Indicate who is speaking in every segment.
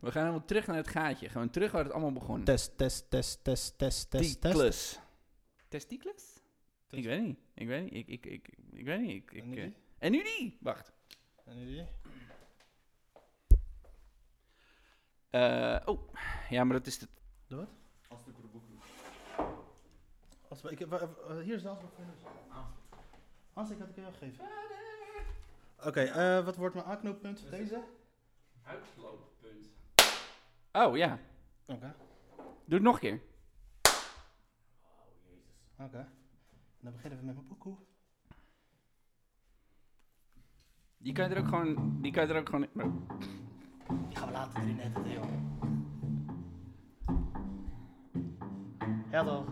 Speaker 1: We gaan helemaal terug naar het gaatje. Gewoon terug waar het allemaal begon.
Speaker 2: Test, test, test, test, test, test, test.
Speaker 1: Testicles. Testicles? Ik weet niet. Ik weet niet. Ik, ik, ik, ik weet niet. Ik, ik,
Speaker 2: En nu
Speaker 1: eh,
Speaker 2: die?
Speaker 1: en nu die! Wacht.
Speaker 2: En nu die?
Speaker 1: Eh, oh, ja, maar dat is het.
Speaker 2: Doe wat?
Speaker 1: Als de
Speaker 2: Als, we- ik, heb- wa- eh, hier is de afspraak voor je neus. Hans, ik had het je wel gegeven. Oké, eh, wat wordt mijn aanknooppunt voor deze?
Speaker 1: Uitlooppunt. Oh ja.
Speaker 2: Oké,
Speaker 1: Doe het nog een keer.
Speaker 2: oké. Dan beginnen we met mijn poekoe.
Speaker 1: Die kan je er ook gewoon. Die kan je er ook gewoon. maar-
Speaker 2: Die gaan we later erin editen, joh. Ja toch.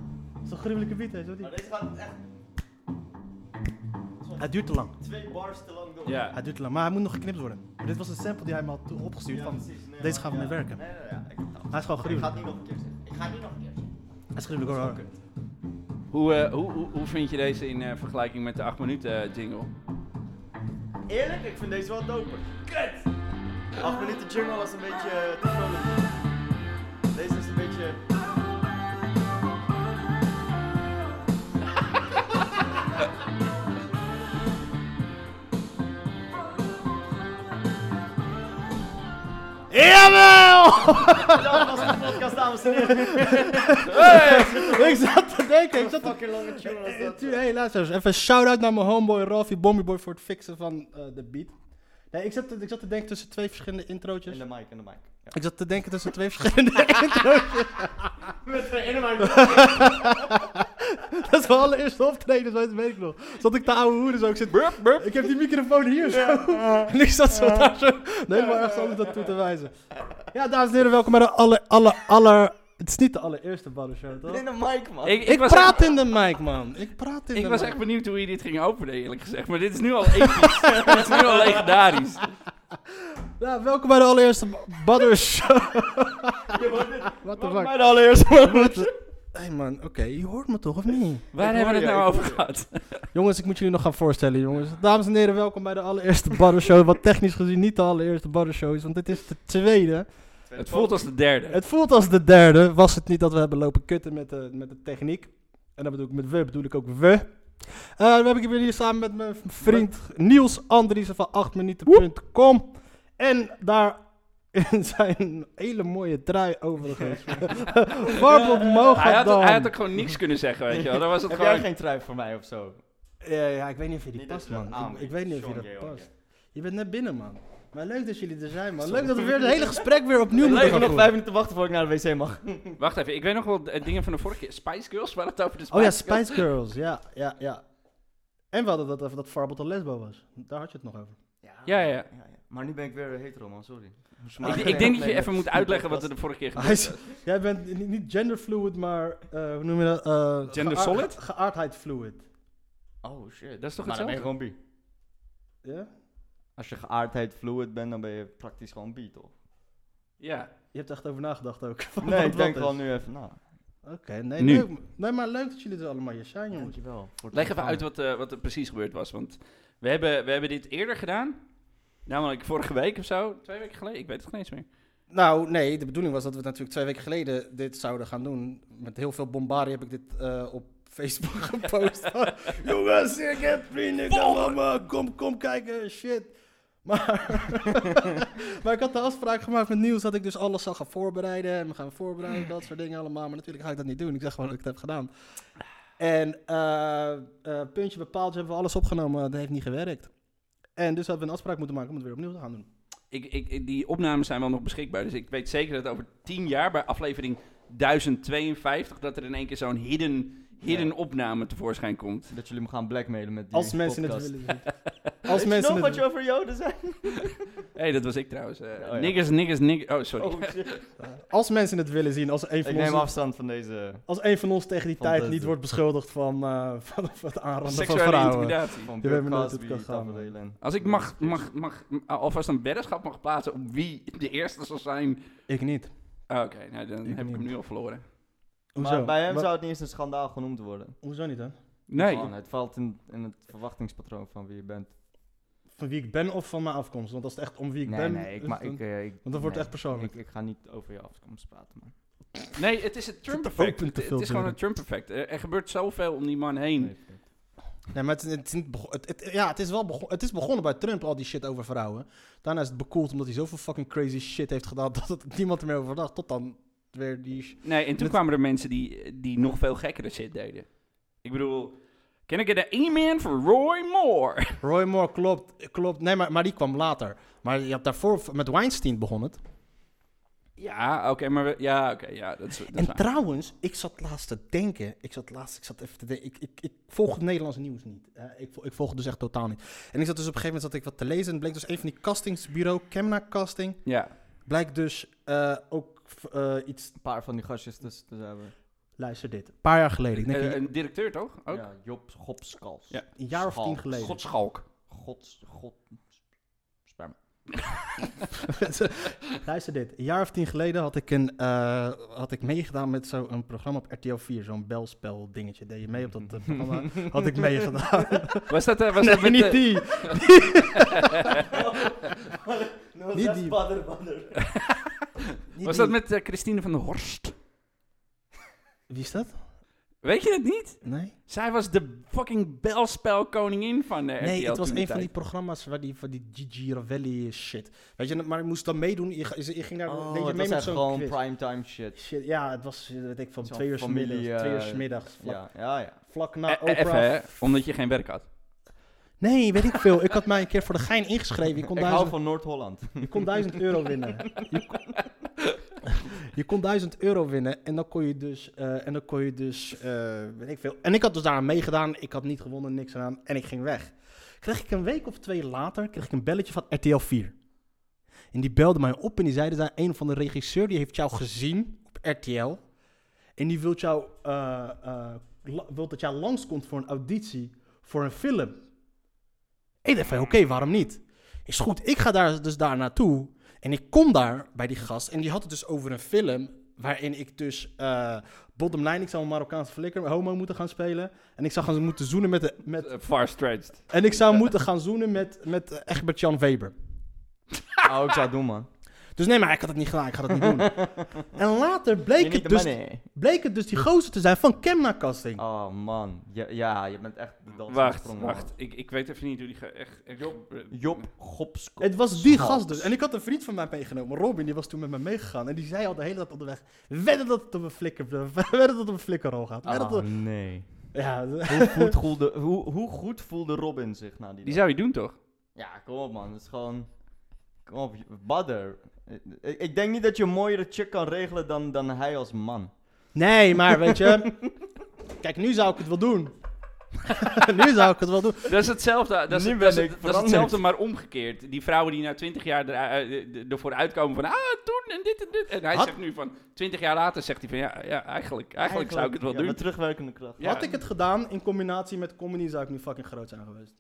Speaker 2: Zo'n gruwelijke beat, hè, zo die.
Speaker 3: Maar deze gaat echt
Speaker 2: Het duurt te lang.
Speaker 3: twee bars te lang door.
Speaker 1: Ja.
Speaker 2: Hij duurt te lang, maar hij moet nog geknipt worden. Maar dit was een sample die hij me had toe- opgestuurd van,
Speaker 3: nee,
Speaker 2: deze
Speaker 3: maar-
Speaker 2: gaan we mee
Speaker 3: ja.
Speaker 2: werken.
Speaker 3: Nee, nee, nee, ja, ik snap het.
Speaker 2: Hij is gewoon
Speaker 3: Ik ga
Speaker 2: gruwelijk.
Speaker 3: het niet nog een keer zeggen. Ik ga het niet nog een keer zeggen.
Speaker 2: Hij is gruwelijk hoor.
Speaker 3: Dat is wel
Speaker 1: Hoe, eh, hoe, hoe, hoe vind je deze in eh, vergelijking met de 8 minuten eh, jingle?
Speaker 2: Oh,
Speaker 3: kut. Eerlijk, ik vind deze wel doper. Kut! 8 minuten jungle was een beetje eh, te vrolijk. Deze is een beetje...
Speaker 2: Jawel!
Speaker 3: Dat was de podcast, dames en heren.
Speaker 2: ik zat te denken, ik
Speaker 3: Wat een
Speaker 2: zat te...
Speaker 3: fucking lange tune was
Speaker 2: Eh,
Speaker 3: dat.
Speaker 2: tu- Hey, luister eens, even shout-out naar mijn homeboy Ralphie Bomberboy voor het fixen van eh, de beat. Nee, ik zat, te, ik zat te denken tussen twee verschillende
Speaker 3: In
Speaker 2: introotjes.
Speaker 3: de mic, in de mic. Ja.
Speaker 2: Ik zat te denken tussen twee verschillende introotjes.
Speaker 3: Met twee in de mic.
Speaker 2: Dat is mijn allereerste optreden, zo dat weet ik nog. Zat ik te ouwe hoeren zo, ik zit...
Speaker 1: Burp, burp.
Speaker 2: Ik heb die microfoon hier zo. En ik zat zo daar zo. Nee, maar ergens anders dat toe te wijzen. Ja, dames en heren, welkom bij de aller, aller, aller... Het is niet de allereerste Show, toch?
Speaker 3: In de mic, man.
Speaker 1: Ik, ik,
Speaker 2: Ik
Speaker 1: was
Speaker 2: praat
Speaker 1: echt,
Speaker 2: in de mic, man. Ik praat in
Speaker 1: ik
Speaker 2: de
Speaker 1: was
Speaker 2: mic.
Speaker 1: echt benieuwd hoe je dit ging openen, eerlijk gezegd. Maar dit is nu al episch. dit is nu al legendarisch.
Speaker 2: Ja, welkom bij de allereerste Badder Show.
Speaker 3: Je wordt dit-
Speaker 2: What the
Speaker 3: wordt mij
Speaker 2: fuck?
Speaker 3: de allereerste
Speaker 2: Hé hey man, oké, je hoort me toch, of niet?
Speaker 1: Waar
Speaker 3: Ik
Speaker 1: hebben we het
Speaker 3: hoor je,
Speaker 1: nou
Speaker 3: ik
Speaker 1: over
Speaker 3: hoor je.
Speaker 1: gehad?
Speaker 2: Jongens, ik moet jullie nog gaan voorstellen, jongens. Dames en heren, welkom bij de allereerste Badder Show. Wat technisch gezien niet de allereerste Badder Show is, want dit is de tweede.
Speaker 1: Het voelt als de derde.
Speaker 2: Het voelt als de derde. Was het niet dat we hebben lopen kutten met de, met de techniek. En dat bedoel ik met we, bedoel ik ook we. Eh dan heb ik hier hier samen met mijn vriend Niels Andriessen van 8minuten.com. En daar in zijn hele mooie trui overigens. Warp op
Speaker 1: Hij
Speaker 2: Mogadam.
Speaker 1: had, hij had ook gewoon niks kunnen zeggen, weet je wel. Dan was het
Speaker 3: Heb jij
Speaker 1: gewoon...
Speaker 3: geen trui voor mij of zo?
Speaker 2: Ja, ja, ik weet niet of je die
Speaker 3: Niet dat
Speaker 2: past,
Speaker 3: je dat
Speaker 2: man.
Speaker 3: aan
Speaker 2: ik,
Speaker 3: moet.
Speaker 2: ik weet niet of je
Speaker 3: Sean,
Speaker 2: dat
Speaker 3: jij ook,
Speaker 2: past.
Speaker 3: ja.
Speaker 2: Je bent net binnen, man. Maar leuk dat jullie er zijn, man. Leuk dat we weer het hele gesprek weer opnieuw moeten
Speaker 3: Leuk
Speaker 2: gaan
Speaker 3: om nog
Speaker 2: voeren.
Speaker 3: vijf minuten te wachten voordat ik naar de wc mag.
Speaker 1: Wacht even, ik weet nog wel eh, dingen van de vorige keer. Spice Girls, waar het over de Spice
Speaker 2: Oh ja,
Speaker 1: Girls-
Speaker 2: Spice Girls. Ja, ja, ja. En we hadden dat even dat Farbot een lesbo was. Daar had je het nog over.
Speaker 1: Ja, ja.
Speaker 3: Maar nu ben ik weer hetero, man, sorry.
Speaker 1: Ik, ik denk dat je even moet uitleggen wat er de vorige keer
Speaker 2: Hij
Speaker 1: gebeurd
Speaker 2: is- jij bent ni- niet genderfluid, maar eh, hoe noem je dat? Eh,
Speaker 1: Gender
Speaker 2: geaard-
Speaker 1: solid?
Speaker 2: Geaardheid fluid.
Speaker 3: Oh shit.
Speaker 1: Dat is toch
Speaker 3: maar dan ben
Speaker 1: hetzelfde?
Speaker 3: je gewoon bi.
Speaker 2: Ja?
Speaker 3: Als je geaardheid fluid bent, dan ben je praktisch gewoon bi, toch?
Speaker 1: Ja.
Speaker 2: Je hebt er echt over nagedacht ook. van wat
Speaker 3: Nee, ik
Speaker 2: wat
Speaker 3: denk
Speaker 2: is.
Speaker 3: gewoon nu even nou. na.
Speaker 2: Oké, nee,
Speaker 1: Nu.
Speaker 2: leuk. nee, maar leuk dat jullie er allemaal hier zijn, jongens.
Speaker 3: Dankjewel. voor het
Speaker 1: Leg even uit
Speaker 3: ontvangen.
Speaker 1: wat, eh, wat er precies gebeurd was. Want we hebben, we hebben dit eerder gedaan. Namelijk vorige week of zo. Twee weken geleden. Ik weet het geen eens meer.
Speaker 2: Nou, nee, de bedoeling was dat we natuurlijk twee weken geleden dit zouden gaan doen. Met heel veel bombardie heb ik dit eh, op Facebook gepost. Jongens, ik heb vrienden, kom, allemaal, kom, kom kijken, shit. Maar, maar ik had de afspraak gemaakt met Niels dat ik dus alles zou gaan voorbereiden. En we gaan voorbereiden, dat soort dingen allemaal. Maar natuurlijk ga ik dat niet doen. Ik zeg gewoon dat ik het heb gedaan. En eh, eh, puntje bepaald, hebben we alles opgenomen. Dat heeft niet gewerkt. En dus hadden we een afspraak moeten maken om het weer opnieuw te gaan doen.
Speaker 1: Ik, ik, ik- die opnames zijn wel nog beschikbaar. Dus ik weet zeker dat over tien jaar, bij aflevering 1052, dat er in één keer zo'n hidden, hidden
Speaker 3: Ja.
Speaker 1: opname tevoorschijn komt.
Speaker 3: Dat jullie me gaan blackmailen met die
Speaker 2: Als mensen het
Speaker 3: podcast.
Speaker 2: willen zien. Als
Speaker 3: Weet je
Speaker 2: mensen
Speaker 3: nog
Speaker 2: het
Speaker 3: wat je over Joden zei?
Speaker 1: Hé, dat was ik trouwens. eh
Speaker 3: ja.
Speaker 1: Niggers, niggers, niggers. Oh, sorry.
Speaker 3: Oh shit.
Speaker 2: Als mensen het willen zien, als een
Speaker 3: Ik
Speaker 2: van, ons,
Speaker 3: neem afstand van deze...
Speaker 2: als een van ons tegen die
Speaker 3: Van
Speaker 2: tijd
Speaker 3: de-
Speaker 2: niet wordt beschuldigd van, eh, van, van het aanranden van
Speaker 1: Seksuele
Speaker 2: vrouwen.
Speaker 1: intimidatie.
Speaker 3: Van
Speaker 2: Je weet maar
Speaker 3: Bill
Speaker 2: nooit hoe het
Speaker 3: Cosby,
Speaker 2: kan gaan,
Speaker 3: tafereel en-
Speaker 1: Als ik mag, mag, mag, alvast een weddenschap mag plaatsen op wie de eerste zal zijn.
Speaker 2: Ik niet.
Speaker 1: Ah, Oké, nou, dan
Speaker 2: Ik
Speaker 1: heb ik hem
Speaker 2: niet.
Speaker 1: nu al verloren.
Speaker 2: Hoezo?
Speaker 3: Maar bij hem
Speaker 2: Wa-
Speaker 3: zou het niet eens een schandaal genoemd worden.
Speaker 2: Hoezo niet, hè?
Speaker 1: Nee.
Speaker 3: Gewoon, het valt in, in het verwachtingspatroon van wie je bent.
Speaker 2: van wie ik ben of van mijn afkomst. Want als het echt om wie ik
Speaker 3: nee,
Speaker 2: ben...
Speaker 3: nee, ik,
Speaker 2: is
Speaker 3: maar
Speaker 2: het een-
Speaker 3: ik, eh, ik-
Speaker 2: want dan wordt het
Speaker 3: nee,
Speaker 2: echt persoonlijk.
Speaker 3: Ik, ik ga niet over je afkomst praten, man.
Speaker 1: Nee, het is het Trump-effect.
Speaker 2: open
Speaker 1: Het,
Speaker 2: te
Speaker 1: het is gewoon
Speaker 2: filteren.
Speaker 1: een Trump-effect. Er, er gebeurt zoveel om die man heen.
Speaker 3: Nee, kijk.
Speaker 2: Nee, maar het, is- het is niet bego- het- het- ja, het is wel begon, het is begonnen bij Trump, al die shit over vrouwen. Daarna is het bekoeld omdat hij zoveel fucking crazy shit heeft gedaan dat het niemand er meer over dacht. Tot dan weer die... sh-
Speaker 1: Nee, en toen
Speaker 2: Met-
Speaker 1: kwamen er mensen die, die nog veel gekkere shit deden. Ik bedoel, can I get an E-man for Roy Moore?
Speaker 2: Roy Moore klopt, klopt. Nee, maar, maar die kwam later. Maar je had daarvoor, met Weinstein begon het.
Speaker 1: ja, oké, maar we- ja, oké, ja, dat is, dat is
Speaker 2: En
Speaker 1: waar.
Speaker 2: trouwens, ik zat laatst te denken. Ik zat laatst, ik zat even te denken. Ik, ik, ik volg het Nederlands nieuws niet. Eh, ik, vol- ik volg het dus echt totaal niet. En ik zat dus op een gegeven moment zat ik wat te lezen. En bleek dus een van die castingsbureau, Kemna Casting,
Speaker 1: Ja,
Speaker 2: blijkt dus eh, ook eh, iets.
Speaker 3: Een paar van die gastjes tussen te hebben.
Speaker 2: Luister dit. Een paar jaar geleden. Ik denk
Speaker 1: Eh,
Speaker 2: een,
Speaker 1: een directeur toch? Ook?
Speaker 3: Ja, Job Gopskals.
Speaker 1: Ja.
Speaker 2: een jaar of
Speaker 3: Schaal.
Speaker 2: tien geleden.
Speaker 1: Godschalk.
Speaker 3: God, God, spaar me.
Speaker 2: Luister dit. Een jaar of tien geleden had ik, een, eh, had ik meegedaan met zo'n programma op RTL 4. Zo'n belspel dingetje. Deed je mee op dat eh, programma? Had ik meegedaan.
Speaker 1: Was dat, eh, was
Speaker 2: nee,
Speaker 1: dat met,
Speaker 2: niet
Speaker 1: eh,
Speaker 2: die.
Speaker 4: No,
Speaker 2: Niet
Speaker 4: that's
Speaker 2: die-
Speaker 4: badder, badder.
Speaker 2: Niet
Speaker 1: was
Speaker 2: die.
Speaker 1: dat met eh, Christine van der Horst?
Speaker 2: Wie is dat?
Speaker 1: Weet je het niet?
Speaker 2: Nee?
Speaker 1: Zij was de fucking belspelkoningin van de
Speaker 2: Nee,
Speaker 1: RTL
Speaker 2: het
Speaker 1: toen
Speaker 2: was een
Speaker 1: die
Speaker 2: van die
Speaker 1: tijd.
Speaker 2: programma's waar die, van die Gigi Ravelli shit. Weet je, maar je moest dan meedoen. Je, ga- je, je ging daar
Speaker 3: Oh,
Speaker 2: deed je
Speaker 3: dat
Speaker 2: mee
Speaker 3: was
Speaker 2: met
Speaker 3: echt
Speaker 2: zo'n
Speaker 3: gewoon
Speaker 2: quiz.
Speaker 3: primetime shit.
Speaker 2: Shit, ja, het was eh, weet ik, van
Speaker 3: Zo'n
Speaker 2: twee uur 's
Speaker 3: familie,
Speaker 2: middags,
Speaker 3: eh,
Speaker 2: twee uur 's middags vlak,
Speaker 3: Ja, ja, ja.
Speaker 2: vlak
Speaker 1: Eh,
Speaker 2: na
Speaker 1: eh,
Speaker 2: nou, Oprah.
Speaker 1: Even, hè, omdat je geen werk had.
Speaker 2: Nee, weet ik veel. Ik had mij een keer voor de gein ingeschreven. Je kon
Speaker 3: Ik hou
Speaker 2: duizend,
Speaker 3: van Noord-Holland.
Speaker 2: je kon duizend euro winnen. Je kon, je kon duizend euro winnen en dan kon je dus, eh, en dan kon je dus eh, weet ik veel. En ik had dus daaraan meegedaan. Ik had niet gewonnen, niks aan en ik ging weg. Kreeg ik een week of twee later kreeg ik een belletje van RTL 4. En die belde mij op en die zeiden daar een van de regisseur die heeft jou gezien op RTL. En die wil jou, eh, eh, la- wil dat jij langskomt voor een auditie voor een film. Ik dacht van, oké, waarom niet? Is goed, ik ga daar dus daar naartoe. En ik kom daar bij die gast. En die had het dus over een film. Waarin ik dus, eh bottom line, ik zou een Marokkaanse flikker, homo moeten gaan spelen. En ik zou gaan moeten zoenen met, de, met
Speaker 1: Eh, far stretched.
Speaker 2: en ik zou moeten gaan zoenen met, met eh, Egbert-Jan Weber.
Speaker 3: Oh, ik zou het doen, man.
Speaker 2: Dus nee, maar ik had het niet gedaan. Ik ga dat niet doen. en later bleek
Speaker 3: niet
Speaker 2: het,
Speaker 3: de
Speaker 2: dus,
Speaker 3: money.
Speaker 2: bleek het dus die gozer te zijn van Kemna Casting.
Speaker 3: Oh, man. Ja, ja, je bent echt de dans
Speaker 1: Wacht,
Speaker 3: gesprongen,
Speaker 1: wacht. Ik, ik weet even niet hoe die... ge- Echt, echt, Job, eh,
Speaker 3: man. Job Gopskals.
Speaker 2: het was die gast dus. En ik had een vriend van mij meegenomen. Robin, die was toen met me meegegaan. En die zei al de hele tijd onderweg... Wedden dat het op een flikker... Wedden dat het op een flikkerrol gaat. Wedden
Speaker 3: Oh,
Speaker 2: dat het-
Speaker 3: nee.
Speaker 2: Ja,
Speaker 3: hoe, goed voelde, hoe, hoe goed voelde Robin zich na die,
Speaker 1: die
Speaker 3: dag?
Speaker 1: zou je doen, toch?
Speaker 3: Ja, kom op, man. Het is gewoon... Kom op, badder. Ik, ik denk niet dat je een mooiere chick kan regelen dan, dan hij als man.
Speaker 2: nee, maar weet je... Kijk, nu zou ik het wel doen. nu zou ik het wel doen.
Speaker 1: Dat is hetzelfde, dat is,
Speaker 3: Nu
Speaker 1: dat
Speaker 3: ben
Speaker 1: is-
Speaker 3: ik
Speaker 1: dat is
Speaker 3: veranderd.
Speaker 1: hetzelfde, maar omgekeerd. Die vrouwen die na twintig jaar er- eh, eh, ervoor uitkomen van... Ah, toen en dit en dit. En hij
Speaker 2: Had-
Speaker 1: zegt nu van... Twintig jaar later zegt hij van... Ja, ja eigenlijk, eigenlijk, zou ik het wel
Speaker 3: ja,
Speaker 1: doen.
Speaker 3: Met terugwerkende kracht.
Speaker 1: Ja.
Speaker 2: Had ik het gedaan in combinatie met comedy... zou ik nu fucking groot zijn geweest.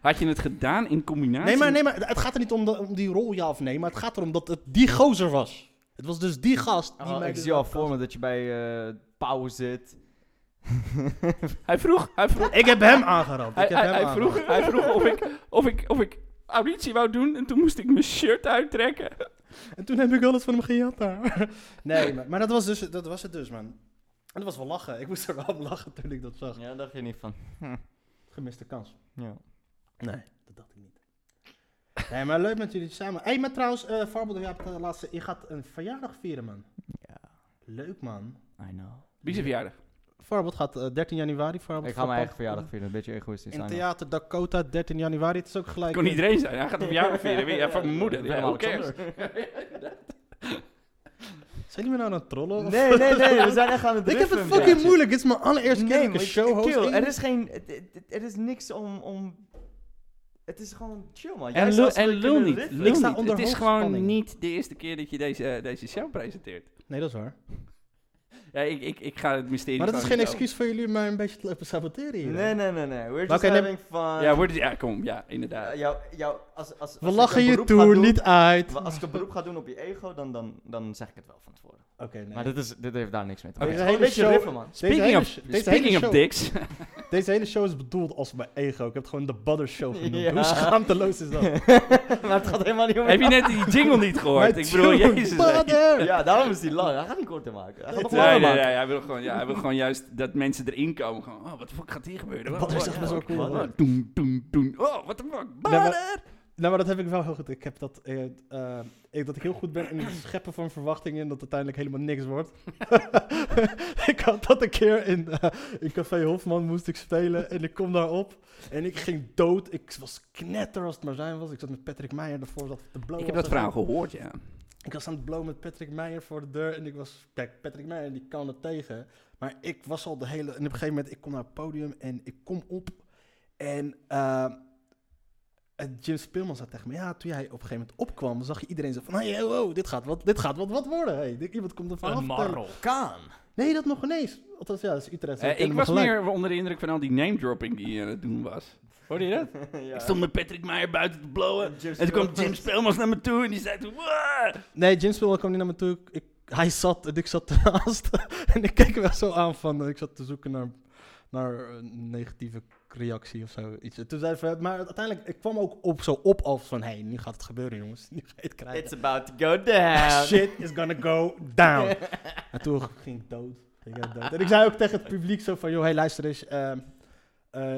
Speaker 1: Had je het gedaan in combinatie...
Speaker 2: Nee, maar, nee, maar het gaat er niet om, dat- om die rol, ja of nee. Maar het gaat erom dat het die gozer was. Het was dus die gast. Die
Speaker 3: Oh,
Speaker 2: mij
Speaker 3: ik
Speaker 2: dus
Speaker 3: zie al
Speaker 2: had
Speaker 3: voor me dat je bij eh Pauw zit.
Speaker 1: Hij vroeg, hij vroeg,
Speaker 2: gecast. Ik heb hem aangerand.
Speaker 1: hij,
Speaker 2: ik heb
Speaker 1: hij-
Speaker 2: hem
Speaker 1: hij
Speaker 2: aangerand.
Speaker 1: vroeg, hij vroeg of, ik, of, ik, of ik auditie wou doen en toen moest ik mijn shirt uittrekken.
Speaker 2: En toen heb ik alles van hem gejat daar. nee, maar, maar dat, was dus, dat was het dus, man. En dat was wel lachen. Ik moest er wel om lachen toen ik dat zag.
Speaker 3: Ja, daar dacht je niet van.
Speaker 2: Gemiste kans.
Speaker 3: Ja.
Speaker 2: Nee, dat dacht ik niet. Nee, maar leuk met jullie samen. Hé, hey, maar trouwens, eh Farbel, je, hebt, eh, laatste, je gaat een verjaardag vieren, man.
Speaker 3: Ja,
Speaker 2: Leuk, man.
Speaker 3: I know.
Speaker 1: Wie zijn verjaardag?
Speaker 2: Farbel gaat eh, 13 januari. Farbel
Speaker 3: Ik ga mijn eigen
Speaker 2: verjaardag.
Speaker 3: verjaardag vieren, een beetje egoïstisch.
Speaker 2: In Theater Dakota, 13 januari. Het is ook gelijk.
Speaker 1: Kon iedereen zijn. Hij gaat een verjaardag vieren. Wie- Ja, van mijn moeder. Ja, who cares?
Speaker 2: Zijn jullie me nou aan het trollen? of-
Speaker 3: Nee, nee, nee, we zijn echt aan het
Speaker 2: ik heb het
Speaker 3: driften,
Speaker 2: fucking
Speaker 3: ja.
Speaker 2: moeilijk. Dit is mijn allereerste keer dat ik
Speaker 3: maar
Speaker 2: een showhost
Speaker 3: chill,
Speaker 2: in-
Speaker 3: er is geen... het- het- Er is niks om... om het is gewoon chill, man. Jij
Speaker 1: En
Speaker 3: zou
Speaker 1: lul, en
Speaker 3: zullen
Speaker 1: lul
Speaker 3: kunnen
Speaker 1: niet.
Speaker 3: riffen.
Speaker 1: Lul
Speaker 2: Ik sta
Speaker 1: niet.
Speaker 2: onder
Speaker 1: Het is gewoon
Speaker 2: hoogspanning.
Speaker 1: niet de eerste keer dat je deze, eh, deze show presenteert.
Speaker 2: Nee, dat is waar.
Speaker 1: Ja, ik, ik, ik ga het mysterie
Speaker 2: Maar dat is
Speaker 1: gewoon
Speaker 2: geen
Speaker 1: niet
Speaker 2: excuus voor jullie om mij een beetje te lopen saboteren hier.
Speaker 3: Nee, nee, nee, nee. We're just
Speaker 2: Oké, nee.
Speaker 3: having fun.
Speaker 1: over. Ja, wordt het- ja, kom. Ja,
Speaker 3: Ja,
Speaker 1: inderdaad.
Speaker 3: jou, jou, als, als,
Speaker 2: We
Speaker 3: als ik
Speaker 2: lachen
Speaker 3: een
Speaker 2: je
Speaker 3: beroep ga
Speaker 2: toer
Speaker 3: doen-
Speaker 2: niet uit.
Speaker 3: Als ik een beroep ga doen op je ego, dan, dan, dan zeg ik het wel van tevoren.
Speaker 2: Oké, nee.
Speaker 3: Maar dit, is, dit heeft daar niks mee te
Speaker 1: Oké.
Speaker 3: maken.
Speaker 2: Deze
Speaker 3: Het is gewoon een
Speaker 2: hele
Speaker 3: beetje
Speaker 2: show-
Speaker 3: riffen, man.
Speaker 2: Deze
Speaker 1: Speaking
Speaker 2: hele
Speaker 1: of,
Speaker 2: sh- deze hele
Speaker 1: speaking of
Speaker 2: show-
Speaker 1: dicks.
Speaker 2: Deze hele show is bedoeld als mijn ego. Ik heb het gewoon de Butter Show genoemd.
Speaker 3: Ja.
Speaker 2: Hoe schaamteloos is dat?
Speaker 3: maar het gaat helemaal niet om
Speaker 1: Heb je net die jingle niet gehoord?
Speaker 2: Mijn
Speaker 1: Ik bedoel,
Speaker 2: tune,
Speaker 1: jezus. hè.
Speaker 2: Butter!
Speaker 3: Ja, daarom is die lang. Hij gaat niet korter maken. Hij gaat nog
Speaker 1: Nee, nee,
Speaker 3: langer
Speaker 1: nee,
Speaker 3: maken.
Speaker 1: hij, wil gewoon, ja, hij wil gewoon juist dat mensen erin komen. Gewoon, oh, wat de fuck gaat hier gebeuren? Wat
Speaker 2: Butter is
Speaker 1: wat-
Speaker 2: echt best wel
Speaker 1: ja, Oh,
Speaker 2: cool.
Speaker 1: wat-
Speaker 2: hoor.
Speaker 1: Doen, doen, doen. Oh, what the fuck?
Speaker 2: Nee, maar-
Speaker 1: Butter!
Speaker 2: Nou, maar dat heb ik wel heel goed. Ik heb dat, eh, eh, ik, dat ik heel goed ben in het scheppen van verwachtingen en dat uiteindelijk helemaal niks wordt. ik had dat een keer in, eh, in Café Hofman moest ik spelen en ik kom daar op en ik ging dood. Ik was knetter als het maar zijn was. Ik zat met Patrick Meijer ervoor dat de blow
Speaker 1: Ik heb
Speaker 2: was
Speaker 1: dat verhaal
Speaker 2: en-
Speaker 1: gehoord, ja.
Speaker 2: Ik was aan het blowen met Patrick Meijer voor de deur en ik was... Kijk, Patrick Meijer die kan het tegen. Maar ik was al de hele... En op een gegeven moment, ik kom naar het podium en ik kom op. En eh, en Jim Speelman zei tegen me... Ja, toen jij op een gegeven moment opkwam, zag je iedereen zo van... Hey, oh, oh, dit gaat wat, dit gaat wat, wat worden. Hey, dit- iemand komt er vanaf.
Speaker 3: Kaan.
Speaker 2: Nee, dat nog ineens. Althans, ja, dat is Utrecht.
Speaker 1: Eh, ik was meer onder de indruk van al die name-dropping die je aan het doen was. Hoorde je dat? Ik stond met Patrick Meijer buiten te blowen.
Speaker 3: En Jim
Speaker 1: En toen kwam
Speaker 3: Speelmans.
Speaker 1: Jim Spelmans naar me toe en die zei toen... "Wah!"
Speaker 2: Nee, Jim Speelman kwam niet naar me toe. Ik, hij zat en ik zat ernaast. en ik keek wel zo aan van... eh, Ik zat te zoeken naar, naar een negatieve reactie of zo. Iets. En Toen zei hij van, maar uiteindelijk, ik kwam ook op, zo op als van... Hé, hey, nu gaat het gebeuren, jongens. Nu ga je het
Speaker 3: It's
Speaker 2: krijgen. Ah,
Speaker 3: about to go down.
Speaker 2: Shit is gonna go down. en toen ging ik dood. Ging ik dood. En ik zei ook tegen het publiek zo van... Joh, hey, luister eens. ehm, eh,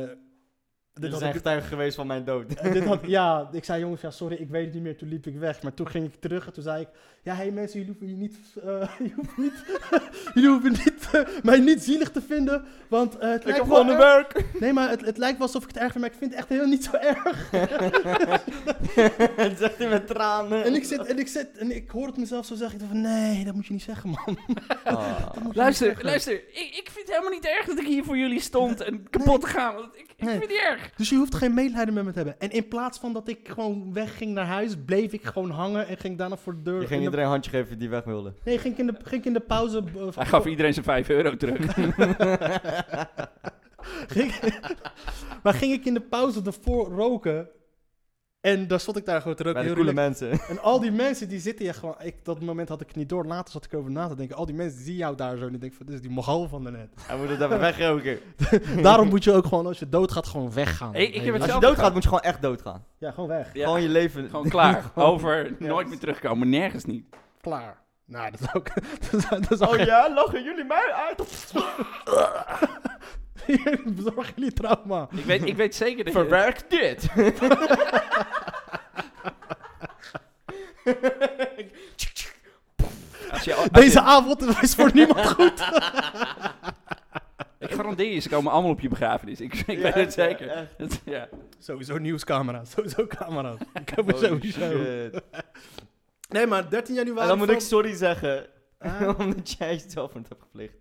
Speaker 3: Dit
Speaker 2: had
Speaker 3: zijn
Speaker 2: ik-
Speaker 3: getuige geweest van mijn dood.
Speaker 2: en dit had, ja, ik zei jongens, ja, sorry, ik weet het niet meer. Toen liep ik weg. Maar toen ging ik terug en toen zei ik... Ja, hé hey, mensen, jullie hoeven, je niet, eh, jullie hoeven niet, jullie hoeven niet, eh, mij niet zielig te vinden. Want eh, het
Speaker 3: Ik
Speaker 2: lijkt
Speaker 3: heb
Speaker 2: wel
Speaker 3: gewoon een
Speaker 2: erg-
Speaker 3: werk.
Speaker 2: Nee, maar het, het lijkt wel alsof ik het erg vind, maar ik vind het echt heel niet zo erg.
Speaker 3: Het zegt hij met tranen.
Speaker 2: En ik zit en ik, zit, en ik hoor het mezelf zo zeggen. Ik dacht van, nee, dat moet je niet zeggen, man.
Speaker 3: Ah.
Speaker 2: Dat moet je niet
Speaker 1: Luister,
Speaker 2: zeggen.
Speaker 1: luister. Ik, ik vind het helemaal niet erg dat ik hier voor jullie stond en kapot te gaan. Want ik, ik
Speaker 2: Nee.
Speaker 1: vind het niet erg.
Speaker 2: Dus je hoeft geen medelijden met me te hebben. En in plaats van dat ik gewoon wegging naar huis, bleef ik gewoon hangen en ging daarna voor de deur.
Speaker 3: Je ging
Speaker 2: in de-
Speaker 3: iedereen een handje geven die weg wilde.
Speaker 2: Nee, ging ik in de, ging ik in de pauze... eh,
Speaker 1: Hij gaf iedereen zijn 5 euro terug.
Speaker 2: Ging- maar ging ik in de pauze ervoor roken. En daar stond ik daar gewoon te roken.
Speaker 3: Bij de
Speaker 2: heel
Speaker 3: coole
Speaker 2: relaxed.
Speaker 3: mensen.
Speaker 2: En al die mensen die zitten hier gewoon. Ik, dat moment had ik niet door. Later zat ik over na te denken. Al die mensen die zien jou daar zo. En ik denk van, dit is die mogol van daarnet.
Speaker 3: Hij moet het even wegroken.
Speaker 2: Daarom moet je ook gewoon, als je doodgaat, gewoon weggaan.
Speaker 1: Hey, ik heb het
Speaker 3: Als je
Speaker 1: zelf
Speaker 3: doodgaat, moet je gewoon echt doodgaan.
Speaker 2: Ja, gewoon weg.
Speaker 1: Ja.
Speaker 3: Gewoon je leven.
Speaker 1: Gewoon klaar. Over.
Speaker 2: Ja.
Speaker 1: Nooit meer terugkomen. Nergens niet.
Speaker 2: Klaar. Nou, dat is ook... dat is, dat is ook
Speaker 3: Oh
Speaker 2: geen-
Speaker 3: ja, lachen jullie mij uit?
Speaker 1: Oh,
Speaker 2: Bezorg jullie trauma.
Speaker 1: Ik weet, ik weet zeker dat je...
Speaker 3: Verwerk dit.
Speaker 1: Als je, als je-
Speaker 2: Deze avond is voor niemand goed.
Speaker 1: ik garandeer je, ze komen allemaal op je begrafenis. Ik, ik weet het zeker. Dat- ja.
Speaker 2: Sowieso nieuwscamera's. Sowieso camera's. Ik heb er
Speaker 3: Holy
Speaker 2: sowieso.
Speaker 3: shit.
Speaker 2: Nee, maar 13 januari...
Speaker 3: En dan moet ik
Speaker 2: valt-
Speaker 3: sorry zeggen.
Speaker 2: Ah.
Speaker 3: Omdat jij zelfmoord hebt gepleegd.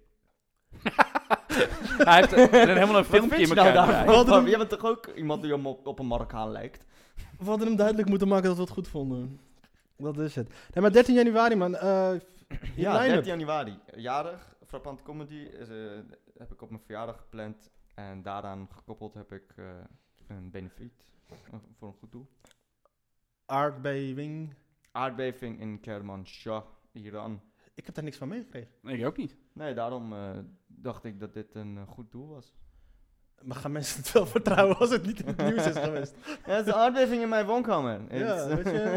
Speaker 1: Hij heeft er er helemaal een
Speaker 3: Wat
Speaker 1: filmpje
Speaker 3: vind
Speaker 1: in
Speaker 3: je nou
Speaker 1: elkaar
Speaker 3: daarvan?
Speaker 1: draaien.
Speaker 2: Wat doen-
Speaker 3: Jij bent toch ook iemand die hem op, op een Marokkaan lijkt?
Speaker 2: We hadden hem duidelijk moeten maken dat we het goed vonden. Dat is het. Nee, maar 13 januari, man. eh, je
Speaker 3: Ja,
Speaker 2: line-up.
Speaker 3: 13 januari. Jarig, Frappant Comedy is, eh, heb ik op mijn verjaardag gepland. En daaraan gekoppeld heb ik eh, een benefiet eh, voor een goed doel.
Speaker 2: Aardbeving.
Speaker 3: Aardbeving in Kermanshah, Iran.
Speaker 2: Ik heb daar niks van meegekregen.
Speaker 1: Nee, ik ook niet.
Speaker 3: Nee, daarom eh, dacht ik dat dit een eh, goed doel was.
Speaker 2: Maar gaan mensen het wel vertrouwen als het niet in het nieuws is geweest?
Speaker 3: Ja, het is een aardbeving in mijn woonkamer.
Speaker 2: ja,
Speaker 3: Het-
Speaker 2: weet je.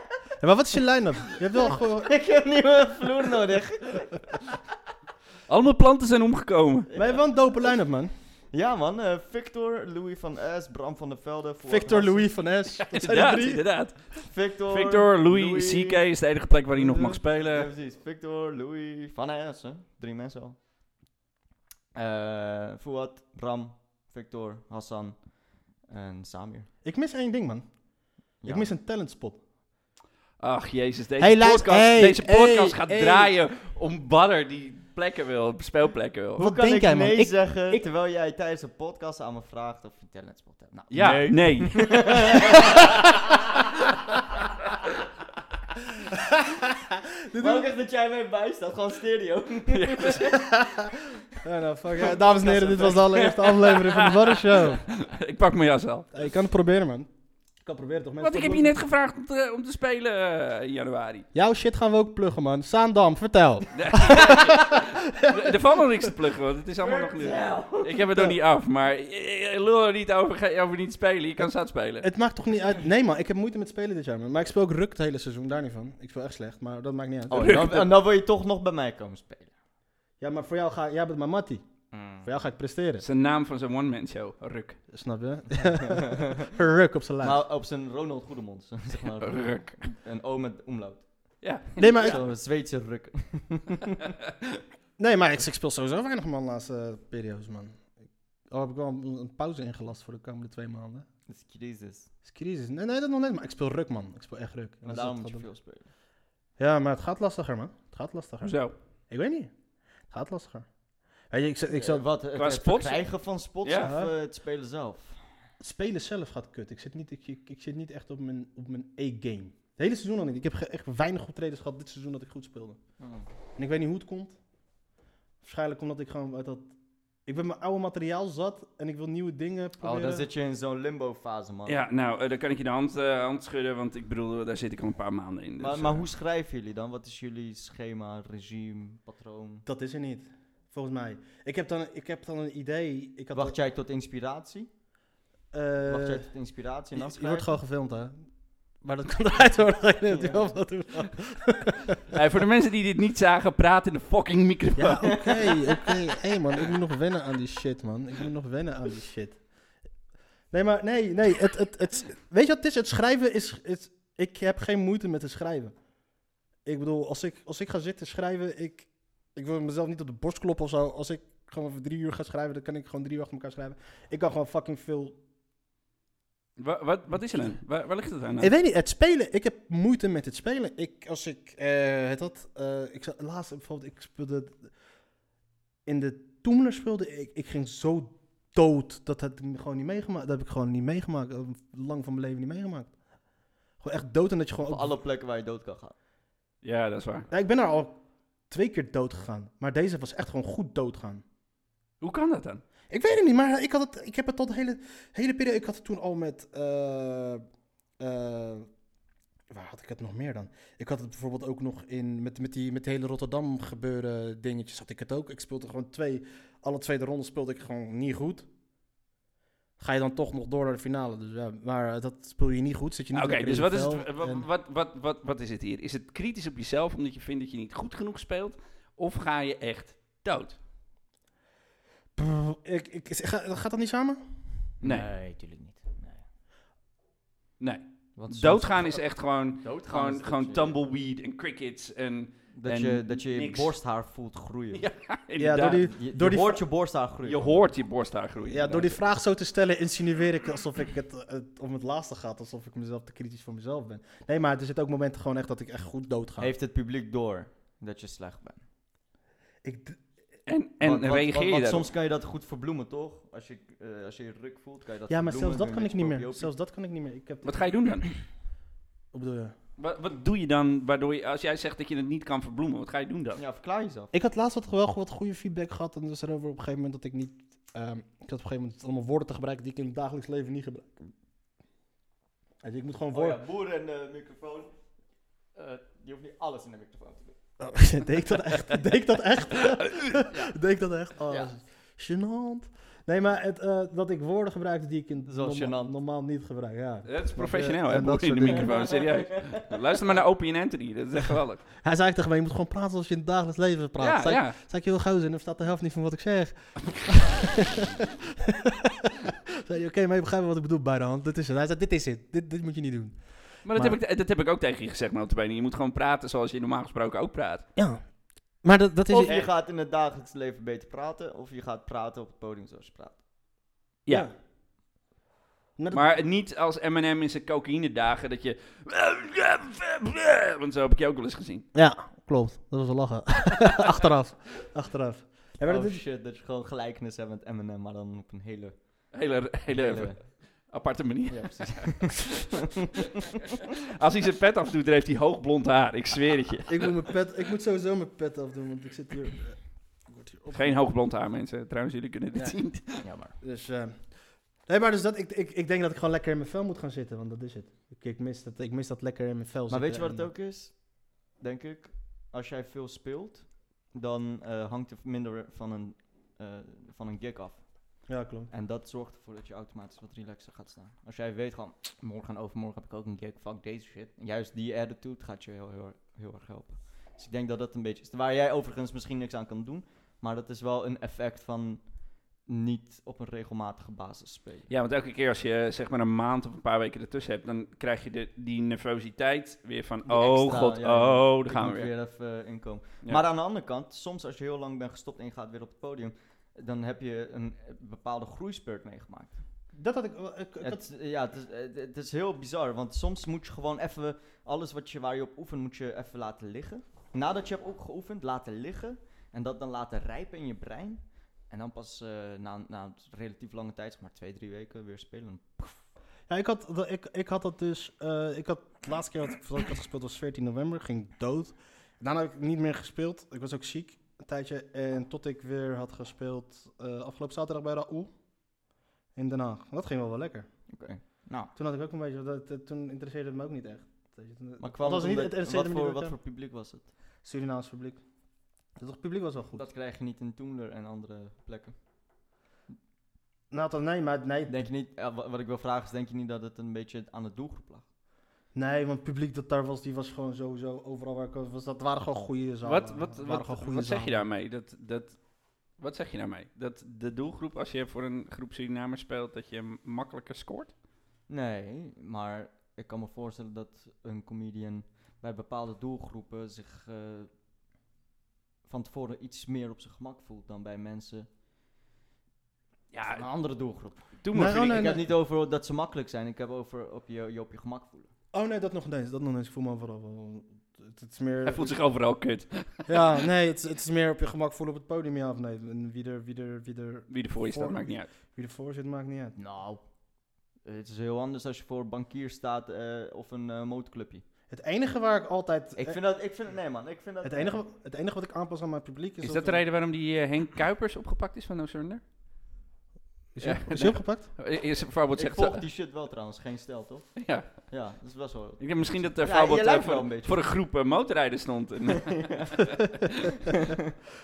Speaker 2: Ja, maar wat is je line-up? Je hebt wel gewoon...
Speaker 3: ik heb een nieuwe vloer nodig.
Speaker 1: Allemaal planten zijn omgekomen.
Speaker 2: Maar je hebt wel een dope line-up, man.
Speaker 3: Ja man, eh, Victor, Louis van S, Bram van der Velde. Fuad
Speaker 2: Victor,
Speaker 3: Hassan.
Speaker 2: Louis van S. Dat zijn er
Speaker 1: Inderdaad,
Speaker 2: drie.
Speaker 1: inderdaad.
Speaker 3: Victor,
Speaker 1: Victor, Louis, CK is de enige plek waar hij nog mag
Speaker 3: Ja,
Speaker 1: spelen.
Speaker 3: precies. Victor, Louis, Van Essen. Drie mensen al. Eh Fuad, Bram, Victor, Hassan en Samir.
Speaker 2: Ik mis één ding, man.
Speaker 3: Ja.
Speaker 2: Ik mis een talentspot.
Speaker 1: Ach jezus, deze
Speaker 2: Hey, luister,
Speaker 1: podcast,
Speaker 2: hey,
Speaker 1: deze podcast
Speaker 2: hey,
Speaker 1: gaat
Speaker 2: hey.
Speaker 1: draaien om Badder die plekken wil, speelplekken wil.
Speaker 3: Hoe
Speaker 2: Wat
Speaker 3: kan
Speaker 2: denk
Speaker 3: ik
Speaker 2: jij, man?
Speaker 3: nee
Speaker 2: Ik-
Speaker 3: zeggen
Speaker 2: ik-
Speaker 3: terwijl jij tijdens een podcast aan me vraagt of je talentspot hebt? Nou,
Speaker 1: Ja,
Speaker 3: nee.
Speaker 1: nee.
Speaker 3: Maar ook echt dat jij mee bij staat, gewoon stereo.
Speaker 2: Ja, nou, fuck. ja. dames en heren, dit was de allereerste aflevering van de Warren Show. Eh,
Speaker 1: ik pak mijn jas al.
Speaker 2: Ja, Je kan het proberen, man. kan proberen toch mensen...
Speaker 1: Want ik heb je net gevraagd om te, om te spelen eh, in januari.
Speaker 2: Jouw shit gaan we ook pluggen, man. Saandam, vertel.
Speaker 1: Er er valt nog niks te pluggen, want het is allemaal nog nieuw. Ik heb het nog niet af, maar eh, eh, lul er niet over, ga- over niet spelen. Je kan zat spelen.
Speaker 2: Het maakt toch niet uit... Nee, man. Ik heb moeite met spelen dit jaar, man. Maar ik speel ook ruk het hele seizoen. Daar niet van. Ik speel echt slecht, maar dat maakt niet uit.
Speaker 3: Oh, en dan, en dan wil je toch nog bij mij komen spelen.
Speaker 2: Ja, maar voor jou ga... Jij bent mijn mattie. Voor jou ga ik presteren.
Speaker 1: Dat is de naam van zijn one-man show, Ruk.
Speaker 2: Snap je?
Speaker 1: Mm.
Speaker 2: ruk op zijn lijf.
Speaker 3: Maar op zijn Ronald Goedemond, zeg maar.
Speaker 1: Ruk.
Speaker 3: Een O met omlaut.
Speaker 1: Ja.
Speaker 2: nee, maar ik,
Speaker 3: Zo'n Zweedse ruk.
Speaker 2: nee, maar ik, ik speel sowieso weinig, man, de laatste eh, periodes, man. Al heb ik wel een, een pauze ingelast voor de komende twee maanden.
Speaker 3: Dat is crisis.
Speaker 2: Het is crisis. Nee, nee, dat nog net. Maar ik speel ruk, man. Ik speel echt ruk. En
Speaker 3: En
Speaker 2: dat is
Speaker 3: daarom
Speaker 2: wat
Speaker 3: moet
Speaker 2: gaat
Speaker 3: je veel spelen.
Speaker 2: doen. Ja, maar het gaat lastiger, man. Het gaat lastiger.
Speaker 1: Zo.
Speaker 2: Ik weet niet. Het gaat lastiger. Weet je, ik, zit- ik
Speaker 3: Eh,
Speaker 2: zat...
Speaker 3: wat, het,
Speaker 1: Qua
Speaker 3: het
Speaker 1: spots?
Speaker 3: krijgen van spots
Speaker 1: Ja.
Speaker 3: of eh, het spelen zelf?
Speaker 2: Spelen zelf gaat kut. Ik zit niet, ik, ik, ik zit niet echt op mijn, op mijn E-game. Het hele seizoen al niet. Ik heb ge- echt weinig optredens gehad dit seizoen dat ik goed speelde.
Speaker 3: Oh,
Speaker 2: En ik weet niet hoe het komt. Waarschijnlijk omdat ik gewoon uit dat... Ik ben mijn oude materiaal zat en ik wil nieuwe dingen proberen.
Speaker 3: Oh, dan zit je in zo'n limbo-fase, man.
Speaker 1: Ja, nou, eh, dan kan ik je de hand, eh, hand schudden, want ik bedoel, daar zit ik al een paar maanden in. Dus,
Speaker 3: Maar, maar
Speaker 1: eh,
Speaker 3: hoe schrijven jullie dan? Wat is jullie schema, regime, patroon?
Speaker 2: Dat is er niet, volgens mij. Ik heb dan, ik heb dan een idee. Ik had
Speaker 3: Wacht jij tot inspiratie?
Speaker 2: eh,
Speaker 3: Wacht jij tot inspiratie en dan
Speaker 2: je, je wordt
Speaker 3: schrijven?
Speaker 2: gewoon gefilmd, hè? Maar dat kan eruit worden. dat je het
Speaker 3: Ja.
Speaker 2: wel wat doet.
Speaker 1: eh, voor de mensen die dit niet zagen, praat in de fucking microfoon.
Speaker 2: Ja, oké, oké. Hé man, ik moet nog wennen aan die shit, man. Ik moet nog wennen aan die shit. Nee, maar nee, nee. Het, het, het, weet je wat het is? Het schrijven is, is... Ik heb geen moeite met het schrijven. Ik bedoel, als ik, als ik ga zitten schrijven, ik, ik wil mezelf niet op de borst kloppen of zo. Als ik gewoon even drie uur ga schrijven, dan kan ik gewoon drie uur achter elkaar schrijven. Ik kan gewoon fucking veel
Speaker 1: Wa- wat, wat is er dan? Waar, waar ligt het aan?
Speaker 2: Ik weet niet, het spelen. Ik heb moeite met het spelen. Ik, als ik, eh het had, eh, ik zat laatst bijvoorbeeld, ik speelde, in de Toemler speelde ik, ik ging zo dood, dat had ik gewoon niet meegemaakt, dat heb ik gewoon niet meegemaakt, eh, lang van mijn leven niet meegemaakt. Gewoon echt dood en dat je gewoon
Speaker 3: Op
Speaker 2: ook-
Speaker 3: alle plekken waar je dood kan gaan.
Speaker 1: Ja, dat is waar.
Speaker 2: Ja, ik ben daar al twee keer dood gegaan, maar deze was echt gewoon goed doodgaan.
Speaker 1: Hoe kan dat dan?
Speaker 2: Ik weet het niet, maar ik, had het, ik heb het al de hele, hele periode. Ik had het toen al met. eh, eh, waar had ik het nog meer dan? Ik had het bijvoorbeeld ook nog in. Met, met, die, met die hele Rotterdam gebeuren dingetjes had ik het ook. Ik speelde gewoon twee. Alle tweede ronde speelde ik gewoon niet goed. Ga je dan toch nog door naar de finale. Dus ja, maar eh, dat speel je niet goed. Zit je niet
Speaker 1: Oké,
Speaker 2: lekker
Speaker 1: dus
Speaker 2: in
Speaker 1: wat
Speaker 2: je
Speaker 1: is,
Speaker 2: vel
Speaker 1: het, wa-
Speaker 2: en-
Speaker 1: wat, wat, wat, wat is het hier? Is het kritisch op jezelf omdat je vindt dat je niet goed genoeg speelt? Of ga je echt dood?
Speaker 2: Pff, ik, ik, ga- gaat dat niet samen?
Speaker 1: Nee.
Speaker 3: tuurlijk niet.
Speaker 1: Nee.
Speaker 3: Want soms-
Speaker 1: Doodgaan is echt gewoon,
Speaker 3: Doodgaan is
Speaker 1: gewoon,
Speaker 3: dat
Speaker 1: gewoon
Speaker 3: je-
Speaker 1: tumbleweed en crickets en
Speaker 3: Dat
Speaker 1: en
Speaker 3: je, dat je, je
Speaker 1: niks.
Speaker 3: borsthaar voelt groeien.
Speaker 1: Ja,
Speaker 2: Ja, door
Speaker 1: inderdaad.
Speaker 2: die,
Speaker 3: Je,
Speaker 2: door
Speaker 3: je
Speaker 2: die
Speaker 3: hoort je borsthaar groeien.
Speaker 1: Je hoort je borsthaar groeien.
Speaker 2: Ja, door die vraag zo te stellen insinueer ik alsof ik het, het om het laatste gaat. Alsof ik mezelf te kritisch voor mezelf ben. Nee, maar er zitten ook momenten gewoon echt dat ik echt goed dood ga.
Speaker 3: Heeft het publiek door dat je slecht bent?
Speaker 2: Ik, d-
Speaker 1: En, en
Speaker 3: Want- want-
Speaker 1: reageer
Speaker 3: want-
Speaker 1: je
Speaker 3: want
Speaker 1: daarop?
Speaker 3: soms kan je dat goed verbloemen, toch? Als je, eh, als je je ruk voelt, kan je dat
Speaker 2: ja, maar zelfs
Speaker 3: verbloemen
Speaker 2: dat
Speaker 3: met
Speaker 2: kan
Speaker 3: een
Speaker 2: ik niet meer.
Speaker 3: beetje
Speaker 2: Zelfs dat kan ik niet meer. Ik heb
Speaker 1: Wat ga je doen dan?
Speaker 2: Wat bedoel je?
Speaker 1: Wat, wat doe je dan waardoor je, als jij zegt dat je het niet kan verbloemen, wat ga je doen dan?
Speaker 3: propiopeep. Ja, verklaar jezelf.
Speaker 2: Ik had laatst wat, wel wat goede feedback gehad. En dus erover op een gegeven moment dat ik niet... ehm, ik had op een gegeven moment allemaal woorden te gebruiken die ik in het dagelijks leven niet gebruik. Weet je, ik moet gewoon
Speaker 3: Oh
Speaker 2: woorden...
Speaker 3: ja, boer en eh, microfoon. Eh, je hoeft niet alles in de microfoon te doen.
Speaker 2: Oh, deed ik dat echt? Deed ik dat echt? Deed ik dat echt? Oh,
Speaker 3: Ja.
Speaker 2: dat is gênant. Nee, maar het, eh, dat ik woorden gebruikte die ik in
Speaker 3: Dat is wel
Speaker 2: norma-
Speaker 3: gênant.
Speaker 2: normaal niet gebruik. Ja.
Speaker 1: Dat is professioneel, hè?
Speaker 2: eh, En dat
Speaker 1: Boer in de
Speaker 2: soort dingen.
Speaker 1: microfoon, serieus. Luister maar naar Opie en Anthony, dat is echt geweldig.
Speaker 2: Hij zei tegen mij, je moet gewoon praten zoals je in het dagelijks leven praat.
Speaker 1: Ja,
Speaker 2: zei, ik-
Speaker 1: ja.
Speaker 2: zei ik heel gauw en dan staat de helft niet van wat ik zeg. zei hij, oké, maar je begrijpt wat ik bedoel bij de hand. Dit is het. Hij zei, dit is het. Dit, dit moet je niet doen.
Speaker 1: Maar dat,
Speaker 2: Maar-
Speaker 1: Heb ik, dat heb ik ook tegen je gezegd, notabene. Je moet gewoon praten zoals je normaal gesproken ook praat.
Speaker 2: Ja. Maar dat, dat is...
Speaker 3: Of je gaat in het dagelijks leven beter praten, of je gaat praten op het podium zoals je praat.
Speaker 1: Ja.
Speaker 2: Maar, dat-
Speaker 1: Maar niet als Eminem in zijn cocaïne dagen dat je... Want zo heb ik je ook wel eens gezien.
Speaker 2: Ja, klopt. Dat was wel lachen. Achteraf. Achteraf. Ja, maar dat
Speaker 3: oh
Speaker 2: is-
Speaker 3: shit, dat je gewoon gelijkenis hebt met Eminem, maar dan op een hele...
Speaker 1: Hele, hele,
Speaker 3: hele
Speaker 1: aparte manier.
Speaker 3: ja, precies.
Speaker 1: Als hij zijn pet afdoet, dan heeft hij hoog blond haar. Ik zweer het je.
Speaker 2: Ik moet, mijn pet, ik moet sowieso mijn pet afdoen, want ik zit hier. eh, Ik word hier op.
Speaker 1: Geen hoog blond haar, mensen. Trouwens, jullie kunnen dit
Speaker 2: Ja.
Speaker 1: zien.
Speaker 3: ja, maar...
Speaker 2: Dus, eh, Nee, maar dus dat, ik, ik, ik denk dat ik gewoon lekker in mijn vel moet gaan zitten, want dat is het. Ik, ik, mis, dat, ik mis dat lekker in mijn vel
Speaker 3: Maar
Speaker 2: zitten.
Speaker 3: weet je wat het
Speaker 2: en-
Speaker 3: ook is? Denk ik, als jij veel speelt, dan eh, hangt er minder van een, eh, van een gig af.
Speaker 2: Ja, klopt.
Speaker 3: En dat zorgt ervoor dat je automatisch wat relaxer gaat staan. Als jij weet gewoon, morgen en overmorgen heb ik ook een gig, fuck deze shit. En juist die attitude gaat je heel, heel, heel erg helpen. Dus ik denk dat dat een beetje is. Waar jij overigens misschien niks aan kan doen, maar dat is wel een effect van niet op een regelmatige basis spelen.
Speaker 1: Ja, want elke keer als je zeg maar een maand of een paar weken ertussen hebt, dan krijg je de, die nervositeit weer van,
Speaker 3: Die
Speaker 1: oh
Speaker 3: extra,
Speaker 1: god,
Speaker 3: ja, ja.
Speaker 1: oh, daar
Speaker 3: Ik
Speaker 1: gaan we
Speaker 3: moet
Speaker 1: weer.
Speaker 3: even eh, inkomen.
Speaker 1: Ja.
Speaker 3: Maar aan de andere kant, soms als je heel lang bent gestopt en je gaat weer op het podium, dan heb je een eh, bepaalde groeispurt meegemaakt.
Speaker 2: Dat had ik... wel- ik- ik had-
Speaker 3: Het, ja, het is, het- het is heel bizar, want soms moet je gewoon even alles wat je, waar je op oefent, moet je even laten liggen. Nadat je hebt opgeoefend, laten liggen en dat dan laten rijpen in je brein. En dan pas eh, na, na een relatief lange tijd, zeg maar twee, drie weken, weer spelen.
Speaker 2: Ja, ik had, dat- ik, ik had dat dus... eh, ik had, de laatste keer dat ik, dat ik had gespeeld was 14 november, ging dood. Daarna heb ik niet meer gespeeld. Ik was ook ziek een tijdje. En tot ik weer had gespeeld eh, afgelopen zaterdag bij Raoul in Den Haag. Dat ging wel wel lekker.
Speaker 3: Oké. Nou,
Speaker 2: Toen had ik ook een beetje... Dat, dat- toen interesseerde het me ook niet echt. Weet je, toen-
Speaker 3: maar kwam
Speaker 2: Althans,
Speaker 3: het omdat-
Speaker 2: interesseerde
Speaker 3: wat,
Speaker 2: me
Speaker 3: voor,
Speaker 2: niet
Speaker 3: wat
Speaker 2: echt,
Speaker 3: voor publiek was het?
Speaker 2: ja. Surinaams publiek. Dus Het publiek was wel goed.
Speaker 3: Dat krijg je niet in Toemler en andere plekken.
Speaker 2: Nou, dan- nee, maar nee,
Speaker 3: Denk je niet, ja, wa- wat ik wil vragen is, denk je niet dat het een beetje aan de doelgroep lag?
Speaker 2: nee, want het publiek dat daar was, die was gewoon sowieso overal waar ik was. Dat waren gewoon goede zalen.
Speaker 1: Wat,
Speaker 2: Dat
Speaker 1: wat,
Speaker 2: waren
Speaker 1: wat,
Speaker 2: gewoon goede
Speaker 1: wat zeg je
Speaker 2: zalen.
Speaker 1: daarmee? Dat, dat, wat zeg je daarmee? Dat de doelgroep, als je voor een groep Surinamers speelt, dat je hem makkelijker scoort?
Speaker 3: Nee, maar ik kan me voorstellen dat een comedian bij bepaalde doelgroepen zich eh, van tevoren iets meer op zijn gemak voelt dan bij mensen van een
Speaker 1: Ja,
Speaker 3: andere doelgroep.
Speaker 1: toen
Speaker 2: Nee,
Speaker 1: moest je
Speaker 2: oh,
Speaker 1: die-
Speaker 2: nee,
Speaker 3: ik
Speaker 2: nee.
Speaker 3: heb niet over dat ze makkelijk zijn, ik heb over op je, je op je gemak voelen.
Speaker 2: Oh nee, dat nog niet eens. Dat nog niet eens. Ik voel me overal wel... Het, het is meer...
Speaker 1: Hij voelt zich overal kut.
Speaker 2: Ja, nee, het, is- het is meer op je gemak voelen op het podium, ja of nee. En wie er, wie er, wie er,
Speaker 1: Wie er voor je staat,
Speaker 2: Voor-
Speaker 1: maakt niet uit.
Speaker 2: wie er voor zit, maakt niet uit.
Speaker 3: Nou, het is heel anders als je voor een bankier staat eh, of een eh motorclubje.
Speaker 2: Het enige waar ik altijd...
Speaker 3: Ik
Speaker 2: eh,
Speaker 3: vind dat, ik vind, nee man, ik vind dat...
Speaker 2: het, enige, het enige wat ik aanpas aan mijn publiek is...
Speaker 1: Is dat de reden waarom die eh, Henk Kuipers opgepakt is van No Surrender?
Speaker 2: Is hij
Speaker 1: Ja,
Speaker 2: is
Speaker 1: nee.
Speaker 2: hij opgepakt?
Speaker 1: Eh, Is Vrouwbot
Speaker 3: Ik
Speaker 1: zegt...
Speaker 3: volg die shit wel trouwens, geen stijl toch?
Speaker 1: Ja,
Speaker 3: Ja, dat is best wel...
Speaker 1: ik denk misschien dat
Speaker 3: Ja,
Speaker 1: uh,
Speaker 3: je
Speaker 1: Vrouwbot
Speaker 3: lijkt wel
Speaker 1: voor,
Speaker 3: een beetje.
Speaker 1: voor een groep eh, motorrijders stond. En, eh,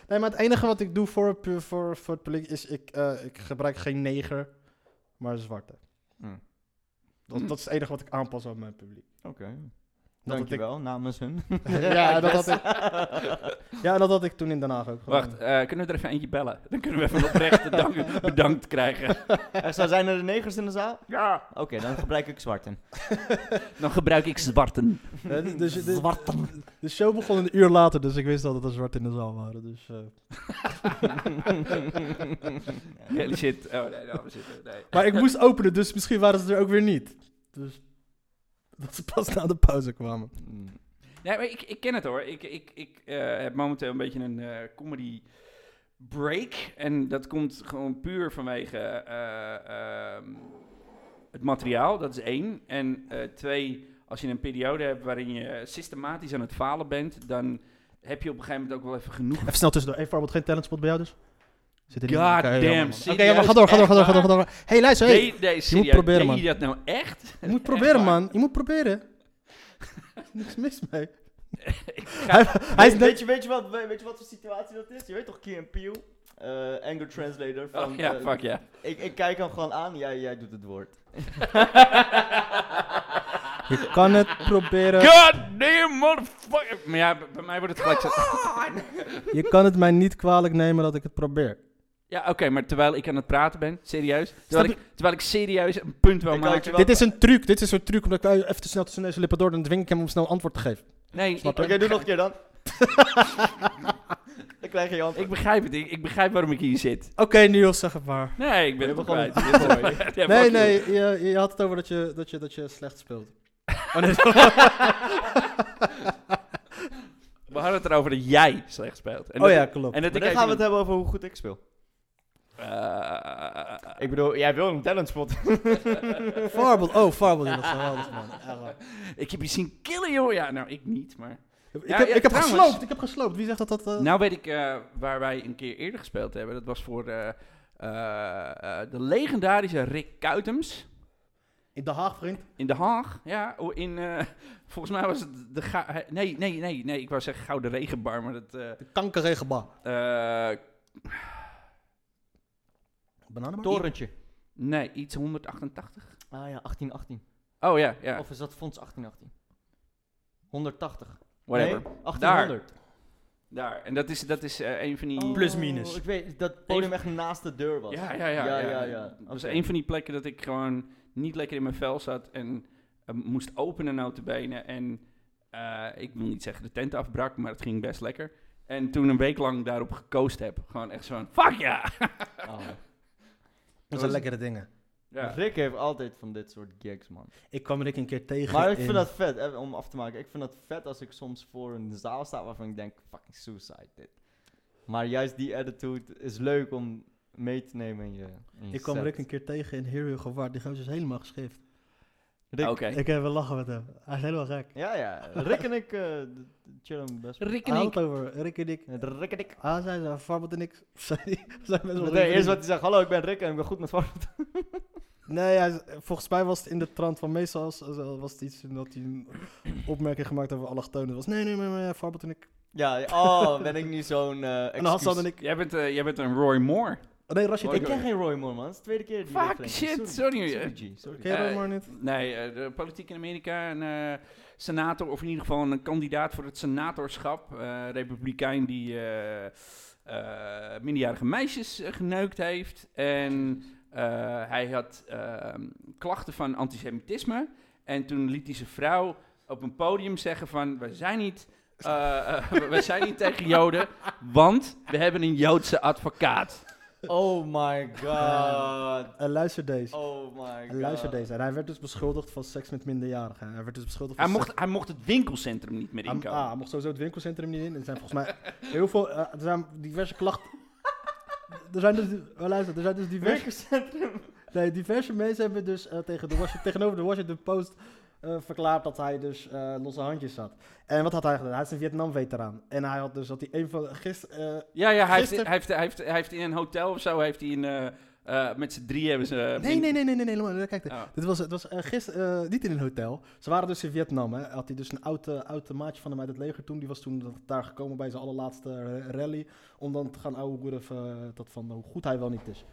Speaker 2: Nee, maar het enige wat ik doe voor, het pu- voor, voor het publiek is... Ik, eh, ik gebruik geen neger, maar zwarte.
Speaker 3: Hm,
Speaker 2: Dat, dat is het enige wat ik aanpas aan mijn publiek.
Speaker 3: Oké,
Speaker 2: Dat had ik-
Speaker 3: dankjewel namens hun.
Speaker 2: ja, dat had ik, ja, en dat had ik toen in Den Haag ook. gedaan.
Speaker 1: wacht, eh, kunnen we er even eentje bellen? Dan kunnen we even een oprechte dank, bedankt krijgen.
Speaker 3: Echt, zo, zijn er negers in de zaal?
Speaker 1: Ja.
Speaker 3: Oké, dan gebruik ik zwarten.
Speaker 1: Dan gebruik ik zwarten.
Speaker 2: Ja, dus- dus, de, de show begon een uur later, dus ik wist dat het er zwart in de zaal waren. Dus, eh.
Speaker 1: Hele shit. Oh nee, nou, we zitten... Nee.
Speaker 2: Maar ik moest openen, dus misschien waren ze er ook weer niet. Dus dat ze pas na de pauze kwamen.
Speaker 3: Mm.
Speaker 1: Nee, maar ik, ik ken het hoor. Ik, ik, ik eh, heb momenteel een beetje een eh, comedy break. En dat komt gewoon puur vanwege eh, ehm, het materiaal, dat is één. En eh, twee, als je een periode hebt waarin je systematisch aan het falen bent, dan heb je op een gegeven moment ook wel even genoeg.
Speaker 2: Even snel tussendoor. Even voorbeeld geen talentspot bij jou dus? Zit er
Speaker 1: God
Speaker 2: Oké,
Speaker 1: damn,
Speaker 2: jammer, man. Oké,
Speaker 1: serieus,
Speaker 2: maar ga door, ga door,
Speaker 1: echt
Speaker 2: ga door, ga door.
Speaker 1: waar?
Speaker 2: Ga door. Hey, luister, hey.
Speaker 1: Nee, nee, serieus.
Speaker 2: proberen,
Speaker 1: deed
Speaker 2: man.
Speaker 1: je dat nou echt?
Speaker 2: Je moet proberen,
Speaker 1: waar.
Speaker 2: man. Je moet proberen. Er is Niks mis mee.
Speaker 1: Ik
Speaker 2: Hij,
Speaker 1: ga-
Speaker 2: hij is
Speaker 3: weet,
Speaker 2: net...
Speaker 3: weet je, weet, je wat, we- weet je wat voor situatie dat is? Je weet toch Key and Peele? Eh, anger Translator van...
Speaker 1: Oh, ja,
Speaker 3: eh,
Speaker 1: fuck ja.
Speaker 3: ik, ik kijk hem gewoon aan, jij, jij doet het woord.
Speaker 2: Je kan het proberen.
Speaker 1: God damn, motherfucker. Maar ja, bij bij mij wordt het gelijk zo...
Speaker 2: Je kan het mij niet kwalijk nemen dat ik het probeer.
Speaker 1: Ja, oké, maar terwijl ik aan het praten ben, serieus.
Speaker 2: Snap
Speaker 1: Terwijl, ik, terwijl ik serieus een punt wil
Speaker 3: Ik had
Speaker 1: maken.
Speaker 3: je
Speaker 2: Dit is een truc. Dit is een truc omdat ik eh, even te snel tussen neus en lippen door... dan dwing ik hem om snel antwoord te geven.
Speaker 1: Nee, ik,
Speaker 2: Snap
Speaker 3: Oké, doe nog een keer dan. dan krijg je je antwoord.
Speaker 1: ik begrijp het. Ik, ik begrijp waarom ik hier zit.
Speaker 2: Oké, Niels, zeg het maar.
Speaker 1: Nee, ik ben
Speaker 3: Je
Speaker 1: het
Speaker 3: begon-
Speaker 1: kwijt. Ja,
Speaker 2: Nee,
Speaker 1: fuck you.
Speaker 2: nee, je, je had het over dat je, dat je, dat je slecht speelt. Oh, nee.
Speaker 1: We hadden het erover dat jij slecht speelt. En
Speaker 2: oh
Speaker 1: dat-
Speaker 2: ja, klopt.
Speaker 1: En dat
Speaker 3: Maar
Speaker 1: ik
Speaker 3: dan gaan we het
Speaker 1: even-
Speaker 3: hebben over hoe goed ik speel.
Speaker 1: Eh,
Speaker 3: Ik bedoel, jij wil een talentspot.
Speaker 2: Farbel, oh, Farbel, ja, dat is geweldig, man. Echt waar.
Speaker 1: ik heb je zien killen, joh. Ja, nou, ik niet, maar... Nou
Speaker 2: Ik
Speaker 1: Ja,
Speaker 2: heb,
Speaker 1: ja,
Speaker 2: ik heb
Speaker 1: trouwens.
Speaker 2: gesloopt, ik heb gesloopt. Wie zegt dat dat... eh,
Speaker 1: Nou weet ik eh, waar wij een keer eerder gespeeld hebben. Dat was voor eh, eh, eh, eh, de legendarische Rick Kuitems
Speaker 2: In Den Haag, vriend.
Speaker 1: in Den Haag. Ja, o- in, eh, volgens mij was het de... Ga- eh, nee, nee, nee, nee. Ik wou zeggen Gouden Regenbar, maar dat... eh,
Speaker 2: De kankerregenbar.
Speaker 1: eh,
Speaker 2: Bananenbar?
Speaker 3: Torentje.
Speaker 1: nee, iets 188.
Speaker 3: Ah ja, 1818.
Speaker 1: Oh ja, ja.
Speaker 3: Of is dat fonds 1818? 180.
Speaker 1: Whatever.
Speaker 3: Nee, 1800.
Speaker 1: Daar. En dat is, dat is eh, een van die...
Speaker 3: Oh,
Speaker 5: Plus minus.
Speaker 3: Ik weet dat podium echt naast de deur was.
Speaker 1: Ja, ja, ja.
Speaker 3: Ja,
Speaker 1: ja,
Speaker 3: ja, ja.
Speaker 1: Dat was
Speaker 3: Oké.
Speaker 1: een van die plekken dat ik gewoon niet lekker in mijn vel zat en eh, moest openen notabene. En eh, ik wil niet zeggen de tent afbrak, maar het ging best lekker. En toen een week lang daarop gekoost heb. Gewoon echt zo'n, fuck ja!
Speaker 3: Oh.
Speaker 2: Dat zijn lekkere dingen.
Speaker 1: ja.
Speaker 3: Rick heeft altijd van dit soort gigs, man.
Speaker 2: Ik kwam Rick een keer tegen
Speaker 3: Maar ik
Speaker 2: in-
Speaker 3: vind dat vet, even om af te maken. Ik vind dat vet als ik soms voor een zaal sta waarvan ik denk, fucking suicide dit. Maar juist die attitude is leuk om mee te nemen in je, in je
Speaker 2: Ik kwam
Speaker 3: set.
Speaker 2: Rick een keer tegen in Hero Gewaard. Die gozer is helemaal geschift.
Speaker 3: Rick-
Speaker 1: Oké.
Speaker 2: Ik heb wel lachen met hem. Hij is helemaal gek.
Speaker 3: Ja, ja. Rick en ik eh, d- d- chillen best wel.
Speaker 1: Rick
Speaker 2: Hij had het over Rick en ik.
Speaker 3: Met Rick en ik.
Speaker 2: Ah, zijn ze, Farbot en ik. Zijn die- zijn best wel
Speaker 3: Nee,
Speaker 2: goede
Speaker 3: eerst wat
Speaker 2: vrienden.
Speaker 3: hij zegt, hallo, ik ben Rick en ik ben goed met Vark.
Speaker 2: Nee, hij is- volgens mij was het in de trant van meestal als- als- was het iets dat hij een opmerking gemaakt over allochtonen. Het was nee, nee, nee, nee, Farbot en ik.
Speaker 3: Ja, ja, oh, ben ik nu zo'n eh
Speaker 2: En Hassan en
Speaker 3: excuus.
Speaker 2: ik.
Speaker 1: Jij bent, eh, jij bent een Roy Moore.
Speaker 2: Oh, nee, Rashid.
Speaker 1: Mooi
Speaker 2: Ik
Speaker 3: Ik
Speaker 2: ken
Speaker 3: ken geen Roy Moore, man. Het is de tweede keer die
Speaker 1: Fuck,
Speaker 3: referentie.
Speaker 1: shit, sorry.
Speaker 3: Sorry, G, sorry.
Speaker 2: ken je
Speaker 1: Eh,
Speaker 2: Roy Moore niet?
Speaker 1: Nee, eh, de politiek in Amerika, een eh, senator, of in ieder geval een kandidaat voor het senatorschap. eh, republikein die eh, eh, minderjarige meisjes eh, geneukt heeft. En eh, hij had ehm, klachten van antisemitisme. En toen liet hij zijn vrouw op een podium zeggen van... We zijn niet, eh, eh, we zijn niet tegen Joden, want we hebben een Joodse advocaat.
Speaker 3: Oh my god.
Speaker 2: Eh, luister deze.
Speaker 3: Oh my god.
Speaker 2: Luister deze. En hij werd dus beschuldigd van seks met minderjarigen. Hij werd dus beschuldigd
Speaker 1: Hij
Speaker 2: van
Speaker 1: mocht, hij mocht het winkelcentrum niet meer
Speaker 2: Hij-
Speaker 1: inkomen.
Speaker 2: ah, hij mocht sowieso het winkelcentrum niet in. Er zijn volgens mij heel veel... eh, er zijn diverse klachten... Er zijn dus, oh, luister, er zijn dus diverse,
Speaker 3: Winkelcentrum.
Speaker 2: nee, diverse mensen hebben dus eh, tegen de Washington, tegenover de Washington Post eh, verklaard dat hij dus eh, losse handjes had. En wat had hij gedaan? Hij is een Vietnam-veteraan. En hij had dus, dat hij een van, gisteren, eh,
Speaker 1: Ja, ja hij, heeft,
Speaker 2: Gisteren-
Speaker 1: hij, heeft, hij, heeft, hij heeft in een hotel of zo, heeft hij een, eh, eh, met z'n drie hebben ze... eh, min-
Speaker 2: Nee, nee, nee, nee, nee, nee, nee, kijk.
Speaker 3: Ah.
Speaker 1: Oh.
Speaker 2: Dit was, het was eh, gisteren, eh, niet in een hotel. Ze waren dus in Vietnam, hè. Had hij dus een oude oude maatje van hem uit het leger toen. Die was toen dat- daar gekomen bij zijn allerlaatste eh, rally. Om dan te gaan ouwehoeren eh, dat van hoe goed hij wel niet is.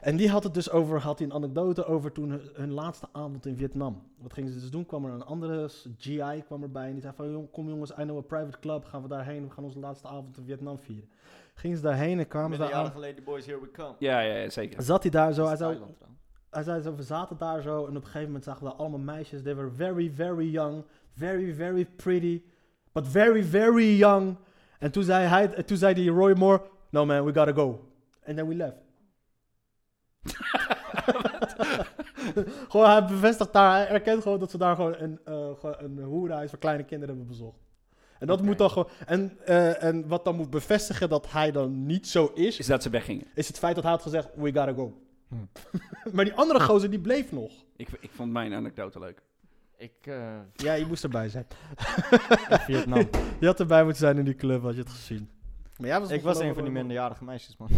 Speaker 2: En die had het dus over, had hij een anekdote over toen hun, hun laatste avond in Vietnam. Wat gingen ze dus doen? Kwam er een andere s- GI kwam erbij en die zei van, "Jong, kom jongens, I know a private club. Gaan we daarheen, we gaan onze laatste avond in Vietnam vieren. Gingen ze daarheen en kwamen ze
Speaker 3: Met
Speaker 2: daar aan.
Speaker 3: geleden, boys, here we come.
Speaker 1: Ja, ja, ja, zeker.
Speaker 2: Zat hij daar zo,
Speaker 3: Dat
Speaker 2: hij
Speaker 3: is
Speaker 2: zou
Speaker 3: Thailand trouwens.
Speaker 2: hij zei zo, we zaten daar zo en op een gegeven moment zagen we allemaal meisjes. They were very, very young. Very, very pretty. But very, very young. En toen zei hij, en toen zei die Roy Moore, no man, we gotta go. And then we left. gewoon, hij bevestigt daar, hij erkent gewoon dat ze daar gewoon een, eh gewoon een hoerenhuis voor kleine kinderen hebben bezocht. En dat moet dan gewoon, en, eh, en wat dan moet bevestigen dat hij dan niet zo is,
Speaker 1: Is dat ze weggingen.
Speaker 2: is het feit dat hij had gezegd, we gotta go.
Speaker 3: Hm. Ah.
Speaker 2: maar die andere gozer, die bleef nog.
Speaker 1: Ik, ik vond mijn anekdote leuk.
Speaker 3: Ik, eh
Speaker 2: Ja, je moest erbij zijn.
Speaker 3: Vietnam.
Speaker 2: Je had erbij moeten zijn in die club, had je het gezien. Maar jij was
Speaker 3: ik was een van die minderjarige meisjes, man.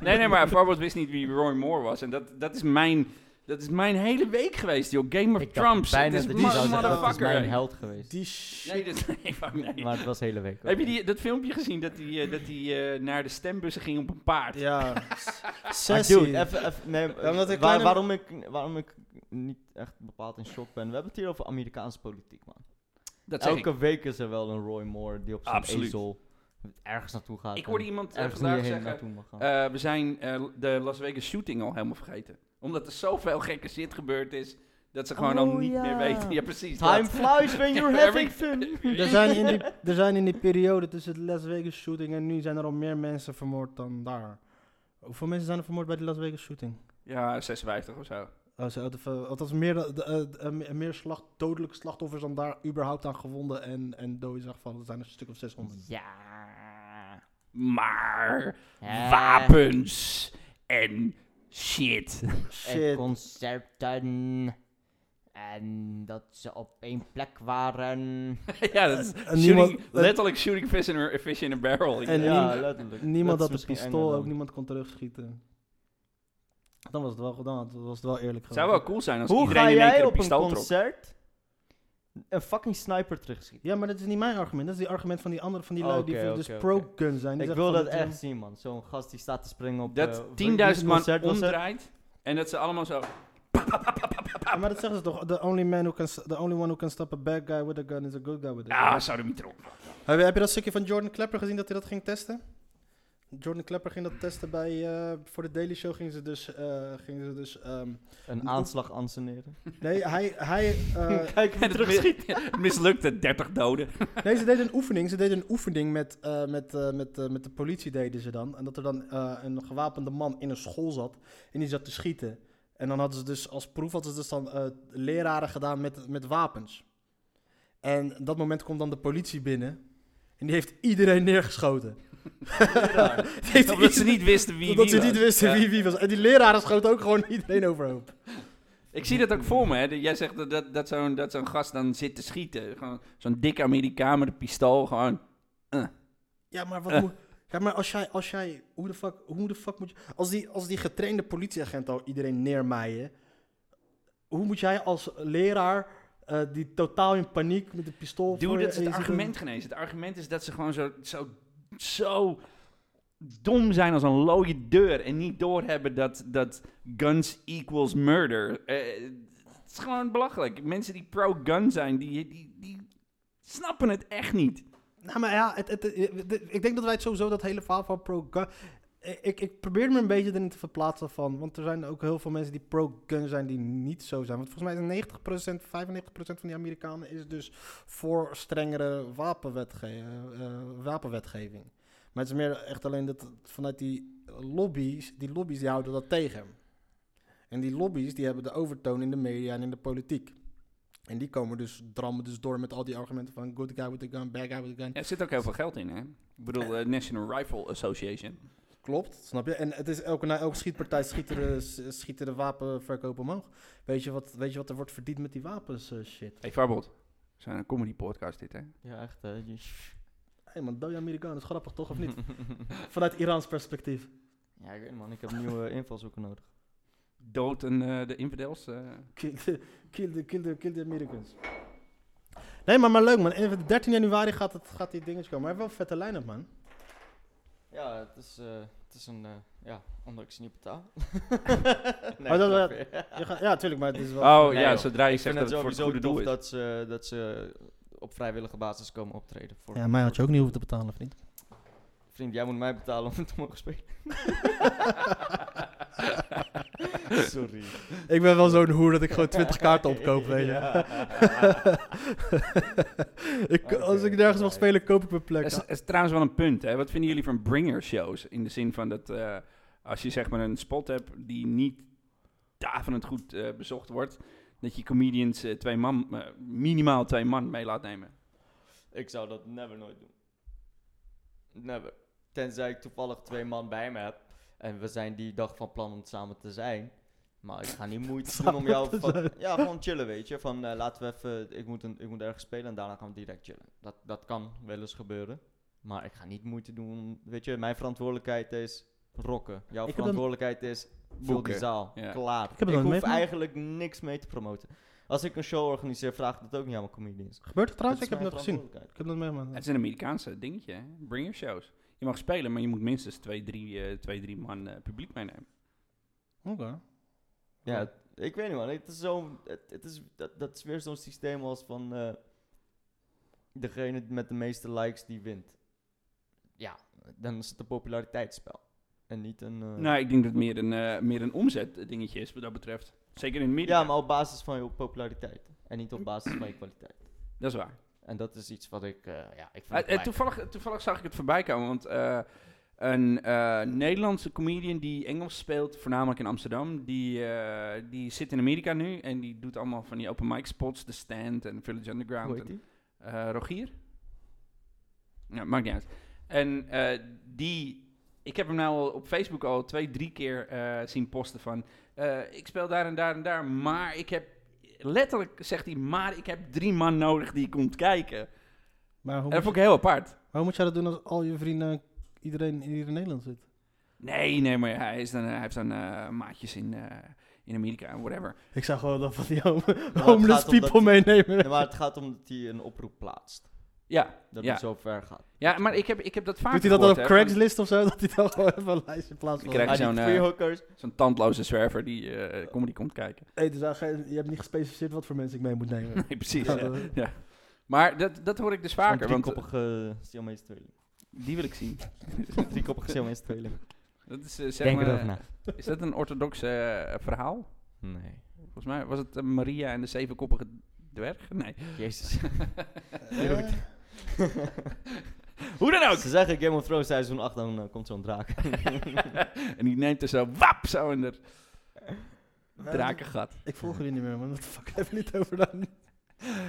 Speaker 1: Nee, nee, maar bijvoorbeeld wist niet wie Roy Moore was. En dat, dat, is, mijn, dat is mijn hele week geweest, joh. Game of Trumps. Het is
Speaker 3: dat
Speaker 1: ma-
Speaker 2: zou zeggen,
Speaker 3: is
Speaker 1: motherfucker.
Speaker 3: mijn held geweest.
Speaker 2: Die
Speaker 1: Nee, dat,
Speaker 2: shit.
Speaker 1: nee, maar nee.
Speaker 3: Maar het was de hele week.
Speaker 1: Heb je die, dat filmpje gezien dat hij eh, dat hij eh, naar de stembussen ging op een paard?
Speaker 2: Ja.
Speaker 3: Maar
Speaker 2: Sessie.
Speaker 3: Ah, dude, even, even, nee,
Speaker 2: omdat ik
Speaker 3: waar-
Speaker 2: kleine-
Speaker 3: waarom, ik, waarom ik niet echt bepaald in shock ben. We hebben het hier over Amerikaanse politiek, man.
Speaker 1: Dat zeg
Speaker 3: Elke week is er wel een Roy Moore die op zijn
Speaker 1: Absoluut.
Speaker 3: ezel ergens naartoe gaat.
Speaker 1: ik. Ik
Speaker 3: en
Speaker 1: hoorde iemand eh,
Speaker 3: ergens niet
Speaker 1: vandaag
Speaker 3: heen
Speaker 1: zeggen...
Speaker 3: naartoe mag gaan.
Speaker 1: Eh, we zijn eh, de Las Vegas shooting al helemaal vergeten. Omdat er zoveel gekke shit gebeurd is dat ze gewoon al
Speaker 3: Oh,
Speaker 1: niet
Speaker 3: ja.
Speaker 1: meer weten. Ja, precies.
Speaker 3: Time
Speaker 1: dat.
Speaker 3: flies when you're having fun.
Speaker 2: er, zijn in die, er zijn in die periode tussen de Las Vegas shooting en nu zijn er al meer mensen vermoord dan daar. Hoeveel mensen zijn er vermoord bij de Las Vegas shooting?
Speaker 1: Ja, 56 of zo.
Speaker 2: Oh, ze hadden ver- althans meer, dan- de- eh, de- eh, me- meer slacht, dodelijke slachtoffers dan daar überhaupt aan gewonden en, en dood is aangevallen. Er zijn een stuk of 600.
Speaker 3: Ja.
Speaker 1: Maar
Speaker 3: Ja.
Speaker 1: wapens en shit.
Speaker 3: En
Speaker 2: Shit.
Speaker 3: concerten. En dat ze op één plek waren.
Speaker 1: ja, dat is
Speaker 2: En
Speaker 1: shooting-
Speaker 2: niemand-
Speaker 1: letterlijk shooting fish in a, fish in a barrel.
Speaker 2: En
Speaker 1: ja.
Speaker 2: Ja,
Speaker 3: letterlijk.
Speaker 2: Niemand
Speaker 3: Dat
Speaker 2: had
Speaker 3: is
Speaker 2: een
Speaker 3: misschien
Speaker 2: pistool,
Speaker 3: enger
Speaker 2: ook
Speaker 3: dan-
Speaker 2: niemand kon terugschieten. Dan was het wel gedaan. Dan was het wel eerlijk
Speaker 1: Het zou wel cool zijn als
Speaker 3: Hoe
Speaker 1: iedereen
Speaker 3: ga
Speaker 1: in één
Speaker 3: jij
Speaker 1: keer een
Speaker 3: op een
Speaker 1: pistool trok.
Speaker 3: concert een fucking sniper terugschieten?
Speaker 2: Ja, maar dat is niet mijn argument. Dat is die argument van die andere, van die lui die
Speaker 3: Oké,
Speaker 2: voor-
Speaker 3: oké,
Speaker 2: dus
Speaker 3: oké.
Speaker 2: pro-gun zijn. Die
Speaker 3: Ik
Speaker 2: zeggen
Speaker 3: wil
Speaker 2: van
Speaker 3: dat echt
Speaker 2: je-
Speaker 3: zien, man. Zo'n gast die staat te springen op... eh,
Speaker 1: Dat
Speaker 3: voor-
Speaker 1: 10.000 man
Speaker 3: concert was het.
Speaker 1: omdraait en dat ze allemaal zo...
Speaker 2: Ja, maar dat zeggen ze toch? The only, man who can, s- the only one who can stop a bad guy with a gun is a good guy with a gun.
Speaker 1: Ah, sodomieter op.
Speaker 2: Heb, je- heb je dat stukje van Jordan Klepper gezien dat hij dat ging testen? Jordan Klepper ging dat testen bij... eh, voor de Daily Show gingen ze dus... eh, gingen ze dus ehm,
Speaker 3: Een aanslag anseneren.
Speaker 2: nee, hij... hij eh,
Speaker 3: Kijk hoe
Speaker 1: En het
Speaker 3: terugschiet.
Speaker 1: mis- mislukte 30 doden.
Speaker 2: Nee, ze deden een oefening. Ze deden een oefening met, eh, met, eh, met, eh, met de politie deden ze dan. En dat er dan eh, een gewapende man in een school zat en die zat te schieten. En dan hadden ze dus als proef hadden ze dus dan eh, leraren gedaan met, met wapens. En op dat moment komt dan de politie binnen. En die heeft iedereen neergeschoten. Die heeft
Speaker 1: Omdat ze
Speaker 2: iedereen-
Speaker 1: niet wisten wie
Speaker 2: omdat
Speaker 1: wie
Speaker 2: ze niet
Speaker 1: was.
Speaker 2: wisten
Speaker 1: Ja.
Speaker 2: wie wie was. En die leraren schoten ook gewoon iedereen overhoop.
Speaker 1: Ik zie dat ook voor me. Hè. De- Jij zegt dat, dat, dat zo'n dat zo'n gast dan zit te schieten. Gewoon Zo'n dikke Amerikaan met een pistool. Gewoon.
Speaker 2: Ja, maar wat
Speaker 1: Eh.
Speaker 2: moet- Ja, maar als jij, als jij, hoe de fuck, hoe de fuck moet je, als die, als die getrainde politieagent al iedereen neermaaien, hoe moet jij als leraar eh, die totaal in paniek met eh, een pistool voor
Speaker 1: Dude,
Speaker 2: je-
Speaker 1: dat is
Speaker 2: en
Speaker 1: het
Speaker 2: je ziet
Speaker 1: argument genezen. Het argument is dat ze gewoon zo, zo, zo dom zijn als een looie deur. En niet doorhebben dat, dat guns equals murder. Eh, het is gewoon belachelijk. Mensen die pro-gun zijn, die, die, die snappen het echt niet.
Speaker 2: hem- Nou, maar ja, het, het, het- ik denk dat wij het sowieso dat hele verhaal van pro-gun, Eh, ik, ik probeer me een beetje erin te verplaatsen van, want er zijn ook heel veel mensen die pro-gun zijn die niet zo zijn. Want volgens mij is 90%, 95% van die Amerikanen is dus voor strengere wapenwetge eh, eh, wapenwetgeving. Maar het is meer echt alleen dat vanuit die lobby's, die lobby's die houden dat tegen. En die lobby's die hebben de overtoon in de media en in de politiek. En die komen dus, drammen dus door met al die argumenten van good guy with a gun, bad guy with a gun.
Speaker 1: Er zit ook heel veel geld in, hè? Ik bedoel, eh, National Rifle Association.
Speaker 2: Klopt, snap je? En het is elke, na elke schietpartij schieten de, s- schieten de wapenverkoop omhoog. Weet je, wat, weet je wat er wordt verdiend met die wapens eh, shit?
Speaker 1: Hey, Farbot. We zijn een comedy podcast dit, hè?
Speaker 3: Ja, echt. hè. Je-
Speaker 2: Hé man, dode Amerikaan, is grappig toch, of niet? Vanuit Iraans perspectief.
Speaker 3: Ja, ik weet het, man. Ik heb nieuwe invalshoeken nodig.
Speaker 1: Dood en eh, de infidels. eh.
Speaker 2: Kill the, kill the, kill the, kill the Americans. Nee, maar, maar leuk man. En 13 januari gaat, het, gaat die dingetjes komen. Maar wel een vette line-up man.
Speaker 3: Ja, het is, eh, het is een... eh, ja, omdat ik ze niet betaal.
Speaker 2: Oh, dat-
Speaker 3: grapje.
Speaker 2: Je gaat- ja, tuurlijk, maar het is wel...
Speaker 1: Oh
Speaker 3: Nee,
Speaker 1: ja,
Speaker 3: joh.
Speaker 1: zodra je
Speaker 3: Ik
Speaker 1: zegt dat
Speaker 3: vind het
Speaker 1: het voor het
Speaker 3: sowieso
Speaker 1: goede doel
Speaker 3: tof
Speaker 1: is.
Speaker 3: dat ze, dat ze op vrijwillige basis komen optreden. Voor
Speaker 2: Ja, mij had je ook niet hoeven te betalen, vriend.
Speaker 3: Vriend, jij moet mij betalen om te mogen spelen. Sorry.
Speaker 2: Ik ben wel zo'n hoer dat ik gewoon 20 kaarten opkoop, weet je. ik, als ik nergens mag spelen, koop ik mijn plek.
Speaker 1: Dat is, is trouwens wel een punt. Hè? Wat vinden jullie van bringer shows? In de zin van dat eh, als je zeg maar een spot hebt die niet daverend goed eh, bezocht wordt, dat je comedians eh, twee man, eh, minimaal twee man mee laat nemen.
Speaker 3: Ik zou dat never nooit doen. Never. Tenzij ik toevallig twee man bij me heb. En we zijn die dag van plan om samen te zijn. Maar ik ga niet moeite doen om
Speaker 2: Samen
Speaker 3: jou...
Speaker 2: te
Speaker 3: Van,
Speaker 2: zijn.
Speaker 3: ja, gewoon chillen, weet je. Van eh, laten we even... Ik moet, een, ik moet ergens spelen en daarna gaan we direct chillen. Dat, dat kan wel eens gebeuren. Maar ik ga niet moeite doen. om- Weet je, mijn verantwoordelijkheid is rocken. Jouw
Speaker 2: Ik heb hem-
Speaker 3: verantwoordelijkheid is vul die
Speaker 1: Boeken.
Speaker 3: zaal.
Speaker 1: Ja.
Speaker 3: Klaar.
Speaker 2: heb
Speaker 3: Ik,
Speaker 2: het nog niet
Speaker 3: hoef
Speaker 2: meegemaakt.
Speaker 3: eigenlijk niks mee te promoten. Als ik een show organiseer, vraag ik dat ook niet aan mijn comedians.
Speaker 2: Gebeurt het trouwens?
Speaker 3: Dat
Speaker 2: Ik
Speaker 3: is
Speaker 2: heb het
Speaker 3: mijn
Speaker 2: nog gezien.
Speaker 3: verantwoordelijkheid.
Speaker 2: Ik heb dat
Speaker 1: Het
Speaker 2: meegemaakt.
Speaker 1: is een Amerikaanse dingetje, hè? bringer shows. Je mag spelen, maar je moet minstens twee, drie, eh, twee, drie man eh, publiek meenemen.
Speaker 2: Oké.
Speaker 3: Ja, het- ik weet niet man. Het is zo, het, het is, dat, dat is weer zo'n systeem als van eh, degene met de meeste likes die wint. Ja, dan is het een populariteitsspel. En niet een... eh,
Speaker 1: Nou, ik denk dat het meer een, eh, meer een omzet dingetje is wat dat betreft. Zeker in het media.
Speaker 3: ja, maar op basis van je populariteit. En niet op basis van je kwaliteit.
Speaker 1: Dat is waar.
Speaker 3: En dat is iets wat ik... eh, ja, ik
Speaker 1: Eh,
Speaker 3: vind
Speaker 1: eh, toevallig, toevallig zag ik het voorbij komen, want eh, een eh, Nederlandse comedian die Engels speelt, voornamelijk in Amsterdam, die, eh, die zit in Amerika nu en die doet allemaal van die open mic spots, The Stand en Village Underground. En, eh, Rogier? Ja, maakt niet uit. En eh, die, ik heb hem nou al op Facebook al twee, drie keer eh, zien posten van, eh, ik speel daar en daar en daar, maar ik heb, letterlijk zegt hij, maar ik heb drie man nodig die komt kijken. En
Speaker 2: Maar hoe
Speaker 1: dat
Speaker 2: moet,
Speaker 1: vond ik heel apart.
Speaker 2: hoe moet jij dat doen als al je vrienden, iedereen in ieder Nederland zit?
Speaker 1: Nee, nee, maar hij, is dan, hij heeft dan eh, maatjes in, eh, in Amerika en whatever.
Speaker 2: Ik zou gewoon dan van die home-
Speaker 3: het
Speaker 2: homeless
Speaker 3: gaat om dat
Speaker 2: people
Speaker 3: die-
Speaker 2: meenemen.
Speaker 3: Ja, maar het gaat om dat hij een oproep plaatst.
Speaker 1: Ja,
Speaker 3: Dat
Speaker 1: ja.
Speaker 3: het zo ver gaat.
Speaker 1: ja maar ik heb, ik heb dat vaak
Speaker 2: Doet hij dat dan op
Speaker 1: gehoord, hè, van-
Speaker 2: Craigslist of zo? Dat hij dan gewoon even een lijstje
Speaker 1: Ik
Speaker 2: plaatst. van-
Speaker 1: krijg
Speaker 3: Maar
Speaker 1: zo'n,
Speaker 3: Ah, die
Speaker 1: eh,
Speaker 3: freehookers,
Speaker 1: Zo'n tandloze zwerver die eh, comedy komt kijken.
Speaker 2: Hey, dus daar ge- je hebt niet gespecificeerd wat voor mensen ik mee moet nemen.
Speaker 1: Nee, precies.
Speaker 2: Ja,
Speaker 1: ja.
Speaker 2: dat-
Speaker 1: Maar dat, dat hoor ik dus
Speaker 3: zo'n
Speaker 1: vaker, want eh,
Speaker 3: driekoppige Siamese tweeling.
Speaker 1: die wil ik zien.
Speaker 3: Driekoppige Siamese tweeling.
Speaker 1: Dat is, eh, zeg
Speaker 3: Denk
Speaker 1: maar,
Speaker 3: erover na.
Speaker 1: Is dat een orthodox eh, verhaal?
Speaker 3: Nee.
Speaker 1: Volgens mij was het eh, Maria en de zevenkoppige dwerg? Nee.
Speaker 3: Jezus.
Speaker 1: Hoe dan ook!
Speaker 3: Ze zeggen Game of Thrones seizoen 8, dan eh, komt zo'n draak.
Speaker 1: en die neemt er zo wap zo in de drakengat.
Speaker 2: Ik volg jullie niet meer, man. Wat de fuck hebben we niet over dan?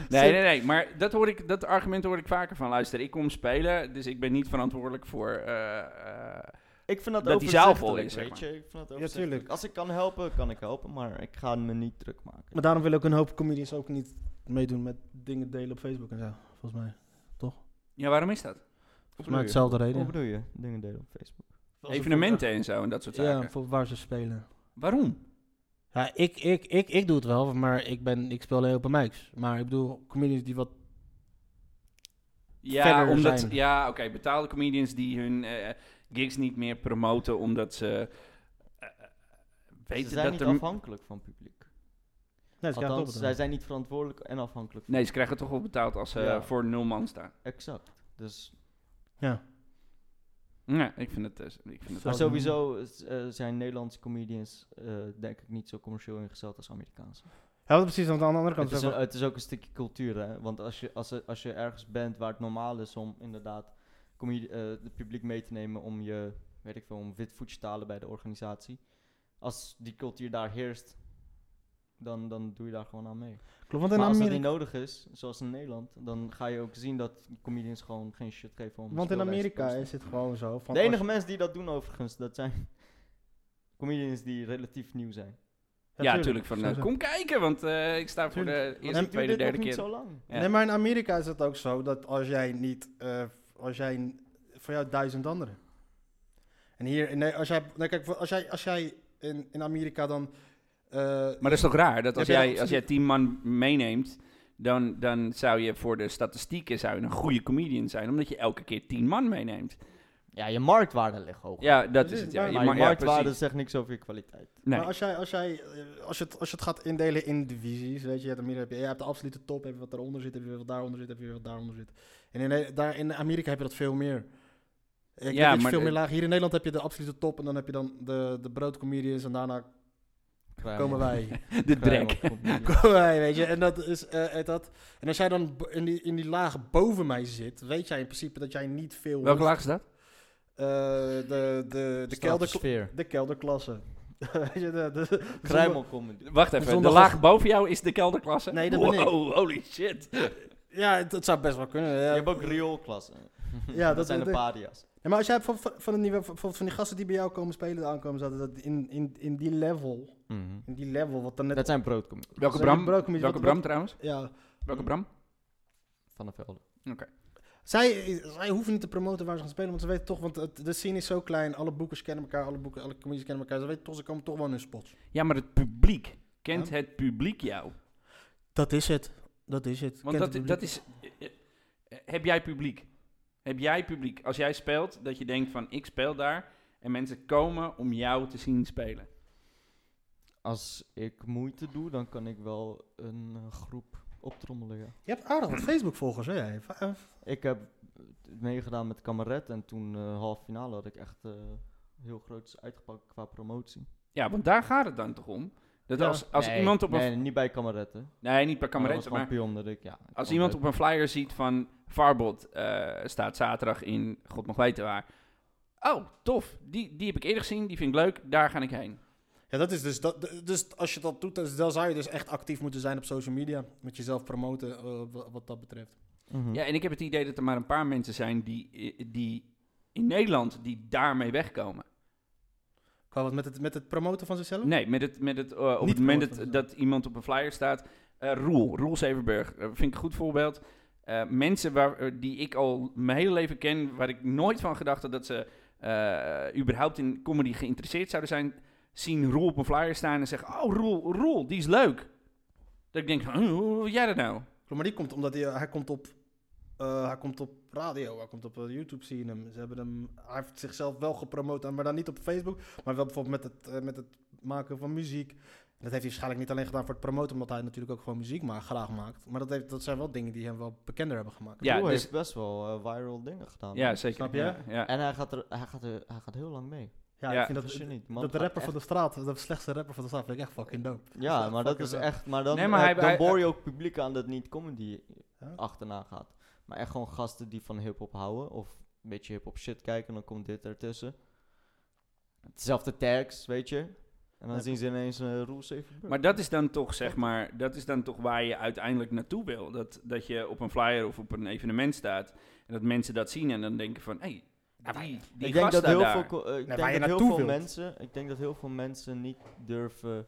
Speaker 1: Nee, nee, nee. Maar dat, hoor ik, dat argument hoor ik vaker van. Luister, ik kom spelen, dus ik ben niet verantwoordelijk voor... eh, eh,
Speaker 3: Ik vind dat,
Speaker 1: Dat die zaal vol is,
Speaker 3: overzichtelijk, weet
Speaker 1: zeg
Speaker 3: je. Ik vind dat
Speaker 2: Ja,
Speaker 3: overzichtelijk.
Speaker 2: tuurlijk.
Speaker 3: Als ik kan helpen, kan ik helpen, maar ik ga me niet druk maken.
Speaker 2: Maar daarom willen ook een hoop comedians ook niet meedoen met dingen delen op Facebook en zo. Volgens mij.
Speaker 1: ja, waarom is dat?
Speaker 3: Volgens
Speaker 2: Maar hetzelfde
Speaker 3: Hoe
Speaker 2: reden.
Speaker 3: bedoel je? Dingen delen op Facebook.
Speaker 1: Evenementen en zo en dat soort
Speaker 2: Ja,
Speaker 1: zaken.
Speaker 2: voor waar ze spelen.
Speaker 1: Waarom?
Speaker 2: Ja, ik, ik, ik, ik doe het wel, maar ik, ben, ik speel alleen open mics. Maar ik bedoel, comedians die wat...
Speaker 1: Ja,
Speaker 2: Verder
Speaker 1: omdat,
Speaker 2: zijn.
Speaker 1: ja oké, betaalde comedians die hun eh, gigs niet meer promoten omdat ze... eh, weten
Speaker 3: ze zijn
Speaker 1: dat
Speaker 3: niet
Speaker 1: er
Speaker 3: afhankelijk van publiek.
Speaker 2: Nee, ze krijgen het
Speaker 3: Althans,
Speaker 2: ook
Speaker 3: zij
Speaker 2: wel.
Speaker 3: zijn niet verantwoordelijk en afhankelijk.
Speaker 1: Nee, ze krijgen toch wel betaald als ze
Speaker 3: Ja.
Speaker 1: voor nul man staan.
Speaker 3: Exact. Dus,
Speaker 1: Ja, ik vind het... eh, ik vind het
Speaker 2: Zo. Zou-
Speaker 3: maar sowieso eh, zijn Nederlandse comedians eh, denk ik niet zo commercieel ingesteld als Amerikaanse.
Speaker 2: Ja, want precies, want aan de andere kant...
Speaker 3: Het is,
Speaker 2: zijn
Speaker 3: een-
Speaker 2: wel-
Speaker 3: het is ook een stukje cultuur, hè? Want als je, als, er- als je ergens bent waar het normaal is om inderdaad comedi- eh, het publiek mee te nemen om je, weet ik veel, om wit voetje te halen bij de organisatie. Als die cultuur daar heerst, dan, dan doe je daar gewoon aan mee.
Speaker 2: Klopt, want
Speaker 3: Maar
Speaker 2: in
Speaker 3: als dat
Speaker 2: Amerika...
Speaker 3: niet nodig is, zoals in Nederland, dan ga je ook zien dat comedians gewoon geen shit geven om een
Speaker 2: Want in
Speaker 3: speellijst te
Speaker 2: Amerika
Speaker 3: posten.
Speaker 2: is het gewoon zo. Van
Speaker 3: De
Speaker 2: als-
Speaker 3: enige mensen die dat doen overigens, dat zijn comedians die relatief nieuw zijn.
Speaker 1: ja, natuurlijk. Van, eh,
Speaker 2: Sowieso.
Speaker 1: kom kijken, want eh, ik sta voor de
Speaker 3: Want
Speaker 1: eerste,
Speaker 3: die
Speaker 1: tweede,
Speaker 3: doen dit nog
Speaker 1: derde keer.
Speaker 3: niet zo lang.
Speaker 1: Ja.
Speaker 2: Nee, maar in Amerika is het ook zo dat als jij niet, eh, als jij n- voor jou duizend anderen. En hier, nee, als jij, nee, kijk, als jij, als jij in, in Amerika dan, eh,
Speaker 1: Maar dat is toch raar, dat als,
Speaker 2: Ja, ben je
Speaker 1: jij, als jij
Speaker 2: absoluut-
Speaker 1: tien man meeneemt, dan, dan zou je voor de statistieken zou je een goede comedian zijn, omdat je elke keer tien man meeneemt.
Speaker 3: Ja, je marktwaarde ligt hoog.
Speaker 1: Ja, dat is
Speaker 2: Precies,
Speaker 1: het. Ja.
Speaker 2: maar-
Speaker 1: Je
Speaker 3: maar
Speaker 1: ma-
Speaker 3: je
Speaker 1: ja,
Speaker 3: marktwaarde
Speaker 1: precies.
Speaker 3: zegt niks over je kwaliteit.
Speaker 1: Nee.
Speaker 2: maar als jij, als jij, eh, als je het, als je het gaat indelen in divisies, weet je, je hebt, Amerika, heb je, je hebt de absolute top, heb je wat daaronder zit, heb je wat daaronder zit, heb je wat daaronder zit. En in, daar, in Amerika heb je dat veel meer. Ik
Speaker 1: Ja,
Speaker 2: ja,
Speaker 1: maar
Speaker 2: maar veel
Speaker 1: de-
Speaker 2: meer laag. Hier in Nederland heb je de absolute top en dan heb je dan de, de broodcomedians en daarna komen wij.
Speaker 1: de drek.
Speaker 2: Kooi, weet je. En dat is eh, het dat. En als jij dan bo- in die, in die laag boven mij zit, weet jij in principe dat jij niet veel.
Speaker 1: Welke laag is dat?
Speaker 2: Eh, de, de, de, kelder,
Speaker 3: sfeer.
Speaker 2: de kelderklasse. weet je, de, de, de-
Speaker 3: Kruimelcomedy.
Speaker 1: Wacht even, de
Speaker 2: zondag-
Speaker 1: laag boven jou is de kelderklasse?
Speaker 2: Nee, dat ben ik.
Speaker 1: Wow, holy shit.
Speaker 2: Ja, het, het zou best wel kunnen.
Speaker 3: Je
Speaker 2: Ja,
Speaker 3: hebt ook rioolklassen.
Speaker 2: Ja, dat-
Speaker 3: zijn de
Speaker 2: dat-
Speaker 3: paria's.
Speaker 2: Nee, maar als jij van, van, van, het niveau, bijvoorbeeld van die gasten die bij jou komen spelen, de aankomen zaten, dat in, in, in die level, in die level, wat dan net.
Speaker 3: Dat zijn broodcomedies.
Speaker 1: Welke
Speaker 2: Zijn die
Speaker 1: Bram,
Speaker 2: broodcomedies-
Speaker 1: welke
Speaker 2: wat-
Speaker 1: Bram trouwens?
Speaker 2: ja.
Speaker 1: Welke Bram?
Speaker 3: Van de velden.
Speaker 2: Zij, zij hoeven niet te promoten waar ze gaan spelen, want ze weten toch, want het, de scene is zo klein, alle boekers kennen elkaar, alle boeken, alle comedies kennen elkaar, ze weten toch, ze komen toch wel in hun spots.
Speaker 1: Ja, maar het publiek. Kent
Speaker 2: Ja.
Speaker 1: het publiek jou?
Speaker 2: Dat is het. Dat is het.
Speaker 1: Want
Speaker 2: Kent
Speaker 1: dat,
Speaker 2: het
Speaker 1: dat
Speaker 2: publiek.
Speaker 1: is. eh, eh, Heb jij publiek? Heb jij publiek? Als jij speelt, dat je denkt van ik speel daar. En mensen komen om jou te zien spelen.
Speaker 3: Als ik moeite doe, dan kan ik wel een eh, groep optrommelen, ja.
Speaker 2: Je hebt aardig wat Facebook-volgers, hè? jij? Va- eh,
Speaker 3: Ik heb eh, meegedaan met Kameret en toen eh half finale had ik echt eh, heel groot uitgepakt qua promotie.
Speaker 1: Ja, want daar gaat het dan toch om. Dat
Speaker 2: Ja.
Speaker 1: als, als
Speaker 3: Nee,
Speaker 1: iemand op een.
Speaker 3: Nee, Oh, niet bij Kameret, hè.
Speaker 1: Nee, niet per
Speaker 3: Maar
Speaker 1: kameretten,
Speaker 3: als
Speaker 1: maar.
Speaker 3: kampioen dat ik, ja.
Speaker 1: Als iemand op een flyer ziet van Farbot eh, staat zaterdag in God mag weten waar. Oh, tof. Die, die heb ik eerder gezien. Die vind ik leuk. Daar ga ik heen.
Speaker 2: Ja, dat is dus. Dat, d- dus als je dat doet, dan- dan zou je dus echt actief moeten zijn op social media. Met jezelf promoten, eh, wa- wat dat betreft. Hm.
Speaker 3: Mhm.
Speaker 1: Ja, en ik heb het idee dat er maar een paar mensen zijn die, eh, die in Nederland die daarmee wegkomen.
Speaker 2: Qua wat met het, met het promoten van zichzelf?
Speaker 1: Nee, met het, met het, eh, op
Speaker 2: Hm. Niet
Speaker 1: het moment
Speaker 2: gehoord
Speaker 1: dat,
Speaker 2: van
Speaker 1: dat iemand op een flyer staat. eh Roel, Roel Zevenburg, eh, vind ik een goed voorbeeld. Eh, mensen waar, eh, die ik al mijn hele leven ken, waar ik nooit van gedacht had dat ze eh, eh, überhaupt in comedy geïnteresseerd zouden zijn, zien Roel op een flyer staan en zeggen: Oh, Roel, Roel, die is leuk. Dat ik denk: van, "Huh, Hoe hoe weet jij dat nou?
Speaker 2: Klopt, maar die komt omdat hij, hij, komt op, eh, hij komt op radio, hij komt op eh, YouTube, zie je hem. Ze hebben hem. Hij heeft zichzelf wel gepromoot, eh, maar dan niet op Facebook, maar wel bijvoorbeeld met het, eh, met het maken van muziek. En Dat heeft hij waarschijnlijk niet alleen gedaan voor het promoten, omdat hij natuurlijk ook gewoon muziek maar graag maakt. Maar dat, heeft, dat zijn wel dingen die hem wel bekender hebben gemaakt.
Speaker 1: Ja,
Speaker 3: Roel
Speaker 1: dus-
Speaker 3: heeft best wel eh, viral dingen gedaan.
Speaker 1: Ja, zeker.
Speaker 2: Snap je?
Speaker 1: Ja, ja.
Speaker 3: En hij gaat, er, hij, gaat er, hij gaat heel lang mee.
Speaker 2: Ja,
Speaker 1: Ja,
Speaker 2: ik vind
Speaker 3: Dat
Speaker 2: dat,
Speaker 3: is niet. man
Speaker 2: dat de
Speaker 3: gaat
Speaker 2: rapper van
Speaker 3: echt-
Speaker 2: de straat, de slechtste rapper van de straat, vind ik echt fucking dope.
Speaker 3: Ja, maar dat
Speaker 2: fucking
Speaker 3: is
Speaker 2: dope.
Speaker 3: echt... Maar dan, eh,
Speaker 1: Nee, maar hij-
Speaker 3: dan
Speaker 1: hij-
Speaker 3: boor je ook publiek aan dat niet comedy
Speaker 2: Ja.
Speaker 3: achterna gaat. Maar echt gewoon gasten die van hip-hop houden. Of een beetje hip-hop shit kijken. Dan komt dit ertussen. Hetzelfde tags, weet je. En dan
Speaker 2: Ja.
Speaker 3: zien ze ineens eh Roel Zevenburg.
Speaker 1: Maar dat is dan toch, zeg maar, dat is dan toch waar je uiteindelijk naartoe wil. Dat, dat je op een flyer of op een evenement staat en dat mensen dat zien en dan denken van, hé, hey, die, die
Speaker 3: ik denk
Speaker 1: gast
Speaker 3: dat heel
Speaker 1: staat daar.
Speaker 3: veel, co- eh, ik
Speaker 2: waar
Speaker 3: denk
Speaker 2: je
Speaker 3: dat heel
Speaker 2: naartoe
Speaker 3: veel
Speaker 2: wilt.
Speaker 3: mensen, ik denk dat heel veel mensen niet durven,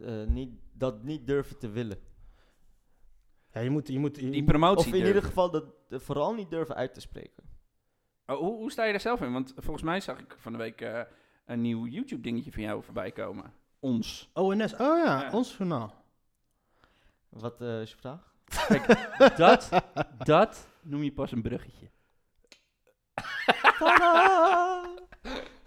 Speaker 3: eh, niet, dat niet durven te willen.
Speaker 2: Ja, je moet, je moet, je
Speaker 1: die
Speaker 2: moet-
Speaker 1: promotie.
Speaker 3: Of in ieder geval dat eh, vooral niet durven uit te spreken.
Speaker 1: Oh, hoe, hoe sta je daar zelf in? Want volgens mij zag ik van de week eh, een nieuw YouTube dingetje van jou voorbij komen. Ons.
Speaker 2: ONS, oh ja,
Speaker 1: Ja.
Speaker 2: ons journaal.
Speaker 3: Wat eh, is je vraag?
Speaker 1: Dat, dat noem je pas een bruggetje.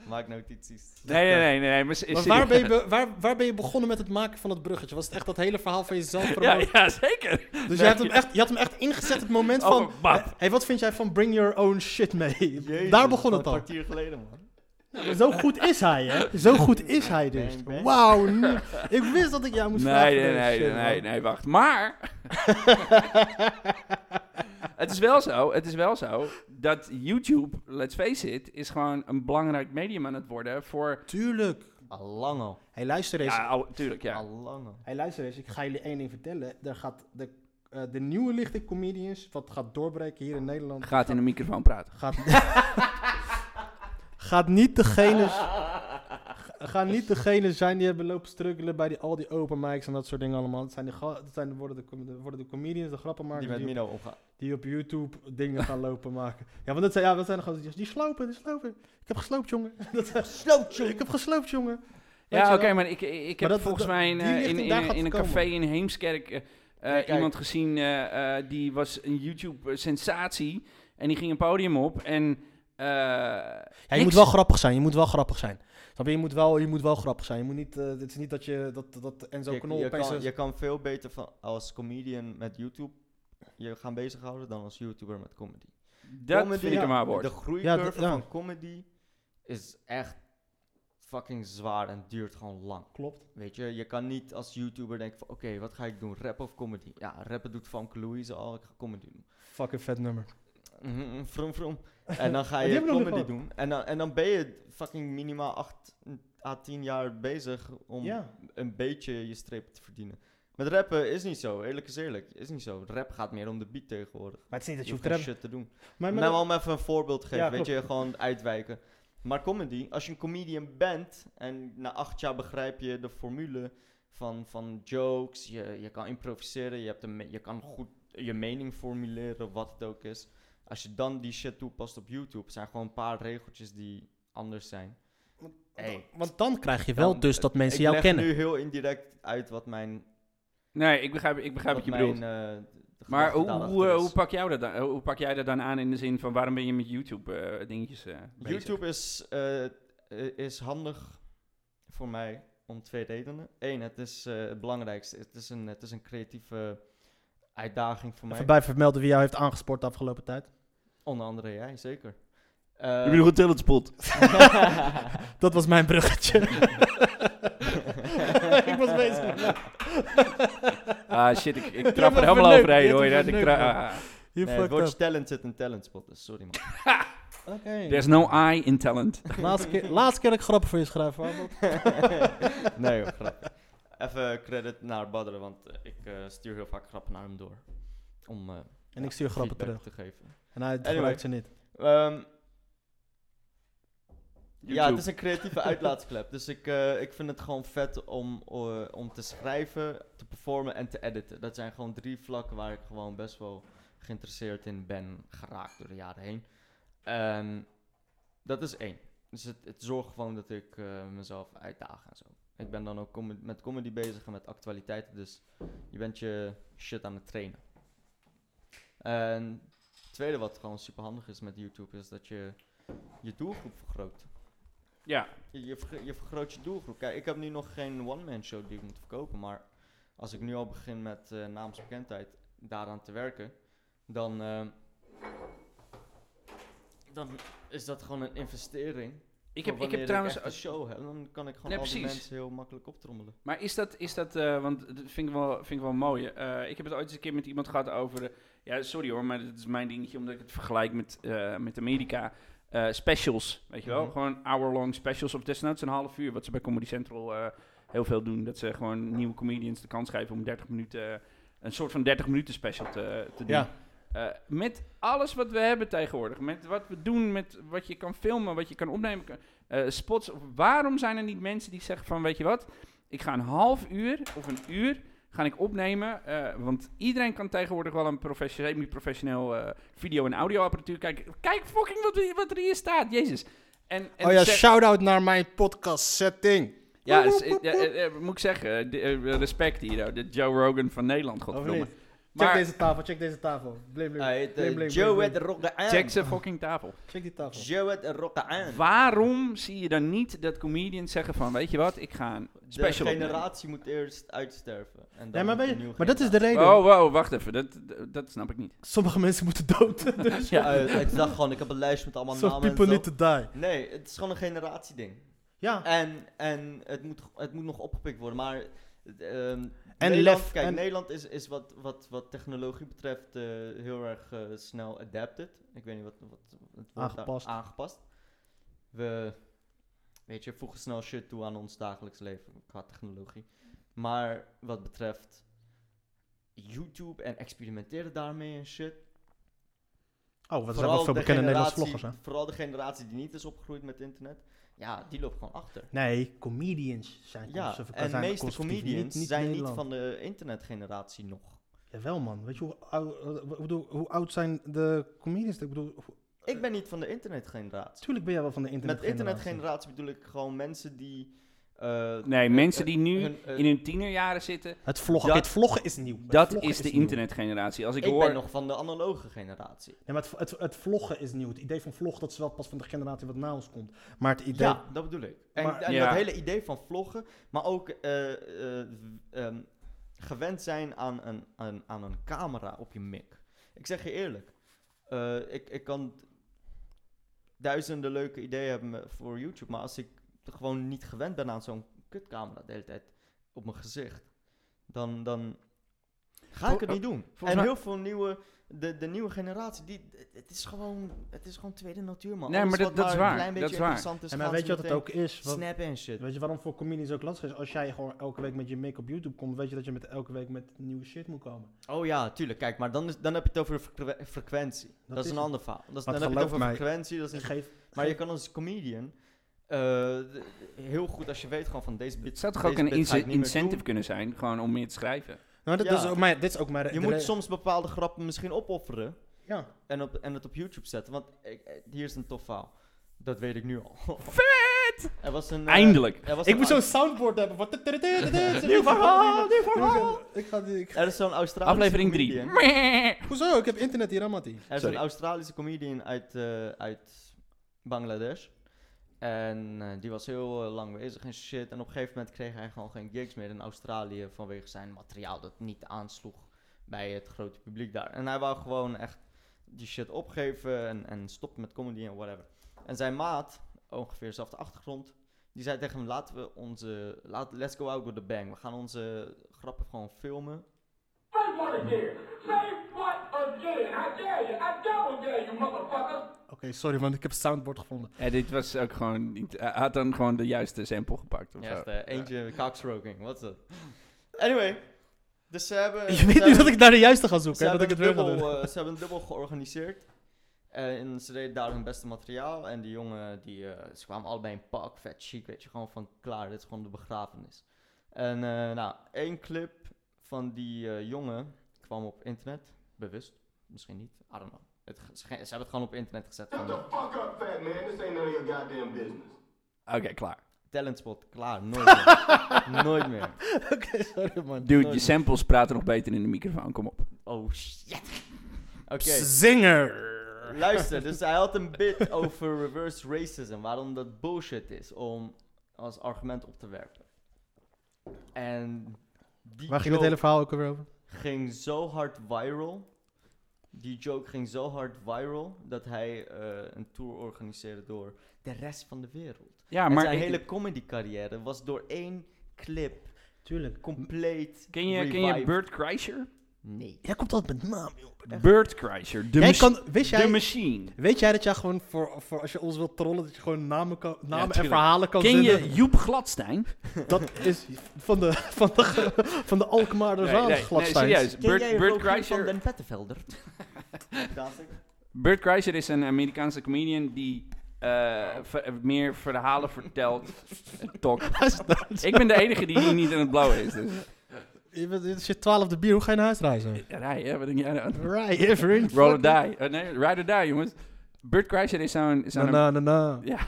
Speaker 3: Maak notities.
Speaker 1: Nee, nee, nee, nee. nee, maar, s-
Speaker 2: Maar
Speaker 1: serieus.
Speaker 2: waar ben, je be- waar, waar ben je begonnen met het maken van het bruggetje? Was het echt dat hele verhaal van jezelf
Speaker 1: ja,
Speaker 2: promoten?
Speaker 1: ja, zeker.
Speaker 2: Dus je, hebt hem echt, je had hem echt ingezet het moment
Speaker 1: Oh,
Speaker 2: van...
Speaker 1: bap.
Speaker 2: Hé, hey, wat vind jij van bring your own shit mee? Daar begon het
Speaker 3: Een
Speaker 2: al.
Speaker 3: kwartier geleden, man.
Speaker 2: Zo goed is hij, hè? Zo goed is hij dus.
Speaker 3: Bang, bang.
Speaker 2: Wauw, nu- ik wist dat ik jou moest vragen.
Speaker 1: Nee,
Speaker 2: voor
Speaker 1: nee,
Speaker 2: deze
Speaker 1: nee, nee,
Speaker 2: shit,
Speaker 1: nee,
Speaker 2: man.
Speaker 1: nee, wacht. Maar. het is wel zo, het is wel zo dat YouTube, let's face it, is gewoon een belangrijk medium aan het worden voor.
Speaker 2: Tuurlijk.
Speaker 3: Al lang al.
Speaker 2: Hé, hey, luister eens.
Speaker 1: Ja, al- tuurlijk, ja.
Speaker 3: Al lang al.
Speaker 2: Hey, luister eens, ik ga jullie één ding vertellen. Er gaat de, eh, de nieuwe lichte comedians, wat gaat doorbreken hier in Nederland...
Speaker 1: Gaat in de microfoon praten.
Speaker 2: Gaat, gaat niet degene... Gaan niet degene zijn die hebben lopen struggelen bij die, al die open mics en dat soort dingen allemaal. Het zijn de, ga- het zijn, de- worden, de, com- de- worden de comedians, de
Speaker 3: Die
Speaker 2: grappenmakers
Speaker 3: met
Speaker 2: die,
Speaker 3: Mino omgaan.
Speaker 2: op, die op YouTube dingen gaan lopen maken. Ja, want dat zijn, ja, dat zijn gewoon die, die slopen, die slopen. Ik heb gesloopt, jongen. Dat zijn, gesloopt, jongen. Ik heb gesloopt, jongen. Weet
Speaker 1: Ja,
Speaker 2: je
Speaker 1: oké,
Speaker 2: wel?
Speaker 1: maar ik, ik heb
Speaker 2: Maar dat-
Speaker 1: volgens
Speaker 2: dat-
Speaker 1: mij in,
Speaker 2: die
Speaker 1: eh, in,
Speaker 2: richting
Speaker 1: in,
Speaker 2: daar
Speaker 1: in
Speaker 2: gaat
Speaker 1: een
Speaker 2: het
Speaker 1: café
Speaker 2: komen.
Speaker 1: in Heemskerk eh, eh,
Speaker 3: kijk.
Speaker 1: iemand gezien, eh, eh, die was een YouTube-sensatie. En die ging een podium op en... eh,
Speaker 2: Ja, je
Speaker 1: niks.
Speaker 2: moet wel grappig zijn, je moet wel grappig zijn. Snap je? Je moet wel, je moet wel grappig zijn. Je moet niet, eh, het is niet dat je, dat, dat Enzo
Speaker 3: Je,
Speaker 2: Knol
Speaker 3: je,
Speaker 2: opeens... dus.
Speaker 3: kan, je kan veel beter van, als comedian met YouTube je gaan bezighouden dan als YouTuber met comedy.
Speaker 1: Dat
Speaker 3: Comedy,
Speaker 1: vind ik een
Speaker 3: ja,
Speaker 1: waar woord.
Speaker 3: De groeicurve
Speaker 2: ja.
Speaker 3: van comedy is echt fucking zwaar en duurt gewoon lang.
Speaker 2: Klopt.
Speaker 3: Weet je, je kan niet als YouTuber denken van oké, wat ga ik doen? Rap of comedy? Ja, rappen doet van Louise al, ik ga comedy doen.
Speaker 2: Fucking vet nummer.
Speaker 3: Mhm, mhm, Vroom vroom. En dan ga
Speaker 2: Die
Speaker 3: je
Speaker 2: hebben we nog
Speaker 3: comedy
Speaker 2: niet
Speaker 3: doen. En dan, en dan ben je fucking minimaal 8 à 10 jaar bezig om
Speaker 2: Ja.
Speaker 3: een beetje je streep te verdienen. Met rappen is niet zo, eerlijk is eerlijk. Is niet zo. Rap gaat meer om de beat tegenwoordig.
Speaker 2: Maar het is niet dat
Speaker 3: Je
Speaker 2: je
Speaker 3: hoeft
Speaker 2: hoeft
Speaker 3: geen
Speaker 2: te
Speaker 3: shit te doen.
Speaker 2: Maar,
Speaker 3: Nou, om even een voorbeeld te geven,
Speaker 2: Ja,
Speaker 3: weet je,
Speaker 2: klopt.
Speaker 3: gewoon uitwijken. Maar comedy, als je een comedian bent en na acht jaar begrijp je de formule van, van jokes, je, je kan improviseren, je, hebt een, me- je kan goed je mening formuleren, wat het ook is. Als je dan die shit toepast op YouTube, zijn gewoon een paar regeltjes die anders zijn. Hey,
Speaker 2: Want dan krijg je wel
Speaker 3: Dan-
Speaker 2: dus dat mensen
Speaker 3: ik
Speaker 2: jou
Speaker 3: leg
Speaker 2: kennen.
Speaker 3: nu heel indirect uit wat mijn...
Speaker 1: Nee, ik begrijp, ik begrijp wat je
Speaker 3: wat
Speaker 1: bedoelt.
Speaker 3: mijn, eh, de
Speaker 1: maar
Speaker 3: gedachte
Speaker 1: hoe, hoe,
Speaker 3: daarachter
Speaker 1: eh,
Speaker 3: is.
Speaker 1: hoe, pak jij dat dan, hoe pak jij dat dan aan in de zin van waarom ben je met YouTube-dingetjes eh, bezig?
Speaker 3: YouTube is, eh, eh, is handig voor mij om twee redenen. Eén, het is eh, het belangrijkste. Het is een, het is een creatieve uitdaging voor mij.
Speaker 2: Even bij vermelden wie jou heeft aangespoord de afgelopen tijd.
Speaker 3: Onder andere jij, zeker.
Speaker 1: Heb
Speaker 3: Eh,
Speaker 1: je nog een talentspot?
Speaker 2: Dat was mijn bruggetje. ik was bezig.
Speaker 1: Ah shit, ik, ik
Speaker 2: hebt
Speaker 1: trap er
Speaker 2: me
Speaker 1: helemaal
Speaker 2: verneukt,
Speaker 1: overheen
Speaker 2: je
Speaker 1: hoor.
Speaker 2: hebt
Speaker 1: Dat
Speaker 2: me
Speaker 1: ik
Speaker 2: verneukt,
Speaker 1: tra- ah,
Speaker 2: Je
Speaker 3: nee, het woordje talent zit in talent spot, dus sorry man.
Speaker 1: there's no I in talent.
Speaker 2: Laatste, keer, laatste keer dat ik grappen voor je schrijf. Arnold.
Speaker 3: nee hoor, grap. Even credit naar Badre, want eh, ik eh, stuur heel vaak grappen naar hem door. Om eh,
Speaker 2: En ik stuur grappen
Speaker 3: feedback
Speaker 2: terug.
Speaker 3: te geven.
Speaker 2: En hij
Speaker 3: Anyway.
Speaker 2: gebruikt ze niet.
Speaker 3: Ehm, ja, het
Speaker 1: YouTube.
Speaker 3: is een creatieve uitlaatsklep. Dus ik, eh, ik vind het gewoon vet om, eh, om te schrijven, te performen en te editen. Dat zijn gewoon drie vlakken waar ik gewoon best wel geïnteresseerd in ben geraakt door de jaren heen. Ehm, Dat is één. Dus het, het zorgt gewoon dat ik eh, mezelf uitdaag en zo. Ik ben dan ook com- met comedy bezig en met actualiteiten. Dus je bent je shit aan het trainen. En het tweede wat gewoon super handig is met YouTube is dat je je doelgroep vergroot.
Speaker 1: Ja,
Speaker 3: Je, je, vergro- je vergroot je doelgroep. Kijk, ik heb nu nog geen one-man show die ik moet verkopen. Maar als ik nu al begin met eh, naamsbekendheid daaraan te werken, dan, eh, dan is dat gewoon een investering.
Speaker 1: ik
Speaker 3: voor
Speaker 1: heb, ik
Speaker 3: wanneer
Speaker 1: heb trouwens...
Speaker 3: echt een show heb, dan kan ik gewoon
Speaker 1: Nee,
Speaker 3: al die
Speaker 1: precies.
Speaker 3: mensen heel makkelijk optrommelen.
Speaker 1: Maar is dat, is dat eh, want dat vind ik wel, vind ik wel mooi. Eh, ik heb het ooit eens een keer met iemand gehad over, eh, ja sorry hoor, maar dat is mijn dingetje omdat ik het vergelijk met, eh, met Amerika. Eh, specials, weet je wel?
Speaker 3: Mhm.
Speaker 1: Gewoon hour-long specials of desnoods een half uur, wat ze bij Comedy Central eh, heel veel doen. Dat ze gewoon nieuwe comedians de kans geven om 30 minuten, eh, een soort van 30 minuten special te, te doen.
Speaker 4: Ja.
Speaker 1: Eh, met alles wat we hebben tegenwoordig, met wat we doen, met wat je kan filmen, wat je kan opnemen, kan- eh, spots. Waarom zijn er niet mensen die zeggen van, weet je wat, ik ga een half uur of een uur ga ik opnemen, eh, want iedereen kan tegenwoordig wel een profession- semi-professioneel eh, video- en audioapparatuur kijken. Kijk fucking wat, er- wat er hier staat, jezus. En, en
Speaker 4: oh ja,
Speaker 1: zeg-
Speaker 4: shout-out naar mijn podcast setting.
Speaker 1: ja, is- eh, ja, eh, eh, moet ik zeggen, de- eh, respect hier, de Joe Rogan van Nederland,
Speaker 2: Of
Speaker 4: Oh,
Speaker 1: godverdomme.
Speaker 2: niet? Check
Speaker 1: Maar
Speaker 2: deze tafel, check deze tafel. Blim, blim,
Speaker 3: Hey, eh,
Speaker 2: blim, blim,
Speaker 3: Joe
Speaker 2: blim,
Speaker 3: het
Speaker 2: blim.
Speaker 3: rocken aan.
Speaker 1: check zijn fucking tafel.
Speaker 2: Check die tafel.
Speaker 3: Joe het rocken aan.
Speaker 1: Waarom zie je dan niet dat comedians zeggen van, weet je wat, ik ga een
Speaker 3: De
Speaker 1: special opnemen?
Speaker 3: generatie moet eerst uitsterven. En dan
Speaker 2: Ja, maar,
Speaker 3: moet
Speaker 2: ben
Speaker 3: een
Speaker 2: je,
Speaker 3: nieuwe
Speaker 2: maar dat is de reden.
Speaker 1: Oh, wow, wacht even, dat, dat, dat snap ik niet.
Speaker 2: Sommige mensen moeten dood. Dus
Speaker 1: Ja.
Speaker 3: generatie. Eh, ik dacht gewoon, ik heb een lijst met allemaal
Speaker 2: some
Speaker 3: namen en
Speaker 2: people
Speaker 3: zo.
Speaker 2: need to die.
Speaker 3: Nee, het is gewoon een generatieding.
Speaker 2: Ja.
Speaker 3: En, en het, moet, het moet nog opgepikt worden, maar... ehm,
Speaker 2: En
Speaker 3: Nederland,
Speaker 2: lef-
Speaker 3: Kijk,
Speaker 2: en-
Speaker 3: Nederland is, is wat, wat, wat technologie betreft eh, heel erg eh, snel adapted. Ik weet niet wat, wat het woord daar-
Speaker 2: Aangepast.
Speaker 3: aangepast. We, weet je, voegen snel shit toe aan ons dagelijks leven qua technologie. Maar wat betreft YouTube en experimenteren daarmee en shit.
Speaker 2: Oh, wat zijn
Speaker 3: vooral
Speaker 2: wel veel
Speaker 3: de
Speaker 2: bekende Nederlandse
Speaker 3: generatie-
Speaker 2: vloggers, hè?
Speaker 3: Vooral de generatie die niet is opgegroeid met internet. Ja, die loopt gewoon achter.
Speaker 2: Nee, comedians zijn
Speaker 3: Ja,
Speaker 2: conserv-
Speaker 3: en de
Speaker 2: zijn
Speaker 3: meeste
Speaker 2: conservatief,
Speaker 3: comedians
Speaker 2: niet- niet
Speaker 3: zijn niet
Speaker 2: Nederland.
Speaker 3: van de internetgeneratie nog.
Speaker 2: Jawel, man. Weet je hoe oud, eh, ik bedoel, hoe oud zijn de comedians? Ik bedoel, hoe-
Speaker 1: Eh.
Speaker 3: Ik ben niet van de internetgeneratie.
Speaker 2: tuurlijk ben jij wel van de
Speaker 3: Met
Speaker 2: internetgeneratie.
Speaker 3: internetgeneratie bedoel ik gewoon mensen die... eh,
Speaker 1: Nee,
Speaker 3: hun-
Speaker 1: mensen
Speaker 3: hun-
Speaker 1: die nu
Speaker 3: hun- hun-
Speaker 1: in hun tienerjaren zitten,
Speaker 2: Het vloggen.
Speaker 3: Dat-
Speaker 2: het vloggen is nieuw. Het
Speaker 1: dat
Speaker 2: vloggen
Speaker 1: is de
Speaker 2: nieuw.
Speaker 1: internetgeneratie. Als ik,
Speaker 3: eh, Ik
Speaker 1: hoor...
Speaker 3: ben nog van de analoge generatie.
Speaker 2: Nee, maar het, het, het vloggen is nieuw. Het idee van vlog, dat is wel pas van de generatie wat na ons komt. Maar het idee...
Speaker 3: Ja, dat bedoel ik. En,
Speaker 2: Maar-
Speaker 3: en
Speaker 1: Ja.
Speaker 3: dat hele idee van vloggen, maar ook eh, eh, ehm, gewend zijn aan een, aan, aan een camera op je mic. Ik zeg je eerlijk, eh, ik, ik kan duizenden leuke ideeën hebben voor YouTube, maar als ik gewoon niet gewend ben aan zo'n kutcamera de hele tijd op mijn gezicht, dan, dan ga ik het niet doen.
Speaker 1: volgens
Speaker 3: En
Speaker 1: mij-
Speaker 3: heel veel nieuwe... De, de nieuwe generatie, die, het, is gewoon, het is gewoon tweede natuur, man.
Speaker 1: Nee,
Speaker 3: Alles
Speaker 1: maar dat-
Speaker 3: wat
Speaker 1: dat is
Speaker 3: een
Speaker 1: waar,
Speaker 3: klein
Speaker 1: dat
Speaker 3: beetje
Speaker 1: is waar.
Speaker 3: interessant is,
Speaker 2: en maar
Speaker 3: Dus gaan
Speaker 2: weet
Speaker 3: ze
Speaker 2: je wat het
Speaker 3: meteen-
Speaker 2: ook is? Wat-
Speaker 3: Snap en shit.
Speaker 2: Weet je waarom voor comedians ook lastig is? Als jij gewoon elke week met je make op YouTube komt, weet je dat je met elke week met nieuwe shit moet komen.
Speaker 3: Oh ja, tuurlijk. Kijk, maar dan, is, dan heb je het over frequ- frequentie. Dat, is
Speaker 2: is
Speaker 3: een
Speaker 2: het.
Speaker 3: ander verhaal. Dat
Speaker 2: Want
Speaker 3: is, dan heb je het
Speaker 2: geloof
Speaker 3: over
Speaker 2: mij-
Speaker 3: frequentie. Dat is een-
Speaker 2: Dus Geef,
Speaker 3: maar je
Speaker 2: geef-
Speaker 3: kan als comedian eh, d- heel goed als je weet gewoon van deze
Speaker 1: Het
Speaker 3: bit.
Speaker 1: zou toch
Speaker 3: deze
Speaker 1: ook een
Speaker 3: bit ga ik
Speaker 1: ince-
Speaker 3: niet meer
Speaker 1: incentive
Speaker 3: doen.
Speaker 1: kunnen zijn, gewoon om meer te schrijven.
Speaker 2: Nou, dat,
Speaker 3: Ja.
Speaker 2: dat is ook mijn, dit is ook mijn...
Speaker 3: Je
Speaker 2: de
Speaker 3: moet
Speaker 2: re-
Speaker 3: soms bepaalde grappen misschien opofferen
Speaker 2: Ja.
Speaker 3: en, op, en het op YouTube zetten. Want ik- eh, hier is een tof verhaal. Dat weet ik nu al.
Speaker 1: Vet!
Speaker 3: er was een, eh,
Speaker 1: Eindelijk!
Speaker 3: Er was
Speaker 2: Ik
Speaker 3: een
Speaker 2: moet
Speaker 3: Au-
Speaker 2: zo'n soundboard hebben van...
Speaker 3: Nieuw verhaal, nieuw verhaal.
Speaker 2: Ik ga... die- ik ga-
Speaker 3: Er is zo'n Australische
Speaker 1: Aflevering 3.
Speaker 3: comedian.
Speaker 2: Hoezo? Ik heb internet hier, Amati.
Speaker 3: Er is
Speaker 1: Sorry.
Speaker 3: een Australische comedian uit, eh, uit Bangladesh. En eh, die was heel eh, lang bezig en shit. En op een gegeven moment kreeg hij gewoon geen gigs meer in Australië vanwege zijn materiaal dat niet aansloeg bij het grote publiek daar. En hij wou gewoon echt die shit opgeven en, en stoppen met comedy en whatever. En zijn maat, ongeveer dezelfde achtergrond, die zei tegen hem: laten we onze. Laat, let's go out with the bang. We gaan onze grappen gewoon filmen
Speaker 6: Say what again? Say what again? I dare you. I double dare you, motherfucker.
Speaker 2: Oké, sorry man, ik heb soundboard gevonden.
Speaker 1: Ja, Eh, dit was ook gewoon niet... Hij had dan gewoon de juiste sample gepakt of
Speaker 3: Ja,
Speaker 1: zo.
Speaker 3: echt, eh, eentje cockstroking, wat is dat? Anyway, dus ze hebben...
Speaker 1: Eh,
Speaker 2: Je weet
Speaker 3: ze
Speaker 2: nu dat
Speaker 3: hebben-
Speaker 2: ik naar de juiste ga zoeken.
Speaker 3: ze
Speaker 2: hè, Dat
Speaker 3: hebben
Speaker 2: ik het
Speaker 3: een
Speaker 2: weer ga
Speaker 3: dubbel,
Speaker 2: doen.
Speaker 3: eh, Ze hebben een dubbel georganiseerd. Eh, en ze deden daar hun beste materiaal. En die jongen, die, eh, ze kwamen allebei in pak, vet chic, weet je. Gewoon van, klaar, dit is gewoon de begrafenis. En eh, nou, één clip van die eh, jongen kwam op internet. Bewust, misschien niet, I don't know. Het, ge- ze hebben het gewoon op internet gezet.
Speaker 6: Shut the fuck up, fat man. This ain't none of your goddamn business.
Speaker 1: Oké, klaar.
Speaker 3: Talentspot, klaar, nooit meer. nooit meer.
Speaker 2: Sorry man.
Speaker 1: Dude, je
Speaker 3: Nooit.
Speaker 1: samples praten nog beter in de microfoon, kom op.
Speaker 3: Oh shit. Oké,
Speaker 1: eh,
Speaker 2: Zinger!
Speaker 3: luister, dus hij had een bit over reverse racism, waarom dat bullshit is om als argument op te werpen. En die
Speaker 2: Waar ging het
Speaker 3: joke-
Speaker 2: hele verhaal ook weer over?
Speaker 3: ging zo hard viral. Die joke ging zo hard viral dat hij eh, een tour organiseerde door de rest van de wereld.
Speaker 1: Ja,
Speaker 3: en
Speaker 1: maar
Speaker 3: zijn
Speaker 1: ik-
Speaker 3: hele comedy carrière was door één clip
Speaker 2: Tuurlijk.
Speaker 3: compleet
Speaker 1: ken, je, ken je
Speaker 3: revived.
Speaker 1: Burt Kreischer?
Speaker 3: Nee.
Speaker 2: Jij komt altijd met naam, joh.
Speaker 1: Burt Kreischer, de,
Speaker 2: Jij
Speaker 1: mach-
Speaker 2: kan, wist
Speaker 1: de
Speaker 2: jij,
Speaker 1: machine.
Speaker 2: weet jij dat jij gewoon voor, voor als je ons wilt trollen, dat je gewoon namen, kan, namen en
Speaker 1: tuurlijk.
Speaker 2: verhalen kan
Speaker 1: Ken je
Speaker 2: zinnen?
Speaker 1: Joep Gladstein?
Speaker 2: Dat is van de, van de, van de Alkmaar de Raan Gladsteins.
Speaker 1: serieus.
Speaker 3: Ken
Speaker 1: Burt,
Speaker 3: jij
Speaker 1: Burt,
Speaker 3: Rogier van
Speaker 1: Kreischer,
Speaker 3: den Pettenvelder?
Speaker 1: Burt Kreischer is een Amerikaanse comedian die eh, ver- meer verhalen vertelt. Tok. Ik ben de enige die hier niet in het blauw is. Dus.
Speaker 2: Je bent- Dit is je twaalfde bier, hoe ga je naar huis reizen?
Speaker 1: Rij, hè? Wat denk jij nou?
Speaker 2: Right, every
Speaker 1: Roll or die. Eh, nee, ride or die, jongens. Burt Kreischer is zo'n...
Speaker 2: Na
Speaker 1: zo'n
Speaker 2: na na na.
Speaker 1: Ja,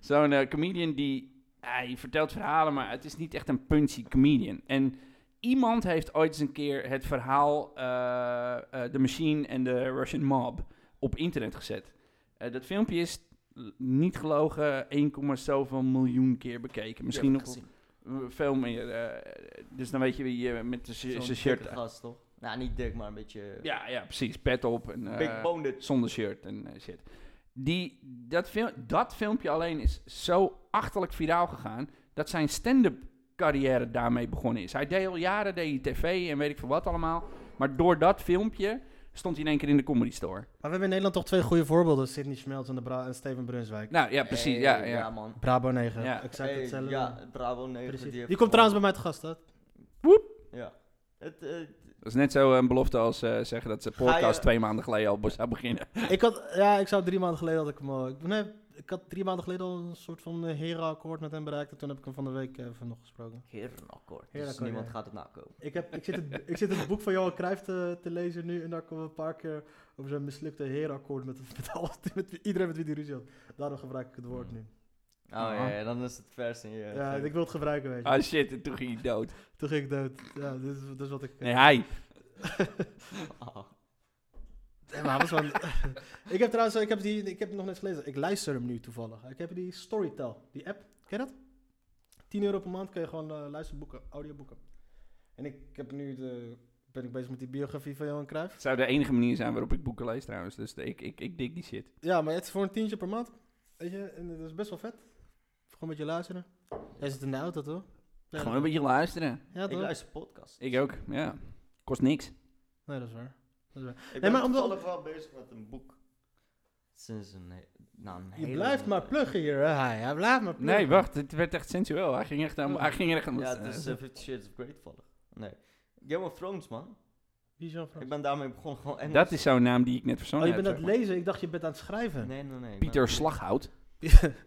Speaker 1: zo'n eh, comedian die... Hij vertelt verhalen, maar het is niet echt een punchy comedian. En iemand heeft ooit eens een keer het verhaal... eh, eh, The Machine en de Russian Mob op internet gezet. Eh, dat filmpje is l- niet gelogen 1, zoveel miljoen keer bekeken. Misschien nog eh, veel meer. eh, dus dan weet je wie eh, met de sh- zijn shirt...
Speaker 3: gast, toch? Nou, niet dik, maar een beetje...
Speaker 1: Ja, ja, precies. Pet op. En,
Speaker 3: Big
Speaker 1: eh,
Speaker 3: boned.
Speaker 1: zonder shirt en eh, shit. Die, dat, fil- dat filmpje alleen is zo achterlijk viraal gegaan dat zijn stand-up carrière daarmee begonnen is. Hij deed al jaren deed hij tv en weet ik veel wat allemaal. Maar door dat filmpje stond hij in één keer in de comedy store.
Speaker 2: Maar we hebben in Nederland toch twee goede voorbeelden. Sidney Schmelz en, de Bra- en Steven Brunswijk.
Speaker 1: Nou ja, precies.
Speaker 3: Hey,
Speaker 1: ja, ja.
Speaker 3: man.
Speaker 2: Bravo 9,
Speaker 1: Ja.
Speaker 2: exact
Speaker 3: Hey,
Speaker 2: hetzelfde.
Speaker 3: ja, Bravo 9.
Speaker 2: Precies.
Speaker 3: heeft
Speaker 2: Die komt
Speaker 3: gewoon-
Speaker 2: trouwens bij mij te gast, hè?
Speaker 3: Ja. Het, eh,
Speaker 1: Dat is net zo een belofte als eh, zeggen dat ze
Speaker 3: je-
Speaker 1: podcast twee maanden geleden al be- zou beginnen.
Speaker 2: ik had, ja, ik zou drie maanden geleden had ik hem al. Ik, nee, ik had drie maanden geleden al een soort van eh, herenakkoord met hem bereikt. En toen heb ik hem van de week eh, even nog gesproken.
Speaker 3: Herenakkoord. Dus
Speaker 2: Herenakkoord,
Speaker 3: niemand
Speaker 2: ja.
Speaker 3: gaat het nakomen.
Speaker 2: Ik, heb, ik, zit het, ik zit het boek van Johan Cruijff te, te lezen nu. En daar komen een paar keer over zijn mislukte herenakkoord met, met, alles, met iedereen met wie die ruzie had. Daarom gebruik ik het woord nu.
Speaker 3: Oh ja, ja, dan is het vers in je...
Speaker 2: Ja,
Speaker 3: geheugen.
Speaker 2: ik wil het gebruiken, weet je.
Speaker 1: Ah shit, en toen ging hij dood.
Speaker 2: Toen ging ik dood. Ja, dit is, dit is wat ik... eh,
Speaker 1: Nee, hij.
Speaker 3: Ah.
Speaker 2: Ja, Eh, maar was wel een- ik heb trouwens, ik heb, die, ik heb hem nog net gelezen. Ik luister hem nu toevallig. Ik heb die Storytel, die app. Ken je dat? 10 euro per maand kun je gewoon eh, luisterboeken, audioboeken. En ik heb nu de, ben ik bezig met die biografie van Johan Cruijff.
Speaker 1: Het zou de enige manier zijn waarop ik boeken lees trouwens. Dus ik, ik, ik dik die shit.
Speaker 2: Ja, maar het is voor een tientje per maand. Weet je, en dat is best wel vet. Gewoon met je luisteren. Jij zit in de auto, toch? Ja,
Speaker 1: Gewoon een beetje luisteren.
Speaker 2: Ja,
Speaker 3: Ik
Speaker 2: toch?
Speaker 3: luister podcasts.
Speaker 1: Ik ook, ja. Kost niks.
Speaker 2: Nee, dat is waar. Dat is waar.
Speaker 3: Ik
Speaker 2: maar
Speaker 3: ben
Speaker 2: omdat-
Speaker 3: toevallig wel bezig met een boek. Sinds een, he- nou, een
Speaker 2: Je
Speaker 3: hele
Speaker 2: blijft
Speaker 3: lange
Speaker 2: maar pluggen hier, hè, hij. Hij blijft maar pluggen.
Speaker 1: Nee, wacht, het werd echt sensueel. Hij ging echt aan. Hij ging echt aan
Speaker 3: tijd. Ja, het is eh, Fifty Shades of Grey toevallig. Nee. Game of Thrones, man.
Speaker 2: Wie is Jean Frans?
Speaker 3: Ik ben daarmee begonnen. Gewoon Engels.
Speaker 1: dat is zo'n naam die ik net verzonnen
Speaker 2: Oh, je bent aan
Speaker 1: heb.
Speaker 2: het
Speaker 1: zeg
Speaker 2: lezen. Ik dacht, je bent aan het schrijven.
Speaker 3: Nee, nee, nee. ik
Speaker 1: maar. Pieter
Speaker 3: ben-
Speaker 1: Slaghout.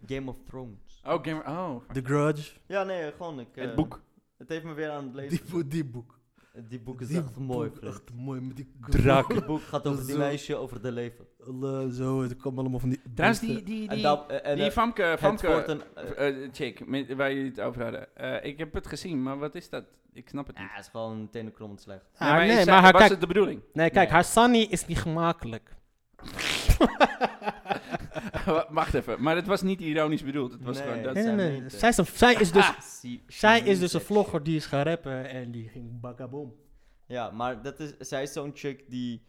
Speaker 3: Game of Thrones.
Speaker 1: Oh, gamer. Oh,
Speaker 2: The Grudge.
Speaker 3: Ja, nee, gewoon. Ik,
Speaker 1: het
Speaker 3: eh,
Speaker 1: boek.
Speaker 3: Het heeft me weer aan het lezen.
Speaker 2: Die, bo- die boek.
Speaker 3: gezet. Die boek is
Speaker 2: Die
Speaker 3: echt mooi,
Speaker 2: boek,
Speaker 3: vriend.
Speaker 2: Echt mooi met die
Speaker 3: Het boek gaat over die
Speaker 2: Zo.
Speaker 3: meisje, over de leven.
Speaker 2: Alle- Zo, het komt allemaal van die.
Speaker 1: Trouwens, die,
Speaker 2: beesten.
Speaker 1: die,
Speaker 3: En,
Speaker 1: die,
Speaker 3: dat, eh, en
Speaker 1: die
Speaker 3: eh,
Speaker 1: Famke,
Speaker 3: het wordt
Speaker 1: Famke
Speaker 3: een... eh,
Speaker 1: eh, chick, met- waar jullie het over hadden. Eh, ik heb het gezien, maar wat is dat? Ik snap het niet.
Speaker 3: ah, het is gewoon tenenkrommend slecht.
Speaker 2: Ah, nee,
Speaker 1: is-
Speaker 2: maar haar-
Speaker 1: was
Speaker 2: kijk-
Speaker 1: het de bedoeling?
Speaker 2: Nee, kijk, haar Sunny is niet gemakkelijk.
Speaker 1: Wacht even, maar het was niet ironisch bedoeld. Het was
Speaker 3: Nee.
Speaker 1: gewoon dat
Speaker 2: Nee, nee,
Speaker 1: zijn...
Speaker 2: nee.
Speaker 3: meenten.
Speaker 2: Zij is, een, zij is dus,
Speaker 3: Ah, Zie-
Speaker 2: zij is dus een
Speaker 3: Jezus.
Speaker 2: vlogger die is gaan rappen en die ging bakaboom.
Speaker 3: Ja, maar dat is, zij is zo'n chick die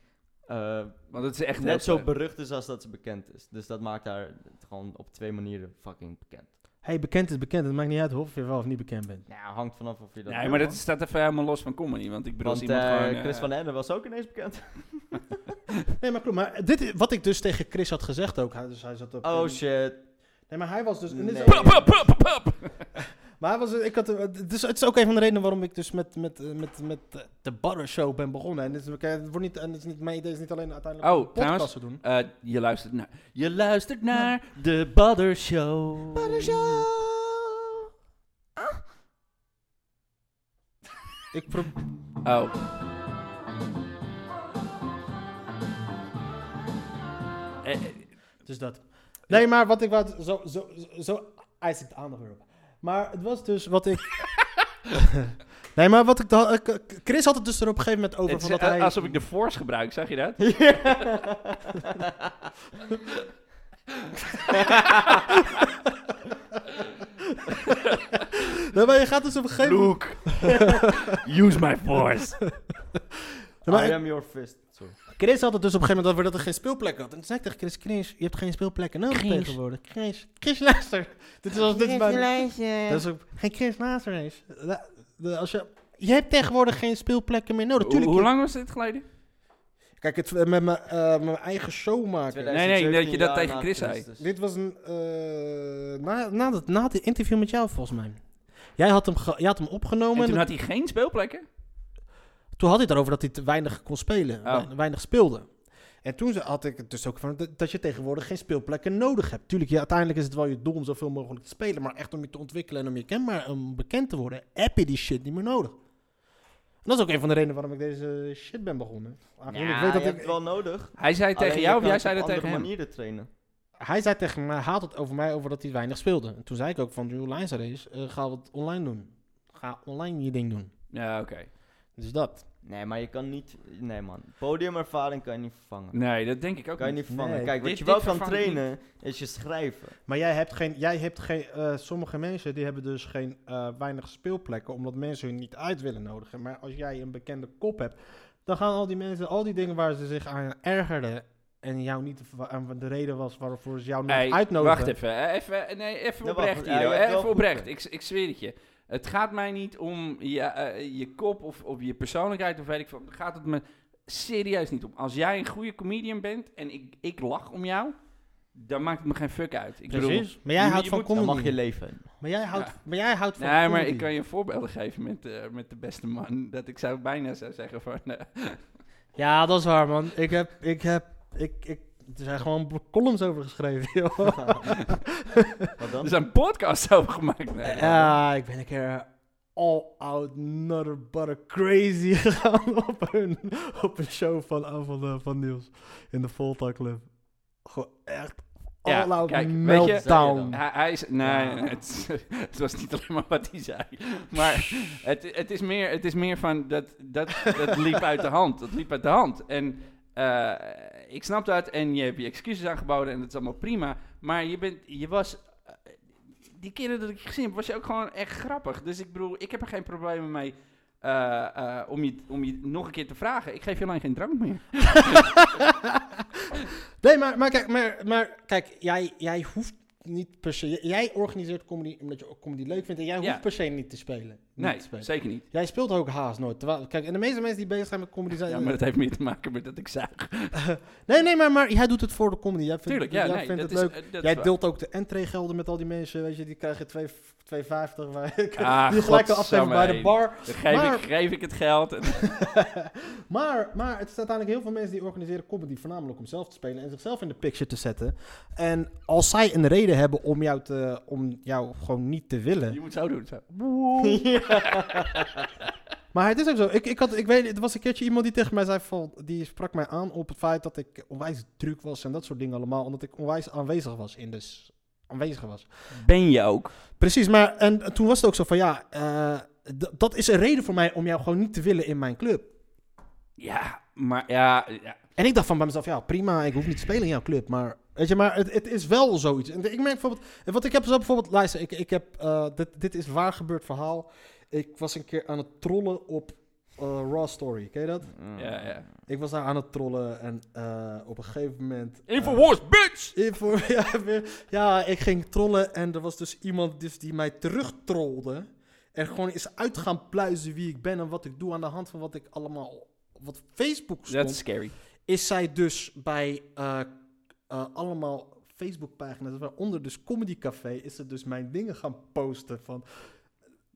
Speaker 3: eh,
Speaker 1: Want het is echt eh. heel
Speaker 3: net zo
Speaker 1: slecht.
Speaker 3: berucht is als dat ze bekend is. Dus dat maakt haar het gewoon op twee manieren fucking bekend.
Speaker 2: Hey, bekend is bekend. Het maakt niet uit of je wel of niet bekend bent.
Speaker 3: Nou, hangt vanaf of je dat...
Speaker 1: Nee,
Speaker 3: wil,
Speaker 1: maar dat
Speaker 3: man.
Speaker 1: staat even helemaal los van comedy. Want ik bedoel, als
Speaker 3: Want
Speaker 1: iemand
Speaker 3: eh,
Speaker 1: gewoon... eh,
Speaker 3: Chris van Ende was ook ineens bekend.
Speaker 2: Nee, maar klopt. Maar dit is wat ik dus tegen Chris had gezegd ook. Hij, dus hij zat op.
Speaker 3: Oh shit.
Speaker 2: nee, maar hij was dus. en dit is
Speaker 3: Nee.
Speaker 2: ook-
Speaker 1: Pup, pup, pup, pup, pup.
Speaker 2: Maar hij was, ik had, het, is, het is ook een van de redenen waarom ik dus met, met, eh, met, met eh, de Butter Show ben begonnen. En dit is, het wordt niet, en het is niet, mijn idee is niet alleen uiteindelijk
Speaker 1: Oh,
Speaker 2: om een podcast
Speaker 1: trouwens,
Speaker 2: te doen.
Speaker 1: Eh, je luistert naar. Je luistert naar de Badder Show.
Speaker 2: Ik pro-
Speaker 1: Oh. eh, eh,
Speaker 2: Dus dat. Nee, maar wat ik wou... Zo, zo, zo, zo eis ik de aandacht weer op. Maar het was dus wat ik... nee, maar wat ik... dan- eh, K- K- Chris had het dus er op een gegeven moment over
Speaker 1: het is eh,
Speaker 2: van dat hij...
Speaker 1: alsof ik de force gebruik, zag je dat?
Speaker 2: Nee, maar je gaat dus op een gegeven moment...
Speaker 1: Luke, use my
Speaker 3: Nou,
Speaker 1: force.
Speaker 2: Nee, maar
Speaker 3: I am your fist. Sorry.
Speaker 2: Chris had het dus op een gegeven moment over dat er geen speelplek had. En toen zei ik tegen Chris, Chris, je hebt geen speelplekken nodig
Speaker 7: Chris.
Speaker 2: tegenwoordig. Chris, Chris luister. Dit is als dit is mijn...
Speaker 7: lijstje.
Speaker 2: Dat is ook- geen Chris luister eens. La- de- Als je... Je hebt tegenwoordig geen speelplekken meer nodig.
Speaker 1: Hoe,
Speaker 2: Tuurlijk,
Speaker 1: hoe lang was dit geleden?
Speaker 2: Kijk, het, met mijn eh, mijn eigen show maken.
Speaker 1: nee, dat je
Speaker 3: 2017
Speaker 1: dat
Speaker 3: jaar
Speaker 1: tegen
Speaker 3: na
Speaker 1: Chris zei.
Speaker 3: Christus.
Speaker 2: Dit was een, eh, na, na, dat, na het interview met jou, volgens mij. Jij had hem, ge- jij had hem opgenomen.
Speaker 1: En toen had hij geen speelplekken?
Speaker 2: toen had hij het erover dat hij te weinig kon spelen,
Speaker 1: Oh.
Speaker 2: wei- weinig speelde. En toen ze- had ik het dus ook van dat- dat je tegenwoordig geen speelplekken nodig hebt. Tuurlijk, ja, uiteindelijk is het wel je doel om zoveel mogelijk te spelen, maar echt om je te ontwikkelen en om je kenbaar, om bekend te worden, heb je die shit niet meer nodig. En dat is ook een van de redenen waarom ik deze shit ben begonnen. Aangezien
Speaker 3: Ja,
Speaker 2: ik weet dat
Speaker 3: je hebt
Speaker 2: ik-
Speaker 3: het wel nodig.
Speaker 1: Hij zei tegen jou of jij zei dat
Speaker 3: op
Speaker 1: tegen
Speaker 3: andere
Speaker 1: hem?
Speaker 3: manieren trainen.
Speaker 2: Hij zei tegen mij, hij had het over mij over dat hij weinig speelde. En toen zei ik ook van, hoe lijn er is, eh, ga wat online doen. Ga online je ding doen.
Speaker 1: Ja, oké.
Speaker 2: Dus dat.
Speaker 3: Nee, maar je kan niet... Nee, man. Podiumervaring kan je niet vervangen.
Speaker 1: Nee, dat denk ik ook
Speaker 3: Kan je
Speaker 1: niet.
Speaker 3: niet vervangen.
Speaker 2: Nee.
Speaker 3: Kijk, wat
Speaker 1: Dit-
Speaker 3: je wel
Speaker 1: dit
Speaker 3: kan
Speaker 1: vervang ik
Speaker 3: trainen, is je schrijven.
Speaker 2: Maar jij hebt geen, jij hebt geen eh, sommige mensen die hebben dus geen eh, weinig speelplekken, omdat mensen hun niet uit willen nodigen. Maar als jij een bekende kop hebt, dan gaan al die mensen, al die dingen waar ze zich aan ergerden en jou niet, aan de reden was waarvoor ze jou
Speaker 1: Hey,
Speaker 2: niet uitnodigen.
Speaker 1: wacht even. hè, Even, eh, nee, even
Speaker 3: Ja, wacht,
Speaker 1: oprecht
Speaker 3: ja,
Speaker 1: hier.
Speaker 3: je
Speaker 1: hoor,
Speaker 3: hebt wel
Speaker 1: even
Speaker 3: goed
Speaker 1: oprecht. Ik,
Speaker 3: punt.
Speaker 1: ik zweer het je. Het gaat mij niet om je, eh, je kop of, of je persoonlijkheid of weet ik veel. Gaat het me serieus niet om. Als jij een goede comedian bent en ik, ik lach om jou, dan maakt het me geen fuck uit. Ik bedoel,
Speaker 2: Precies. Maar jij
Speaker 1: je-
Speaker 2: houdt
Speaker 1: je
Speaker 2: van
Speaker 1: moet-
Speaker 3: Dan
Speaker 2: comedy.
Speaker 3: mag je leven.
Speaker 2: Maar jij houdt,
Speaker 1: Ja.
Speaker 2: maar jij houdt van
Speaker 1: nee, maar
Speaker 2: comedy.
Speaker 1: ik kan je voorbeelden geven met, eh, met de beste man. Dat ik zou bijna zou zeggen van... eh,
Speaker 2: Ja, dat is waar, man. Ik heb, ik heb, ik, ik, er zijn gewoon columns over geschreven, joh.
Speaker 3: Wat
Speaker 1: er
Speaker 3: dan?
Speaker 1: zijn podcasts over gemaakt. Nee,
Speaker 2: Ja, ik ben een keer all out, nutter butter crazy gegaan op een, op een show van, ah, van, eh, van Niels in de Volta Club. Gewoon echt all
Speaker 1: Ja,
Speaker 2: out
Speaker 1: kijk, weet je-
Speaker 2: meltdown.
Speaker 1: Hij, hij is, nee, het, het was niet alleen maar wat hij zei. Maar het, het, is, meer, het is meer van dat, dat, dat liep uit de hand. Dat liep uit de hand. En eh, ik snap dat. En je hebt je excuses aangeboden en dat is allemaal prima. Maar je, bent, je was. eh, die keren dat ik je gezien heb, was je ook gewoon echt grappig. Dus ik bedoel, ik heb er geen problemen mee. eh, eh, om, je, om je nog een keer te vragen. Ik geef je alleen geen drank meer.
Speaker 2: Nee, maar, maar kijk, maar, maar, kijk jij, jij hoeft niet per se... Jij organiseert comedy omdat je ook comedy leuk vindt en jij hoeft
Speaker 1: Ja.
Speaker 2: per se niet te spelen. Niet
Speaker 1: Nee,
Speaker 2: te spelen.
Speaker 1: zeker niet.
Speaker 2: Jij speelt ook haast nooit. Terwijl, kijk, en de meeste mensen die bezig zijn met comedy zijn...
Speaker 1: Ja, maar dat heeft meer te maken met dat ik zuig.
Speaker 2: Nee, nee, maar, maar jij doet het voor de comedy. Jij vindt,
Speaker 1: Tuurlijk, ja,
Speaker 2: jij
Speaker 1: nee,
Speaker 2: vindt
Speaker 1: dat
Speaker 2: het
Speaker 1: is,
Speaker 2: leuk.
Speaker 1: eh, dat is
Speaker 2: jij
Speaker 1: waar.
Speaker 2: deelt ook de entreegelden met al die mensen. Weet je, die krijgen 2,50. waar-
Speaker 1: Ah,
Speaker 2: die gelijk al afgeven
Speaker 1: godsamme,
Speaker 2: bij de
Speaker 1: hey.
Speaker 2: bar.
Speaker 1: Dan geef,
Speaker 2: Maar-
Speaker 1: ik, geef ik het geld. En,
Speaker 2: Maar, maar het is uiteindelijk heel veel mensen die organiseren comedy. Voornamelijk om zelf te spelen en zichzelf in de picture te zetten. En als zij een reden hebben om jou, te, om jou gewoon niet te willen.
Speaker 1: je moet zo doen. Zo.
Speaker 2: Maar het is ook zo. Ik, ik, had, ik weet, er was een keertje iemand die tegen mij zei: van, die sprak mij aan op het feit dat ik onwijs druk was en dat soort dingen allemaal. Omdat ik onwijs aanwezig was in dus. Aanwezig was.
Speaker 1: Ben je ook?
Speaker 2: Precies, maar en toen was het ook zo van ja, eh, d- dat is een reden voor mij om jou gewoon niet te willen in mijn club.
Speaker 1: Ja, maar ja. ja.
Speaker 2: En ik dacht van bij mezelf, ja prima, ik hoef niet te spelen in jouw club, maar weet je, maar het, het is wel zoiets. En ik merk bijvoorbeeld, en wat ik heb zo bijvoorbeeld, luister, ik, ik heb, eh, dit, dit is waar gebeurd verhaal. Ik was een keer aan het trollen op eh, Raw Story, ken je dat?
Speaker 3: Mm.
Speaker 1: ja, ja.
Speaker 2: Ik was daar aan het trollen en eh, op een gegeven moment... eh,
Speaker 1: bitch!
Speaker 2: Info- ja, weer- ja, ik ging trollen en er was dus iemand dus die mij terugtrolde. En gewoon is uit gaan pluizen wie ik ben en wat ik doe aan de hand van wat ik allemaal wat op Facebook stond.
Speaker 1: Dat is scary.
Speaker 2: Is zij dus bij eh, eh, allemaal Facebookpagina's, waaronder dus Comedy Café, is ze dus mijn dingen gaan posten van...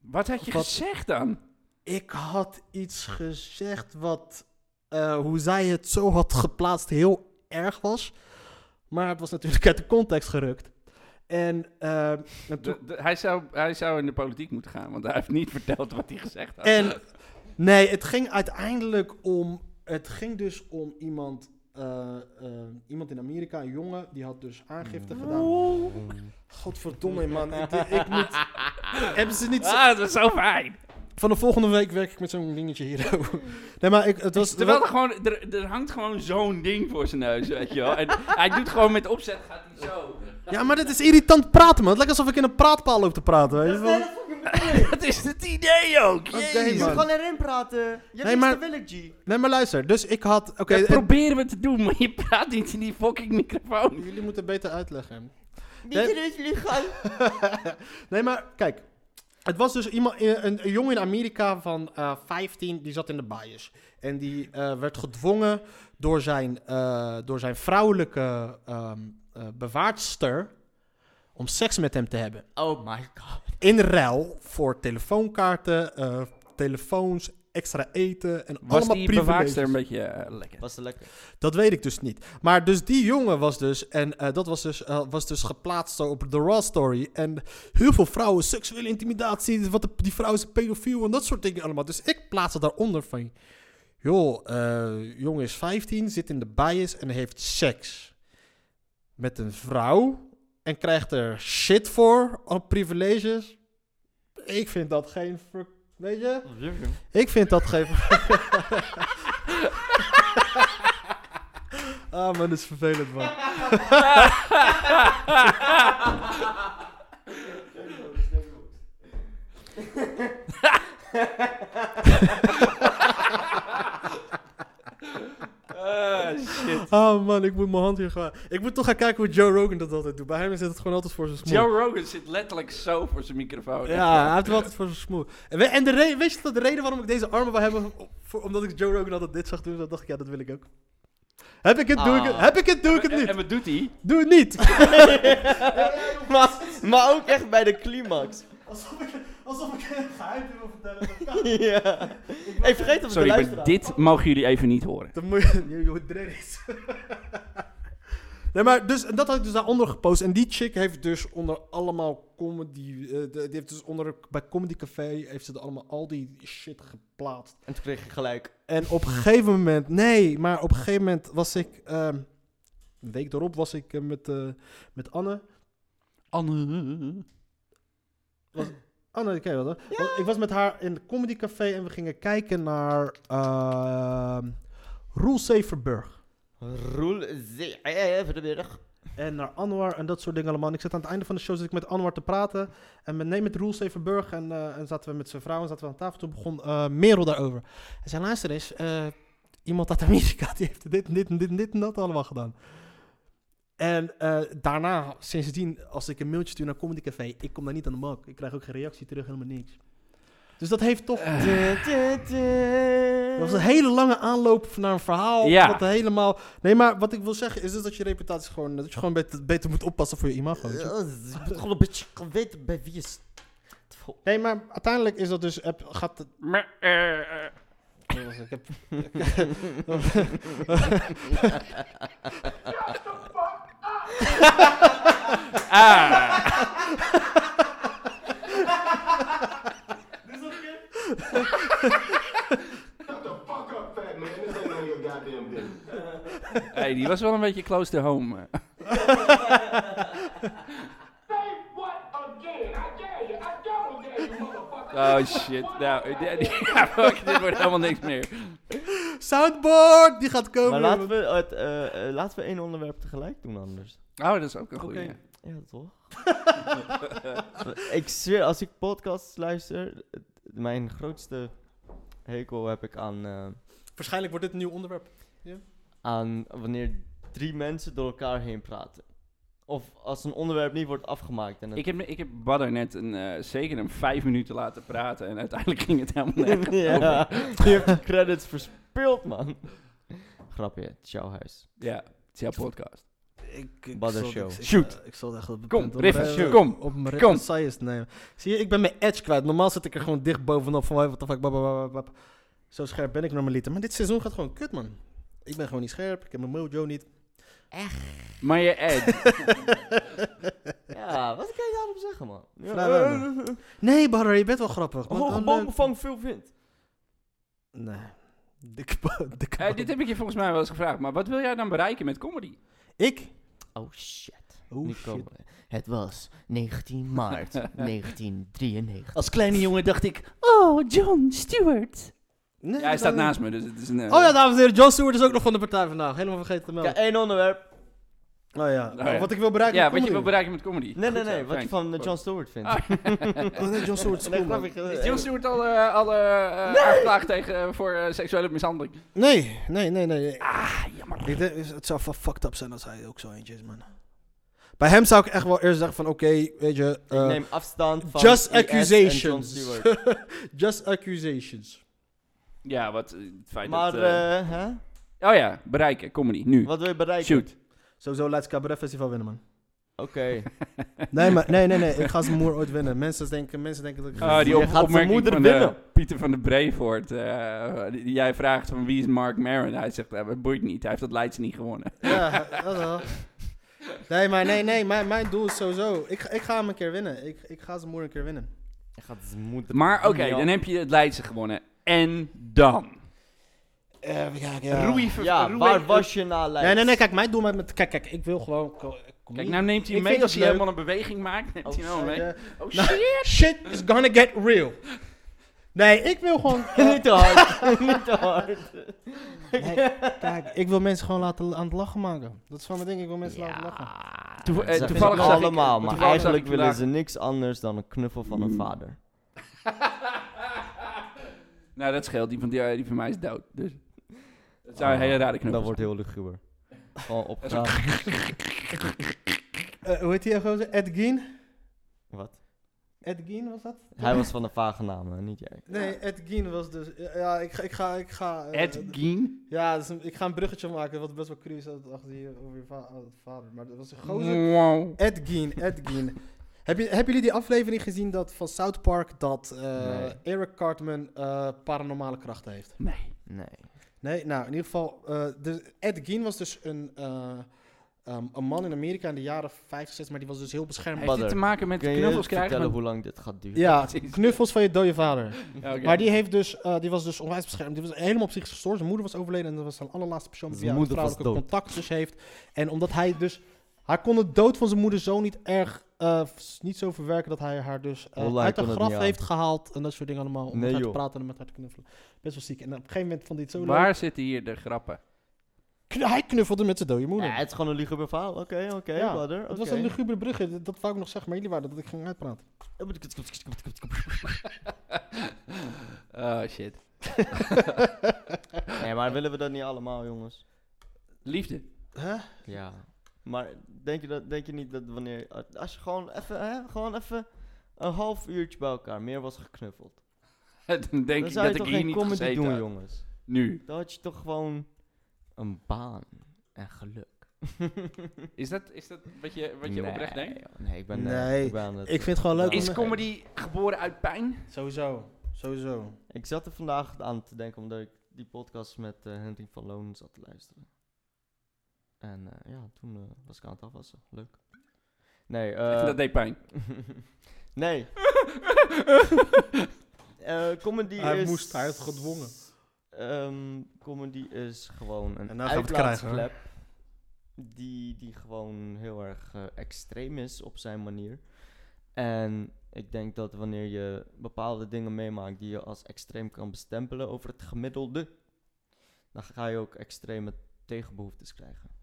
Speaker 1: Wat had je
Speaker 2: Wat-
Speaker 1: gezegd dan?
Speaker 2: Ik had iets gezegd wat, eh, hoe zij het zo had geplaatst, heel erg was. Maar het was natuurlijk uit de context gerukt. En, eh, en toen-
Speaker 1: De- de- hij, zou, hij zou in de politiek moeten gaan, want hij heeft niet verteld wat hij gezegd had.
Speaker 2: en nee, het ging uiteindelijk om, het ging dus om iemand eh, eh, iemand in Amerika, een jongen, die had dus aangifte gedaan. Godverdomme man, ik, ik moet... Hebben ze niet...
Speaker 1: Ah, dat was zo fijn.
Speaker 2: Van de volgende week werk ik met zo'n dingetje hier. nee, maar ik, het was...
Speaker 1: Terwijl er gewoon, er, er hangt gewoon zo'n ding voor zijn neus, weet je wel. En hij doet gewoon met opzet, gaat hij zo.
Speaker 2: Ja, maar dit is irritant praten, man. Het lijkt alsof ik in een praatpaal loop te praten, weet je wel.
Speaker 1: Dat is het idee ook.
Speaker 2: Oké,
Speaker 5: Je moet
Speaker 2: man.
Speaker 5: gewoon erin praten. Je hebt
Speaker 2: Nee,
Speaker 5: nee,
Speaker 2: maar-
Speaker 5: te willen, G.
Speaker 2: Nee, maar luister. Dus ik had... Oké,
Speaker 1: dat
Speaker 2: het-
Speaker 1: proberen we te doen, maar je praat niet in die fucking microfoon.
Speaker 2: jullie moeten beter uitleggen.
Speaker 5: Niet rustig gaan.
Speaker 2: nee, maar kijk. Het was dus iemand, een, een- een jongen in Amerika van eh 15, die zat in de bias. En die eh, werd gedwongen door zijn, eh, door zijn vrouwelijke ehm eh, bewaardster om seks met hem te hebben.
Speaker 3: Oh my god.
Speaker 2: In ruil voor telefoonkaarten, eh, telefoons, extra eten en
Speaker 1: Was
Speaker 2: allemaal
Speaker 1: die
Speaker 2: privileges.
Speaker 1: bewaakster een beetje eh, lekker?
Speaker 3: Was het lekker?
Speaker 2: Dat weet ik dus niet. Maar dus die jongen was dus, en eh, dat was dus, eh, was dus geplaatst zo op de Raw Story. En heel veel vrouwen, seksuele intimidatie, wat de- die vrouw is een pedofiel en dat soort dingen allemaal. Dus ik plaats het daaronder van, joh, eh jongen is 15, zit in de bias en heeft seks met een vrouw. En krijgt er shit voor, op privileges. Ik vind dat geen, ver- weet je? Ik vind dat geen... Ah, man, dat is vervelend, man. Ah, man, ik moet mijn hand hier gaan. Ik moet toch gaan kijken hoe Joe Rogan dat altijd doet. Bij hem zit het gewoon altijd voor zijn smoel.
Speaker 1: Joe Rogan zit letterlijk zo voor zijn microfoon.
Speaker 2: Ja, hij heeft wel altijd voor zijn smoel. En, we- en de re- weet je dat de reden waarom ik deze armen wil hebben? Voor, omdat ik Joe Rogan altijd dit zag doen, dan dacht ik, ja, dat wil ik ook. Heb ik het, doe ik het.
Speaker 3: Ah.
Speaker 2: Heb ik het, doe ik het
Speaker 1: En,
Speaker 2: niet.
Speaker 1: en wat doet hij?
Speaker 2: Doe het niet.
Speaker 3: maar, maar ook echt bij de climax.
Speaker 2: Alsof ik, alsof ik een geheim wil vertellen.
Speaker 3: ja. Ik vergeet dat we
Speaker 1: Sorry,
Speaker 3: luisteren.
Speaker 1: maar dit mogen jullie even niet horen.
Speaker 2: Dan moet je... Je, je hoort drees. Nee, maar dus, en dat had ik dus daaronder gepost. En die chick heeft dus onder allemaal comedy... eh, de- die heeft dus onder, bij Comedy Café heeft ze er allemaal al die shit geplaatst.
Speaker 3: En toen kreeg ik gelijk.
Speaker 2: En op een gegeven moment, nee, maar op een gegeven moment was ik, ehm, een week daarop was ik eh, met, eh, met Anne.
Speaker 1: Anne.
Speaker 2: Anne, Oh, ken je wel, hè? Want Ik was met haar in het comedycafé en we gingen kijken naar ehm Roel Severburg.
Speaker 3: Roel ze- eh, eh, van de middag.
Speaker 2: En naar Anwar en dat soort dingen allemaal. En ik zat aan het einde van de show zat ik met Anwar te praten. En met, nee, met Roel Severburg. En, eh, en zaten we met zijn vrouw en zaten we aan tafel. Toen begon eh, Merel daarover. Hij zei, luister eens, eh, iemand uit Amerika die heeft dit en dit en dit en dit en dat allemaal gedaan. En eh, daarna, sindsdien, als ik een mailtje stuur naar Comedy Café, ik kom daar niet aan de bak. Ik krijg ook geen reactie terug, helemaal niks. Dus dat heeft toch... Dat was een hele lange aanloop naar een verhaal.
Speaker 1: Ja.
Speaker 2: Wat helemaal... Nee, maar wat ik wil zeggen is dus dat je reputatie gewoon... Dat je gewoon beter, beter moet oppassen voor je imago. weet je.
Speaker 3: Ik moet gewoon een beetje gaan weten bij wie je staat.
Speaker 2: Nee, maar uiteindelijk is dat dus... heb- Gaat het-
Speaker 1: eh,
Speaker 2: ik heb
Speaker 1: Ah.
Speaker 6: Shut the fuck up, fat man. This ain't none of your goddamn business.
Speaker 1: Hey, die was wel een beetje close to home.
Speaker 6: Say what again? I dare you. I double dare you, motherfucker.
Speaker 1: Oh shit. Nou, ja, fuck, dit wordt helemaal niks meer.
Speaker 2: Soundboard! Die gaat komen.
Speaker 3: Maar laten we, het, eh, eh, laten we één onderwerp tegelijk doen anders.
Speaker 1: Oh, dat is ook een goeie.
Speaker 3: Ja, toch? ik zweer, als ik podcasts luister, het- mijn grootste hekel heb ik aan, eh,
Speaker 2: Waarschijnlijk wordt dit een nieuw onderwerp.
Speaker 3: aan wanneer drie mensen door elkaar heen praten. Of als een onderwerp niet wordt afgemaakt. En het-
Speaker 1: Ik heb, ik heb Badder net een, eh, zeker een vijf minuten laten praten en uiteindelijk ging het helemaal nergens over.
Speaker 3: ja, je hebt de credits verspeeld, man. Grapje, het is jouw huis.
Speaker 1: Ja, het is jouw podcast.
Speaker 2: Ik, ik
Speaker 3: Badder
Speaker 2: zal-
Speaker 3: show.
Speaker 2: ik- ik-
Speaker 1: Shoot.
Speaker 2: eh, Ik zal echt op
Speaker 1: Kom,
Speaker 2: op mijn-
Speaker 1: Riffers, kom.
Speaker 2: Op mijn
Speaker 1: Kom.
Speaker 2: Riffers Science nemen. Zie je, ik ben mijn edge kwijt. Normaal zit ik er gewoon dicht bovenop van wat de fuck. bap, bap, bap, bap, bap. Zo scherp ben ik normaliter. Maar dit seizoen gaat gewoon kut, man. Ik ben gewoon niet scherp. Ik heb mijn mojo niet.
Speaker 1: Maar je eh, Ed,
Speaker 3: Ja, wat kan je daarop zeggen, man? Ja, eh,
Speaker 2: Vrij weinig.
Speaker 1: Oh,
Speaker 2: Nee, Badder, je bent wel grappig. man.
Speaker 3: hoge
Speaker 2: Wel
Speaker 3: bomen
Speaker 2: leuk.
Speaker 3: vangen veel wind.
Speaker 2: Nee. Dikke bo- dikke
Speaker 1: Eh,
Speaker 2: bo-
Speaker 1: dit heb ik je volgens mij wel eens gevraagd, maar wat wil jij dan bereiken met comedy?
Speaker 2: Ik?
Speaker 3: Oh shit.
Speaker 2: Oh,
Speaker 3: Nu
Speaker 2: shit.
Speaker 3: komen we. Het was 19 maart 1993.
Speaker 2: Als kleine jongen dacht ik...
Speaker 7: Oh, John Stewart.
Speaker 2: Nee,
Speaker 1: Ja, hij
Speaker 2: dat-
Speaker 1: staat naast me, dus het is een... eh,
Speaker 2: Oh ja, dames en heren, John Stewart is ook nog van de partij vandaag. Helemaal vergeten te melden.
Speaker 3: Ja, één onderwerp.
Speaker 2: Oh ja,
Speaker 1: Nou ja.
Speaker 2: wat ik wil bereiken
Speaker 1: ja,
Speaker 2: met
Speaker 1: wat je wil
Speaker 2: comedy.
Speaker 1: bereiken met comedy.
Speaker 3: Nee, nee,
Speaker 1: Goed zo,
Speaker 3: nee. Wat
Speaker 1: fijn.
Speaker 3: je van eh, John Stewart vindt.
Speaker 2: Oh, nee, John Stewart is
Speaker 3: Nee,
Speaker 2: cool, man.
Speaker 3: grap, ik-
Speaker 1: Is John Stewart al, eh, al eh, eh, aangeklaagd tegen, eh, voor eh, seksuele mishandeling?
Speaker 2: Nee, nee, nee, nee. nee.
Speaker 1: Ah,
Speaker 2: Ik denk, het zou wel fucked up zijn als hij ook zo eentje is, man. Bij hem zou ik echt wel eerst zeggen van, oké, weet je...
Speaker 3: Ik
Speaker 2: eh,
Speaker 3: neem afstand van
Speaker 2: just
Speaker 3: IS en John
Speaker 2: accusations.
Speaker 3: Stewart.
Speaker 2: just accusations.
Speaker 1: Ja, wat eh, het feit
Speaker 3: Maar,
Speaker 1: dat... eh,
Speaker 3: eh, hè?
Speaker 1: oh ja, bereiken, comedy, nu.
Speaker 3: Wat wil je bereiken?
Speaker 1: Shoot.
Speaker 2: Sowieso laat Cabaret Festival winnen, man.
Speaker 3: Oké.
Speaker 2: Nee, maar, nee, nee, nee. Ik ga zijn moer ooit winnen. Mensen denken, mensen denken dat ik...
Speaker 1: Ah, die
Speaker 3: Je
Speaker 1: op
Speaker 3: gaat zijn
Speaker 1: opmerking
Speaker 3: moeder
Speaker 1: van eh,
Speaker 3: winnen.
Speaker 1: Pieter van de Brevoort. eh, die- die jij vraagt van wie is Mark Maron? Hij zegt, eh, het boeit niet. Hij heeft dat Leidse niet gewonnen.
Speaker 2: Ja, dat wel. Nee, maar nee, nee. Mijn, mijn doel is sowieso... Ik, ga- ik ga hem een keer winnen. Ik, ik ga zijn moer een keer winnen.
Speaker 3: Hij gaat zijn moeder
Speaker 1: Maar oké,
Speaker 3: Ja.
Speaker 1: dan heb je het Leidse gewonnen. En dan?
Speaker 2: ja,
Speaker 1: Roei ver-
Speaker 3: Eh, Ja,
Speaker 1: roei-
Speaker 3: waar was je na Leiden?
Speaker 2: Nee, nee, nee. Kijk, mijn doel met... met kijk, kijk. Ik wil gewoon...
Speaker 1: Kijk, nou neemt hij
Speaker 2: Ik
Speaker 1: mee
Speaker 2: vind
Speaker 1: als
Speaker 2: het
Speaker 1: hij
Speaker 2: leuk.
Speaker 1: helemaal een beweging maakt. Neemt hij nou mee. Oh
Speaker 2: Nou,
Speaker 1: shit.
Speaker 2: Shit is gonna get real. Nee, ik wil gewoon...
Speaker 3: Niet te hard. Niet te
Speaker 1: Eh,
Speaker 3: hard.
Speaker 2: Nee, kijk, ik wil mensen gewoon laten aan het lachen maken. Dat is van mijn ding, ik wil mensen laten lachen.
Speaker 3: Ja.
Speaker 1: Toe- eh,
Speaker 3: Ze
Speaker 1: toevallig
Speaker 3: vinden het
Speaker 1: zag ik-
Speaker 3: allemaal, maar
Speaker 1: toevallig zag
Speaker 3: eigenlijk
Speaker 1: ik
Speaker 3: willen
Speaker 1: vandaag-
Speaker 3: ze niks anders dan een knuffel van een vader.
Speaker 1: Nou, dat scheelt. Die van, die, die van mij is dood. Dus. Ah, Dat zou een hele rare knuffel
Speaker 3: Dat wordt heel luguber. Gewoon opgegaan.
Speaker 2: Eh, hoe heet die gozer? Ed Gein?
Speaker 3: Wat?
Speaker 2: Ed Gein was dat?
Speaker 3: Hij was van de vage namen, niet jij.
Speaker 2: Nee, Ed Gein was dus... Ja, ik ga... Ik ga, ik ga eh,
Speaker 1: Ed Gein?
Speaker 2: Ja, dat is een- ik ga een bruggetje maken, wat best wel cru is dat achter je over je va- oh, vader. Maar dat was een
Speaker 1: Mm.
Speaker 2: gozer.
Speaker 1: Wow.
Speaker 2: Ed Gein, Ed Gein. Heb je, hebben jullie die aflevering gezien dat van South Park dat eh,
Speaker 3: Nee.
Speaker 2: Eric Cartman eh, paranormale krachten heeft?
Speaker 1: Nee.
Speaker 3: Nee.
Speaker 2: Nee, nou, in ieder geval, eh, dus Ed Gein was dus een, eh, ehm, een man in Amerika in de jaren 50, 60, maar die was dus heel beschermd.
Speaker 1: Heeft dit te maken met
Speaker 3: Kun je
Speaker 1: knuffels
Speaker 3: vertellen
Speaker 1: krijgen?
Speaker 3: hoe lang dit gaat duren?
Speaker 2: Ja,
Speaker 1: precies.
Speaker 2: knuffels van je dode vader.
Speaker 1: Ja, Oh, oké.
Speaker 2: Maar die, heeft dus, eh, die was dus onwijs beschermd. Die was helemaal op zich gestoord. Zijn moeder was overleden en dat was zijn allerlaatste persoon met wie
Speaker 3: Zijn
Speaker 2: hij een
Speaker 3: moeder was
Speaker 2: vrouwelijke contact dus heeft. En omdat hij dus... Hij kon de dood van zijn moeder zo niet erg... eh, s- niet zo verwerken dat hij haar dus eh,
Speaker 3: Hoe lang
Speaker 2: uit haar
Speaker 3: kon het
Speaker 2: graf
Speaker 3: niet
Speaker 2: heeft gehaald. En dat soort dingen allemaal. Om
Speaker 3: Nee,
Speaker 2: met haar
Speaker 3: joh.
Speaker 2: te praten en met haar te knuffelen. Best wel ziek. En op een gegeven moment vond hij het zo leuk.
Speaker 1: Waar zitten hier de grappen?
Speaker 2: Kn- hij knuffelde met zijn dode moeder.
Speaker 3: Ja, het is gewoon een luguber verhaal. Oké, oké,
Speaker 2: Ja,
Speaker 3: brother.
Speaker 2: Het was
Speaker 3: oké.
Speaker 2: een lugubere brugge. Dat, dat wou ik nog zeggen, maar jullie waren dat ik ging uitpraten.
Speaker 1: Oh shit.
Speaker 3: Nee, maar willen we dat niet allemaal, jongens?
Speaker 1: Liefde.
Speaker 3: Ja. Maar denk je, dat, denk je niet dat wanneer... Als je gewoon even, hè, gewoon even een half uurtje bij elkaar meer was geknuffeld.
Speaker 1: Dan denk
Speaker 3: dan
Speaker 1: ik
Speaker 3: zou
Speaker 1: dat
Speaker 3: je
Speaker 1: ik
Speaker 3: toch
Speaker 1: hier
Speaker 3: geen
Speaker 1: niet
Speaker 3: comedy
Speaker 1: gezeten
Speaker 3: doen,
Speaker 1: had.
Speaker 3: jongens.
Speaker 1: Nu.
Speaker 3: Dan had je toch gewoon een baan en geluk.
Speaker 1: Is dat, is dat wat je, wat je
Speaker 3: Nee,
Speaker 1: oprecht denkt?
Speaker 3: joh. Nee, ik ben, eh,
Speaker 2: Nee,
Speaker 3: ik ben aan het-
Speaker 2: Ik vind het gewoon leuk.
Speaker 3: leuk om-
Speaker 1: Is
Speaker 3: Nee.
Speaker 1: comedy geboren uit pijn?
Speaker 2: Sowieso. Sowieso.
Speaker 3: Ik zat er vandaag aan te denken omdat ik die podcast met eh Hendrik van Loon zat te luisteren. En eh, ja, toen eh, was ik aan het afwassen. Leuk. Nee, eh
Speaker 1: dat deed pijn.
Speaker 3: nee. Eh, comedy
Speaker 2: Hij
Speaker 3: is...
Speaker 2: moest, hij had gedwongen.
Speaker 3: Ehm, comedy is gewoon een
Speaker 2: En
Speaker 3: en
Speaker 2: nou gaan we het krijgen, hoor.
Speaker 3: die, die gewoon heel erg eh, extreem is op zijn manier. En ik denk dat wanneer je bepaalde dingen meemaakt die je als extreem kan bestempelen over het gemiddelde, dan ga je ook extreme tegenbehoeftes krijgen.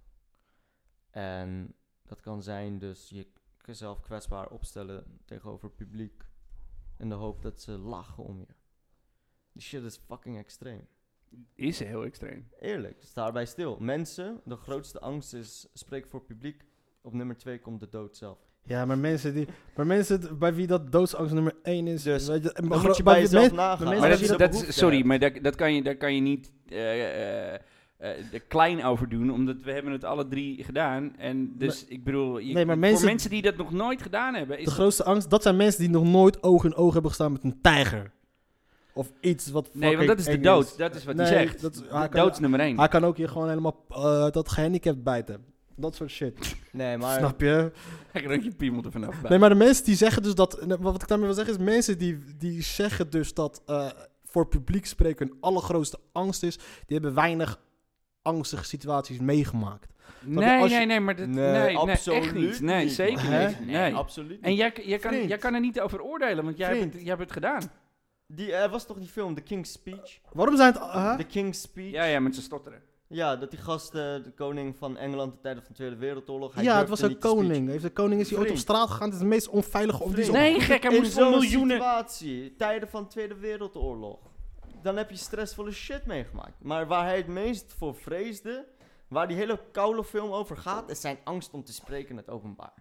Speaker 3: En dat kan zijn dus je jezelf kwetsbaar opstellen tegenover het publiek in de hoop dat ze lachen om je. Die shit is fucking extreem.
Speaker 1: Is heel extreem.
Speaker 3: Eerlijk, sta daarbij stil. Mensen, de grootste angst is spreek voor publiek. Op nummer 2 komt de dood zelf.
Speaker 2: Ja, maar mensen, die, maar mensen d- bij wie dat doodsangst nummer 1 is.
Speaker 3: Dus
Speaker 2: weet je, en
Speaker 3: Dan
Speaker 2: gro-
Speaker 3: moet je
Speaker 2: bij
Speaker 3: bij
Speaker 2: wie-
Speaker 3: jezelf
Speaker 2: men-
Speaker 3: nagaan.
Speaker 2: mensen
Speaker 1: Maar
Speaker 2: als
Speaker 1: dat,
Speaker 2: je
Speaker 1: is-
Speaker 2: dat
Speaker 1: dat is, sorry, maar daar, dat kan je, daar kan je niet eh, eh, eh, de klein over doen, omdat we hebben het alle drie gedaan. En dus, ik bedoel, je-
Speaker 2: Nee, maar
Speaker 1: voor
Speaker 2: mensen-
Speaker 1: mensen die dat nog nooit gedaan hebben,
Speaker 2: De
Speaker 1: is
Speaker 2: grootste angst, dat zijn mensen die nog nooit oog in oog hebben gestaan met een tijger. Of iets wat.
Speaker 1: Nee, want
Speaker 2: fucking
Speaker 1: dat is de
Speaker 2: eng
Speaker 1: dood. Dat is wat hij
Speaker 2: Nee,
Speaker 1: zegt.
Speaker 2: dat is-
Speaker 1: De
Speaker 2: hij kan-
Speaker 1: dood is nummer één.
Speaker 2: Hij kan ook hier gewoon helemaal eh, dat gehandicapt bijten. Dat soort shit.
Speaker 3: Nee, maar
Speaker 2: Snap je?
Speaker 1: Hij kan ook je piemel er vanaf bij.
Speaker 2: Nee, maar de mensen die zeggen dus dat. Wat ik daarmee wil zeggen is mensen die, die zeggen dus dat. eh, voor publiek spreken hun allergrootste angst is, die hebben weinig angstige situaties meegemaakt.
Speaker 1: Nee,
Speaker 2: als je-
Speaker 1: nee, nee, maar dat,
Speaker 3: Nee,
Speaker 1: nee, nee,
Speaker 3: absoluut
Speaker 1: echt niet. Nee,
Speaker 3: niet,
Speaker 1: zeker
Speaker 2: man.
Speaker 1: niet.
Speaker 5: Nee,
Speaker 1: Nee.
Speaker 5: absoluut
Speaker 1: En
Speaker 5: niet.
Speaker 1: jij, jij, kan,
Speaker 5: Vriend.
Speaker 1: jij kan er niet over oordelen, want jij, hebt het,
Speaker 5: Vriend.
Speaker 1: jij hebt het gedaan.
Speaker 3: Die, er was toch die film, The King's Speech?
Speaker 2: Waarom zijn het... eh, huh?
Speaker 3: The King's Speech?
Speaker 1: Ja, ja, met z'n stotteren.
Speaker 3: Ja, dat die gast, eh, de koning van Engeland, de tijden van de Tweede Wereldoorlog. Hij
Speaker 2: Ja, het
Speaker 3: durfde
Speaker 2: was een
Speaker 3: niet te speechen.
Speaker 2: koning. Heeft de koning is die ooit op
Speaker 3: Vriend.
Speaker 2: straat gegaan. Het is de meest onveilige... Of die is
Speaker 3: Vriend.
Speaker 1: Nee, gek, hij
Speaker 3: In
Speaker 1: moest voor
Speaker 3: zo'n
Speaker 1: miljoenen...
Speaker 3: situatie, tijden van Tweede Wereldoorlog, dan heb je stressvolle shit meegemaakt. Maar waar hij het meest voor vreesde, waar die hele koude film over gaat, is zijn angst om te spreken in het openbaar.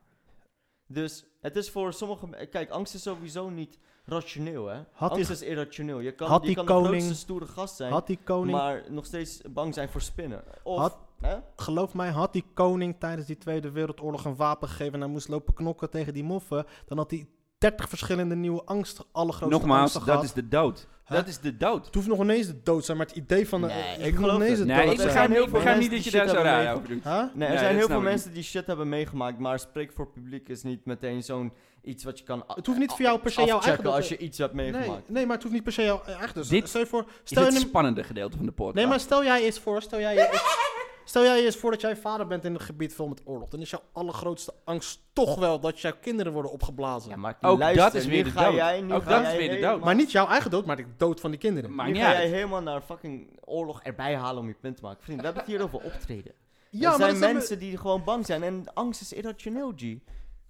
Speaker 3: Dus het is voor sommige... Kijk, angst is sowieso niet rationeel, hè.
Speaker 2: Had die-
Speaker 3: angst is irrationeel. Je kan,
Speaker 2: had
Speaker 3: je
Speaker 2: die
Speaker 3: kan de
Speaker 2: koning-
Speaker 3: grootste stoere gast zijn,
Speaker 2: Had die koning...
Speaker 3: maar nog steeds bang zijn voor spinnen. Of,
Speaker 2: Had-
Speaker 3: hè?
Speaker 2: geloof mij, had die koning tijdens die Tweede Wereldoorlog een wapen gegeven en hij moest lopen knokken tegen die moffen, dan had hij 30 verschillende nieuwe angsten, alle grote
Speaker 1: Nogmaals,
Speaker 2: angsten
Speaker 1: dat
Speaker 2: gehad.
Speaker 1: is de dood.
Speaker 2: Huh?
Speaker 1: Dat is de dood.
Speaker 2: Het hoeft nog ineens de dood te zijn, maar het idee van de...
Speaker 3: Nee,
Speaker 2: het
Speaker 3: ik
Speaker 2: hoeft nog
Speaker 3: geloof
Speaker 2: ineens
Speaker 3: het.
Speaker 2: de
Speaker 1: Nee,
Speaker 2: dood
Speaker 1: ik
Speaker 2: te zijn.
Speaker 1: begrijp,
Speaker 3: zijn
Speaker 1: niet,
Speaker 3: heel
Speaker 1: ik
Speaker 3: veel
Speaker 1: begrijp niet
Speaker 3: mensen
Speaker 1: dat je
Speaker 3: die
Speaker 1: daar
Speaker 3: shit
Speaker 1: zo
Speaker 3: hebben
Speaker 1: raar over doet.
Speaker 2: Huh?
Speaker 3: Nee, er
Speaker 1: Nee,
Speaker 3: zijn
Speaker 1: dat
Speaker 3: heel
Speaker 1: snap
Speaker 3: veel
Speaker 1: ik
Speaker 3: mensen die shit hebben meegemaakt, maar spreek voor publiek is niet meteen zo'n iets wat je kan. a-
Speaker 2: Het hoeft niet
Speaker 3: a-
Speaker 2: voor jou per se jouw
Speaker 3: afchecken
Speaker 2: eigen-
Speaker 3: als je iets hebt
Speaker 2: Nee,
Speaker 3: meegemaakt.
Speaker 2: nee, maar het hoeft niet per se jouw eigen... Dus
Speaker 1: Dit
Speaker 2: stel je voor...
Speaker 1: Is
Speaker 2: Stel
Speaker 1: het
Speaker 2: je een-
Speaker 1: spannende gedeelte van de podcast.
Speaker 2: nee, maar stel jij eens voor, stel jij je eens- Stel jij je eens voor dat jij vader bent in een gebied vol met oorlog. Dan is jouw allergrootste angst toch wel dat jouw kinderen worden opgeblazen.
Speaker 3: Oh. Ja, maar
Speaker 1: Ook
Speaker 3: luister,
Speaker 1: dat is weer
Speaker 3: nu
Speaker 1: de
Speaker 3: ga
Speaker 1: dood.
Speaker 3: Jij, nu
Speaker 1: Ook
Speaker 3: ga
Speaker 1: dat
Speaker 3: jij
Speaker 1: is weer de
Speaker 3: helemaal-
Speaker 1: dood.
Speaker 2: Maar niet jouw eigen dood, maar de dood van de kinderen.
Speaker 1: Maakt
Speaker 3: nu
Speaker 1: niet
Speaker 3: ga jij
Speaker 1: uit.
Speaker 3: helemaal naar fucking oorlog erbij halen om je punt te maken. Vriend, we hebben het hier over optreden.
Speaker 2: ja,
Speaker 3: er
Speaker 2: maar
Speaker 3: zijn
Speaker 2: dat zijn we-
Speaker 3: mensen die gewoon bang zijn en angst is irrationeel, G.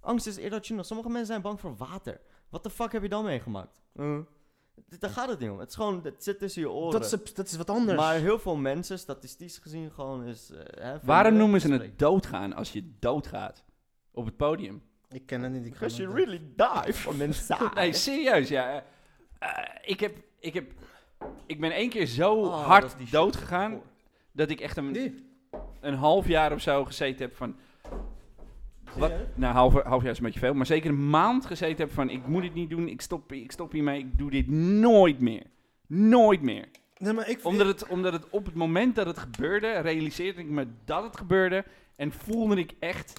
Speaker 3: Angst is irrationeel. Sommige mensen zijn bang voor water. Wat de fuck heb je dan meegemaakt? Huh? D- Daar gaat het niet om. Het, is gewoon, het zit tussen je oren.
Speaker 2: Dat is, dat is wat anders.
Speaker 3: Maar heel veel mensen, statistisch gezien, gewoon is. eh, hè,
Speaker 1: Waarom
Speaker 3: vermoeden
Speaker 1: noemen ze
Speaker 3: spreken.
Speaker 1: het doodgaan als je doodgaat? Op het podium.
Speaker 2: Ik ken het niet. Ik
Speaker 3: Because you really die from inside.
Speaker 1: Nee, serieus, ja. Eh, eh, ik heb... Ik heb... Ik ben één keer zo
Speaker 3: Oh, dat is die
Speaker 1: hard
Speaker 3: shit
Speaker 1: dood gegaan...
Speaker 3: daarvoor.
Speaker 1: dat ik echt een,
Speaker 2: Nee.
Speaker 1: een half jaar of zo gezeten heb van... Wat, nou, half, half jaar is een beetje veel. Maar zeker een maand gezeten heb van... ik moet dit niet doen, ik stop, ik stop hiermee... ik doe dit nooit meer. Nooit meer.
Speaker 2: Nee, maar ik
Speaker 1: Omdat het, omdat het op het moment dat het gebeurde, realiseerde ik me dat het gebeurde. En voelde ik echt,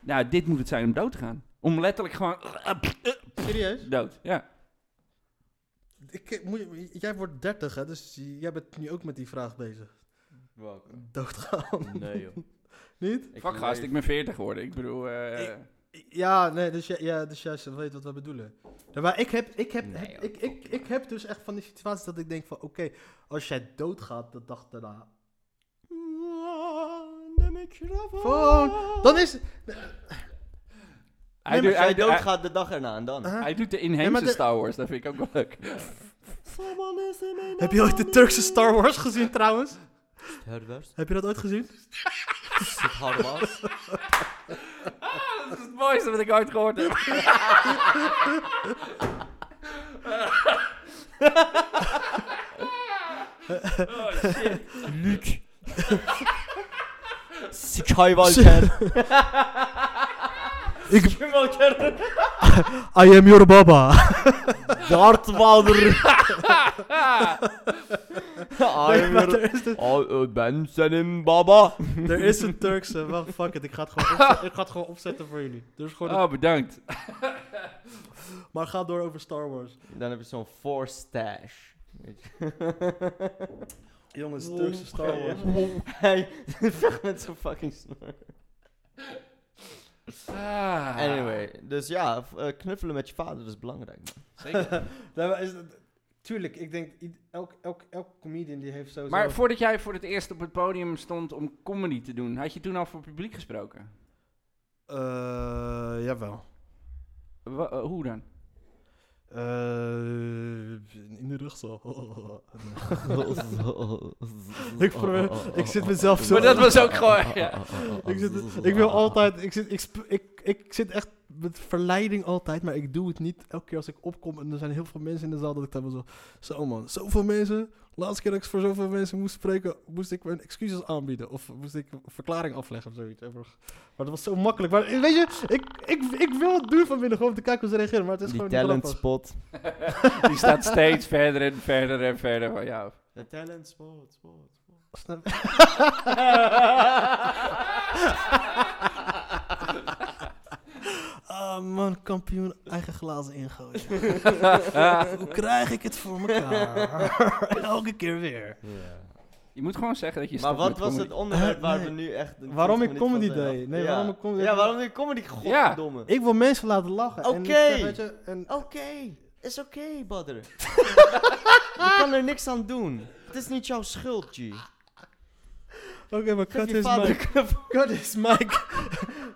Speaker 1: nou, dit moet het zijn om dood te gaan. Om letterlijk gewoon eh,
Speaker 2: Serieus?
Speaker 1: dood. Ja.
Speaker 2: Ik, moet, je- jij wordt 30, hè? Dus j- jij bent nu ook met die vraag bezig. Doodgaan.
Speaker 3: Nee, joh.
Speaker 2: Niet?
Speaker 3: Ik
Speaker 1: Fuck gast, ik ben 40 geworden. Ik bedoel, eh,
Speaker 2: Ik- Ja, nee, dus, jij- ja, dus jij weet wat we bedoelen. Ja, maar ik heb, ik, heb,
Speaker 3: Nee,
Speaker 2: heb-
Speaker 3: joh,
Speaker 2: ik, ik, ik heb dus echt van die situaties dat ik denk van... Oké, als jij doodgaat de dag daarna... Gewoon, dan is...
Speaker 1: hij, doet,
Speaker 3: Als
Speaker 1: hij,
Speaker 3: jij
Speaker 1: doet- hij,
Speaker 3: doodgaat de dag erna en dan.
Speaker 2: Huh?
Speaker 1: hij doet de
Speaker 2: Ja, maar
Speaker 1: inheemse
Speaker 2: de-
Speaker 1: Star Wars, dat vind ik ook wel leuk.
Speaker 2: Heb je ooit de Turkse Star Wars gezien trouwens?
Speaker 3: Herdwerst.
Speaker 2: Heb je dat ooit gezien?
Speaker 3: Zit harde was.
Speaker 1: Dat is het mooiste wat ik ooit gehoord heb. oh shit.
Speaker 3: Luc. Sikai Walter.
Speaker 2: Ik-
Speaker 3: Walter.
Speaker 2: I am your baba.
Speaker 3: Dartwalder.
Speaker 2: Nee, maar er is dus-
Speaker 3: Oh, ik ben Selim Baba.
Speaker 2: Er is een Turkse. Wacht, fuck it. Ik ga het gewoon, opzetten, ik ga het gewoon opzetten voor jullie. Dus gewoon
Speaker 1: Oh, bedankt.
Speaker 2: Maar ga door over Star Wars.
Speaker 3: Dan heb je zo'n force stash. Weet je.
Speaker 2: Jongens, Turkse Star Wars.
Speaker 3: Hij vecht met zo'n fucking snor.
Speaker 1: Ah.
Speaker 3: Anyway, dus ja, v- eh, knuffelen met je vader is belangrijk. man.
Speaker 1: Zeker.
Speaker 2: Nee, maar is dat- tuurlijk, ik denk, i- elk, elk, elk comedian die heeft sowieso...
Speaker 1: maar voordat jij voor het eerst op het podium stond om comedy te doen, had je toen al voor publiek gesproken?
Speaker 2: Eh, jawel.
Speaker 1: Wa- eh, hoe dan?
Speaker 2: Eh, in de rugzaal.
Speaker 3: Oh,
Speaker 2: ik, probeer, ik zit mezelf zo...
Speaker 1: Maar dat was ook gewoon. Ja.
Speaker 3: oh,
Speaker 2: ik, zit, ik wil altijd... Ik, zit, ik, sp- ik, ik zit echt met verleiding altijd, maar ik doe het niet. Elke keer als ik opkom en er zijn heel veel mensen in de zaal, dat ik dan wel zo... Zo Oh man, zoveel mensen. Laatste keer dat ik voor zoveel mensen moest spreken, moest ik mijn excuses aanbieden. Of moest ik een verklaring afleggen of zoiets. Maar dat was zo makkelijk. Maar eh, weet je, ik, ik, ik wil het doen van binnen gewoon om te kijken hoe ze reageren. Maar het is
Speaker 3: Die
Speaker 2: gewoon
Speaker 3: talent
Speaker 2: niet grappig.
Speaker 3: spot.
Speaker 1: Die staat steeds verder en verder en verder van jou.
Speaker 5: De talent spot, spot, spot.
Speaker 2: Snap- Ah, man, kampioen, eigen glazen ingooien. Hoe krijg ik het voor mekaar? Elke keer weer.
Speaker 1: Je moet gewoon zeggen dat je
Speaker 3: Maar
Speaker 1: stopt met
Speaker 3: wat was
Speaker 1: comedy.
Speaker 3: het onderwerp
Speaker 2: Eh,
Speaker 3: waar
Speaker 2: nee.
Speaker 3: we nu echt... een
Speaker 2: Waarom
Speaker 3: 20
Speaker 2: ik
Speaker 3: minuten
Speaker 2: comedy
Speaker 3: van zijn
Speaker 2: deed?
Speaker 3: af-
Speaker 2: Nee,
Speaker 3: Ja.
Speaker 2: waarom ik comedy-
Speaker 3: Ja, waarom ik comedy? Godverdomme.
Speaker 2: Ik wil mensen laten lachen. en ik
Speaker 3: Oké.
Speaker 2: zeg, weet je, en-
Speaker 3: Oké, is oké, brother. je kan er niks aan doen. Het is niet jouw schuld, G.
Speaker 2: Oké, maar
Speaker 3: Geef
Speaker 2: cut
Speaker 3: je
Speaker 2: his
Speaker 3: vader
Speaker 2: mic. Cut his mic.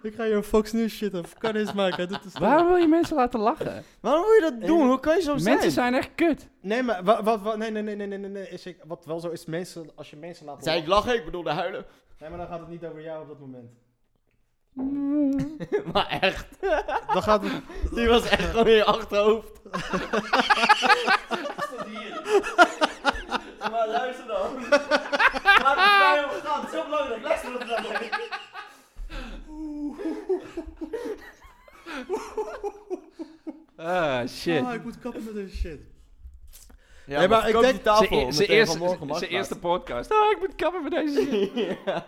Speaker 2: ik ga je Fox News shit af. Cut his mic. Hij doet de stem.
Speaker 1: Waarom wil je mensen laten lachen?
Speaker 3: Waarom wil je dat doen? Hoe kan je zo
Speaker 1: mensen
Speaker 3: zijn?
Speaker 1: zijn echt kut.
Speaker 2: Nee, maar wat, wat, wat, nee, nee, nee, nee, nee, nee, nee, is ik, wat wel zo is, mensen, als je mensen laat
Speaker 3: Zei ik
Speaker 2: lachen-
Speaker 3: lachen? Ik bedoelde huilen.
Speaker 2: Nee, maar dan gaat het niet over jou op dat moment.
Speaker 3: maar echt,
Speaker 2: Dan gaat het...
Speaker 3: die was echt gewoon in je achterhoofd.
Speaker 5: Maar luister dan. Laat het mij om gaan. Het is heel belangrijk. Luister wat dan.
Speaker 1: Ah, shit.
Speaker 2: Ah, ik moet kappen met deze shit.
Speaker 3: Ja,
Speaker 2: Nee, maar ik
Speaker 3: verkoop
Speaker 2: denk-
Speaker 3: die tafel. om
Speaker 1: Zijn
Speaker 3: meteen vanmorgen
Speaker 1: e- eerste,
Speaker 3: marktplaats.
Speaker 1: zijn eerste podcast. Ah, ik moet kappen met deze shit.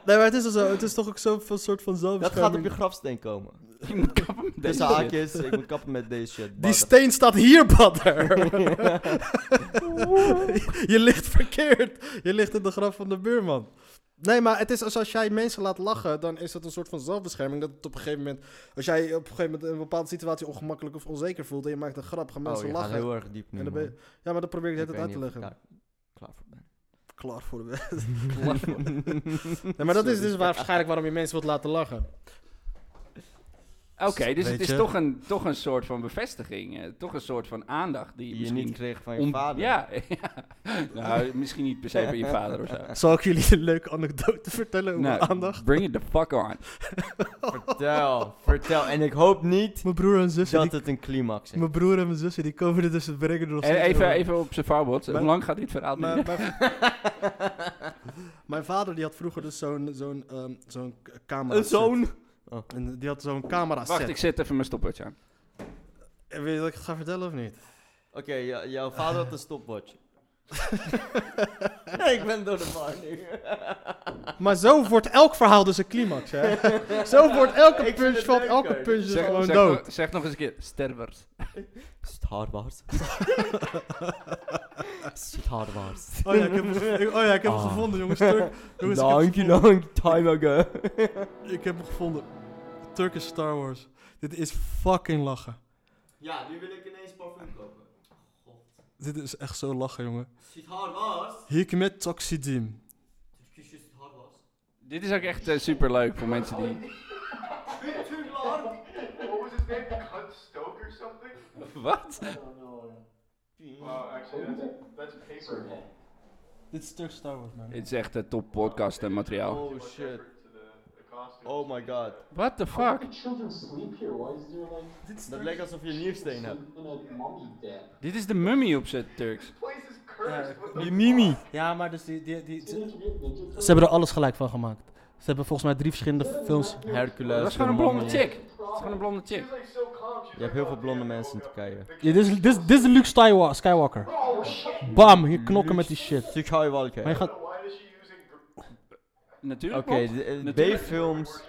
Speaker 2: Nee, maar het is al zo. Het is toch ook zo'n van- soort van
Speaker 3: Dat gaat op
Speaker 2: zelfbescherming.
Speaker 3: je grafsteen komen.
Speaker 1: Ik moet kappen met deze
Speaker 3: Tussen
Speaker 1: shit.
Speaker 3: haakjes, ik moet kappen met deze shit.
Speaker 2: Die
Speaker 3: brother.
Speaker 2: steen staat hier, badder. je ligt verkeerd. Je ligt in de graf van de buurman. Nee, maar het is als, als jij mensen laat lachen, dan is dat een soort van zelfbescherming. Dat het op een gegeven moment, als jij op een gegeven moment in een bepaalde situatie ongemakkelijk of onzeker voelt en je maakt een grap, gaan
Speaker 3: Oh,
Speaker 2: mensen
Speaker 3: je gaat
Speaker 2: lachen.
Speaker 3: heel erg diep nu,
Speaker 2: En dan ben
Speaker 3: man.
Speaker 2: je- ja, maar dat probeer ik
Speaker 3: Ik
Speaker 2: het
Speaker 3: weet
Speaker 2: uit
Speaker 3: niet
Speaker 2: te
Speaker 3: of ik
Speaker 2: leggen.
Speaker 3: daar Klaar voor ben.
Speaker 2: Klaar voor de wet. nee, maar dat is dus waar, waarschijnlijk waarom je mensen wilt laten lachen.
Speaker 1: Oké, dus het
Speaker 2: Weet
Speaker 1: is
Speaker 2: je?
Speaker 1: toch een, toch een soort van bevestiging. eh, toch een soort van aandacht die je
Speaker 3: Die je
Speaker 1: misschien...
Speaker 3: niet kreeg van je
Speaker 1: om-
Speaker 3: vader.
Speaker 1: Ja, ja. Nou, misschien niet per se van je vader of zo.
Speaker 2: Zal ik jullie een leuke anekdote vertellen Ah, over
Speaker 1: Nou,
Speaker 2: aandacht?
Speaker 1: bring it the fuck on.
Speaker 3: Vertel, vertel. En ik hoop niet
Speaker 2: Mijn broer en zus,
Speaker 3: dat het een climax is.
Speaker 2: Mijn broer en mijn zusje, die komen er dus het brengen door
Speaker 1: Eh, Even, even op zijn vouwbot. Hoe
Speaker 2: Maar-
Speaker 1: lang gaat dit verhaal
Speaker 2: Mijn,
Speaker 1: duren?
Speaker 2: mijn, mijn vader die had vroeger dus zo'n zo'n ehm, zo'n k- camera
Speaker 3: Een zoon.
Speaker 2: set. En die had zo'n camera
Speaker 1: Wacht,
Speaker 2: set.
Speaker 1: ik zet even mijn stopwatch aan.
Speaker 2: En Weet je dat ik het ga vertellen of niet?
Speaker 3: Oké, ja- jouw vader had een stopwatch. ik ben door de war nu.
Speaker 2: Maar zo wordt elk verhaal dus een climax, hè? zo wordt elke
Speaker 3: vind
Speaker 2: punch
Speaker 3: het
Speaker 2: van
Speaker 3: leuk,
Speaker 2: elke
Speaker 3: hoor.
Speaker 2: punch is
Speaker 1: Zeg,
Speaker 2: gewoon
Speaker 1: zeg
Speaker 2: dood.
Speaker 1: nog- zeg nog eens een keer. Stervers.
Speaker 3: Star Wars. Star Wars.
Speaker 2: Oh ja, ik heb, ik- oh ja, ik heb hem
Speaker 3: Ah.
Speaker 2: gevonden, jongens. Turk, jongens ik, heb,
Speaker 3: Long, long time ago.
Speaker 2: hem- ik heb hem gevonden. Turkish Star Wars. Dit is fucking lachen.
Speaker 3: ja, nu wil ik ineens parfum kopen.
Speaker 2: Dit is echt zo lachen, jongen.
Speaker 3: Star Wars.
Speaker 2: Hikmet Taksidim.
Speaker 3: Turkische Star Wars.
Speaker 1: Dit is ook echt eh, superleuk voor mensen die...
Speaker 8: What was his name? Cut Stoke or something?
Speaker 1: Wat?
Speaker 8: Wow, actually, that's, that's paper.
Speaker 2: Dit is Turkish Star Wars, man.
Speaker 1: Dit is echt eh, top podcast eh, materiaal.
Speaker 3: Oh shit.
Speaker 8: To the, the costume.
Speaker 3: Oh my god.
Speaker 1: What the fuck?
Speaker 9: children sleep here? Why is there like
Speaker 3: Dat lijkt alsof je een niersteen hebt.
Speaker 9: in a mummy dead?
Speaker 1: Dit is de mummy op zijn Turks.
Speaker 8: Place is cursed. What the
Speaker 3: Die Mimi.
Speaker 2: Ja, maar dus die, die, die,
Speaker 9: They get- they get
Speaker 2: Ze hebben er alles gelijk van gemaakt. Ze hebben volgens mij drie verschillende films.
Speaker 3: Hercules.
Speaker 1: Dat is gewoon een blonde chick. Dat is gewoon een blonde chick.
Speaker 8: She's like so calm. She's
Speaker 3: Je hebt
Speaker 8: like,
Speaker 3: heel
Speaker 8: oh,
Speaker 3: veel blonde
Speaker 8: damn, I
Speaker 3: mensen in
Speaker 8: woke up.
Speaker 3: Turkije.
Speaker 2: Ja, dit, is, dit, is, dit is de Luke Skywa- Skywalker. Bam, hier knokken met die shit.
Speaker 3: Stuk hou je wel oké.
Speaker 2: Maar je
Speaker 3: Oké,
Speaker 2: gaat...
Speaker 8: Why is she using gr-
Speaker 1: Natuurlijk Bob.
Speaker 3: de- eh,
Speaker 1: Natuurlijk.
Speaker 3: B-films.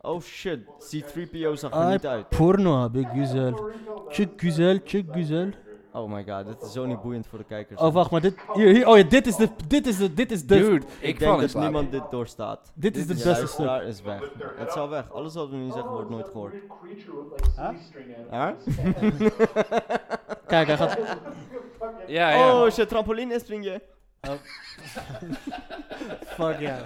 Speaker 3: Oh shit, C-3PO zag er
Speaker 2: Ay,
Speaker 3: niet uit.
Speaker 2: Ah, porno heb ik, güzel. Chick güzel, chick güzel.
Speaker 3: Oh my god, dit is zo niet boeiend voor de kijkers.
Speaker 2: Oh, wacht, maar dit... Hier, hier, oh ja, dit is de... Dit is de... Dit is de...
Speaker 1: Dude,
Speaker 3: Ik,
Speaker 1: ik
Speaker 3: denk
Speaker 1: val in
Speaker 3: dat
Speaker 1: slaap.
Speaker 3: niemand dit doorstaat.
Speaker 2: dit is de
Speaker 3: De
Speaker 2: beste stuk.
Speaker 3: luisteraar is weg. Het is al weg. Alles wat we nu zeggen wordt nooit gehoord. Huh?
Speaker 2: Kijk, hij gaat...
Speaker 1: Ja, ja.
Speaker 3: Oh shit, trampoline inspring je.
Speaker 2: Fuck ja.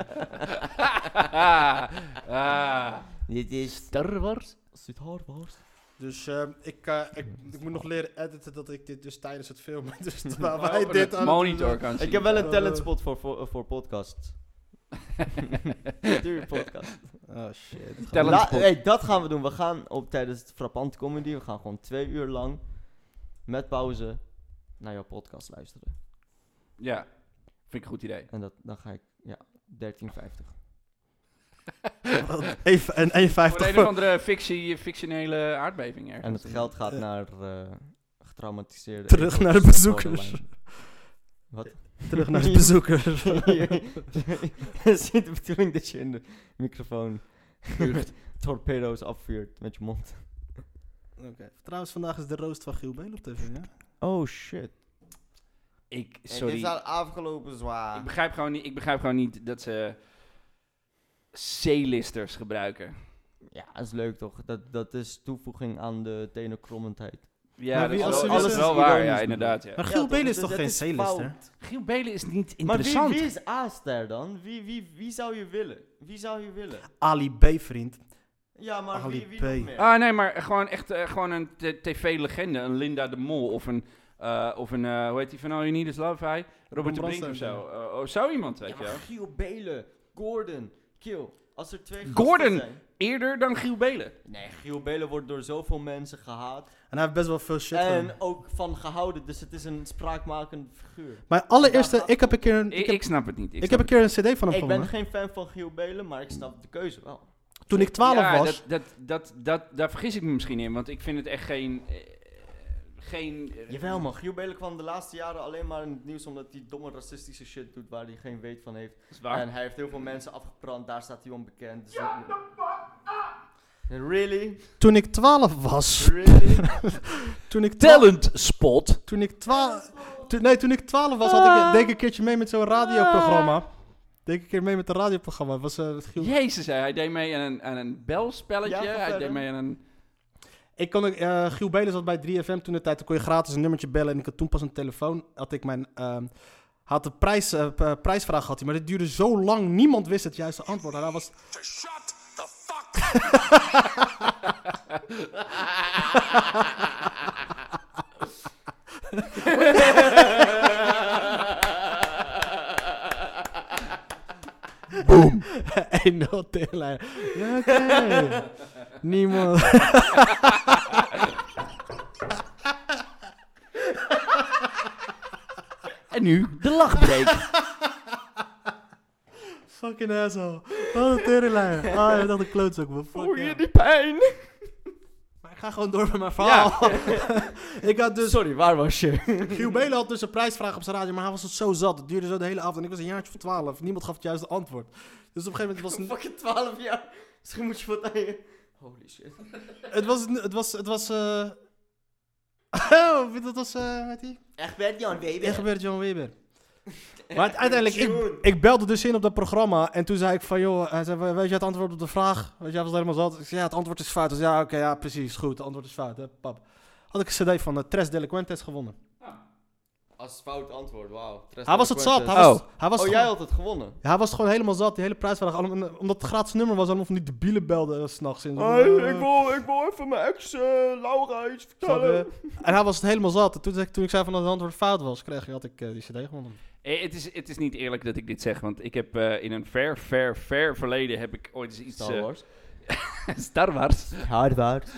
Speaker 1: Ah, ah.
Speaker 3: Dit is
Speaker 1: Star Wars?
Speaker 3: Star Wars.
Speaker 2: Dus eh, ik, eh, ik, ik moet nog leren editen dat ik dit dus tijdens het filmen... Dus terwijl
Speaker 1: Maar
Speaker 2: wij
Speaker 1: op een
Speaker 2: dit aan...
Speaker 1: monitor kan zien.
Speaker 3: Ik heb wel een
Speaker 2: Eh,
Speaker 3: talentspot voor, voor, voor podcasts. Duur podcast.
Speaker 2: Oh shit.
Speaker 3: La- eh.
Speaker 1: talentspot.
Speaker 3: hey, dat gaan we doen. We gaan op tijdens het Frappant Comedy, we gaan gewoon twee uur lang met pauze naar jouw podcast luisteren.
Speaker 1: Ja, vind ik een goed idee.
Speaker 3: En dat, dan ga ik, ja, 13,50.
Speaker 2: Even, en 1,50
Speaker 1: Voor een of andere fictie, fictionele aardbeving ergens.
Speaker 3: En het geld gaat
Speaker 2: Ja.
Speaker 3: naar eh getraumatiseerde...
Speaker 2: Terug naar de
Speaker 3: echo's
Speaker 2: bezoekers.
Speaker 3: borderline. Wat?
Speaker 2: terug naar de bezoekers.
Speaker 3: Het is niet de bedoeling dat je in de microfoon torpedo's afvuurt met je mond.
Speaker 2: Trouwens, vandaag is de roost van Giel Beel op tv, hè?
Speaker 3: Oh shit.
Speaker 1: Ik,
Speaker 5: Hey,
Speaker 1: sorry.
Speaker 5: dit staat afgelopen
Speaker 1: Ik
Speaker 5: zwaar.
Speaker 1: begrijp gewoon niet, ik begrijp gewoon niet dat ze C-listers gebruiken.
Speaker 3: Ja, dat is leuk toch? Dat, dat is toevoeging aan de tenenkrommendheid.
Speaker 1: Ja,
Speaker 2: Maar
Speaker 1: dat
Speaker 2: wie
Speaker 1: is
Speaker 2: als
Speaker 1: wel,
Speaker 2: ze
Speaker 1: alles
Speaker 2: wisten-
Speaker 1: wel waar, ja,
Speaker 3: ironisch
Speaker 1: inderdaad. Ja.
Speaker 2: Maar Giel
Speaker 5: toch,
Speaker 2: Belen is
Speaker 5: dat-
Speaker 2: toch
Speaker 5: dat
Speaker 2: geen
Speaker 5: is
Speaker 2: C-lister?
Speaker 5: fout.
Speaker 1: Giel Belen is niet
Speaker 5: Maar wie,
Speaker 1: interessant.
Speaker 5: wie is A-ster dan? Wie, wie, wie zou je willen? Wie zou je willen?
Speaker 2: Ali B, vriend.
Speaker 5: Ja, maar
Speaker 2: Ali
Speaker 5: wie, wie
Speaker 2: P.
Speaker 5: nog meer?
Speaker 1: Ah, nee, maar gewoon echt eh, gewoon een t- tv-legende. Een Linda de Mol of een, eh, of een eh, hoe heet die van All You Need Is Love, hij? Robert de Brink of zo. Eh, oh, zo iemand, weet
Speaker 3: Ja,
Speaker 1: je
Speaker 3: maar
Speaker 1: wel.
Speaker 3: Giel Belen, Gordon, Kill. Als er twee
Speaker 1: Gordon!
Speaker 3: gasten zijn.
Speaker 1: Eerder dan Giel Belen.
Speaker 3: Nee, Giel Belen wordt door zoveel mensen gehaat.
Speaker 2: En hij heeft best wel veel shit gedaan.
Speaker 3: En ook van gehouden, dus het is een spraakmakend figuur.
Speaker 2: Mijn allereerste,
Speaker 3: Ja,
Speaker 2: ik heb een keer een,
Speaker 1: Ik,
Speaker 2: ik heb,
Speaker 1: ik snap het niet.
Speaker 2: ik heb een keer een cd van hem
Speaker 3: Ik ben
Speaker 2: gewonnen.
Speaker 3: geen fan van Giel Belen, maar ik snap de keuze wel.
Speaker 2: Toen ik 12
Speaker 1: ja,
Speaker 2: was,
Speaker 1: Dat, dat, dat, dat, daar vergis ik me misschien in, want ik vind het echt geen... eh, geen eh,
Speaker 3: Jawel man, Giel Belen kwam de laatste jaren alleen maar in het nieuws omdat hij domme racistische shit doet waar hij geen weet van heeft.
Speaker 1: is waar.
Speaker 3: En hij heeft heel veel mensen afgebrand, daar staat hij onbekend. Dus dat- Really?
Speaker 2: toen ik 12 was,
Speaker 3: Really?
Speaker 2: toen ik 12
Speaker 4: Talent spot.
Speaker 2: Toen ik 12 toen- nee, toen ik 12 was, had ik, deed ik een keertje mee met zo'n radioprogramma. Deed ik een keer mee met een radioprogramma. Was, eh, het Giel-
Speaker 1: Jezus, hè, hij deed mee aan een, aan een belspelletje.
Speaker 3: Ja, ga
Speaker 1: hij
Speaker 3: verder.
Speaker 1: deed mee aan een...
Speaker 2: Ik kon, ook, eh Giel Belen zat bij 3FM toen de tijd. Toen kon je gratis een nummertje bellen. En ik had toen pas een telefoon. Had ik mijn... ehm, had de prijs, eh, p- eh, prijsvraag gehad hij. Maar dit duurde zo lang. Niemand wist het juiste antwoord. En hij was... Boom. 1-0 tegenlijn. Ja, oké. Niemand...
Speaker 1: En nu de lachbreek.
Speaker 2: Fucking asshole. Wat een teringleier. Ah, ja, dat een klootzak, man. Fuck
Speaker 1: Voel
Speaker 2: ja.
Speaker 1: je die pijn?
Speaker 2: Maar ik ga gewoon door met mijn verhaal. ik had dus...
Speaker 3: Sorry, waar was je?
Speaker 2: Giel Belen had dus een prijsvraag op zijn radio, maar hij was het zo zat. Het duurde zo de hele avond en ik was een jaartje van 12. Niemand gaf het juiste antwoord. Dus op een gegeven moment was
Speaker 3: Fucking 12 jaar. Misschien moet je wat aan je... Holy shit.
Speaker 2: het... Het was... Het was... Het was... eh, Oh, dat was... eh hoe heet die?
Speaker 3: Echt werd Jan Weber.
Speaker 2: Egbert John Weber. Maar het- uiteindelijk, ik, ik belde dus in op dat programma. En toen zei ik van, joh, hij zei, weet je het antwoord op de vraag? Weet je, hij was helemaal zat. Ik zei, ja, het antwoord is fout. Dus ja, oké, ja, precies, goed, het antwoord is fout, hè, pap. Had ik een cd van eh, Tres Delinquentes gewonnen.
Speaker 3: Als fout antwoord, wauw.
Speaker 2: Hij was het zat. Hij was, hij was
Speaker 3: Oh,
Speaker 2: gewoon,
Speaker 3: jij had het gewonnen.
Speaker 2: Ja, hij was gewoon helemaal zat. Die hele prijsvraag. allemaal- eh, Omdat het gratis nummer was, allemaal van die debielen belden eh, 's s'nachts. in.
Speaker 3: wil, ik wil even mijn ex eh, Laura iets
Speaker 2: Snap je? En hij was het helemaal zat. En toen, zei ik- toen ik zei van dat het antwoord fout was, kreeg, had ik eh, die cd gewonnen.
Speaker 1: Eh, het, is, het is niet eerlijk dat ik dit zeg, want ik heb eh, in een ver, ver, ver verleden heb ik ooit eens iets...
Speaker 3: Star
Speaker 1: eh,
Speaker 3: Wars.
Speaker 1: Star Wars.
Speaker 3: Hardwaard.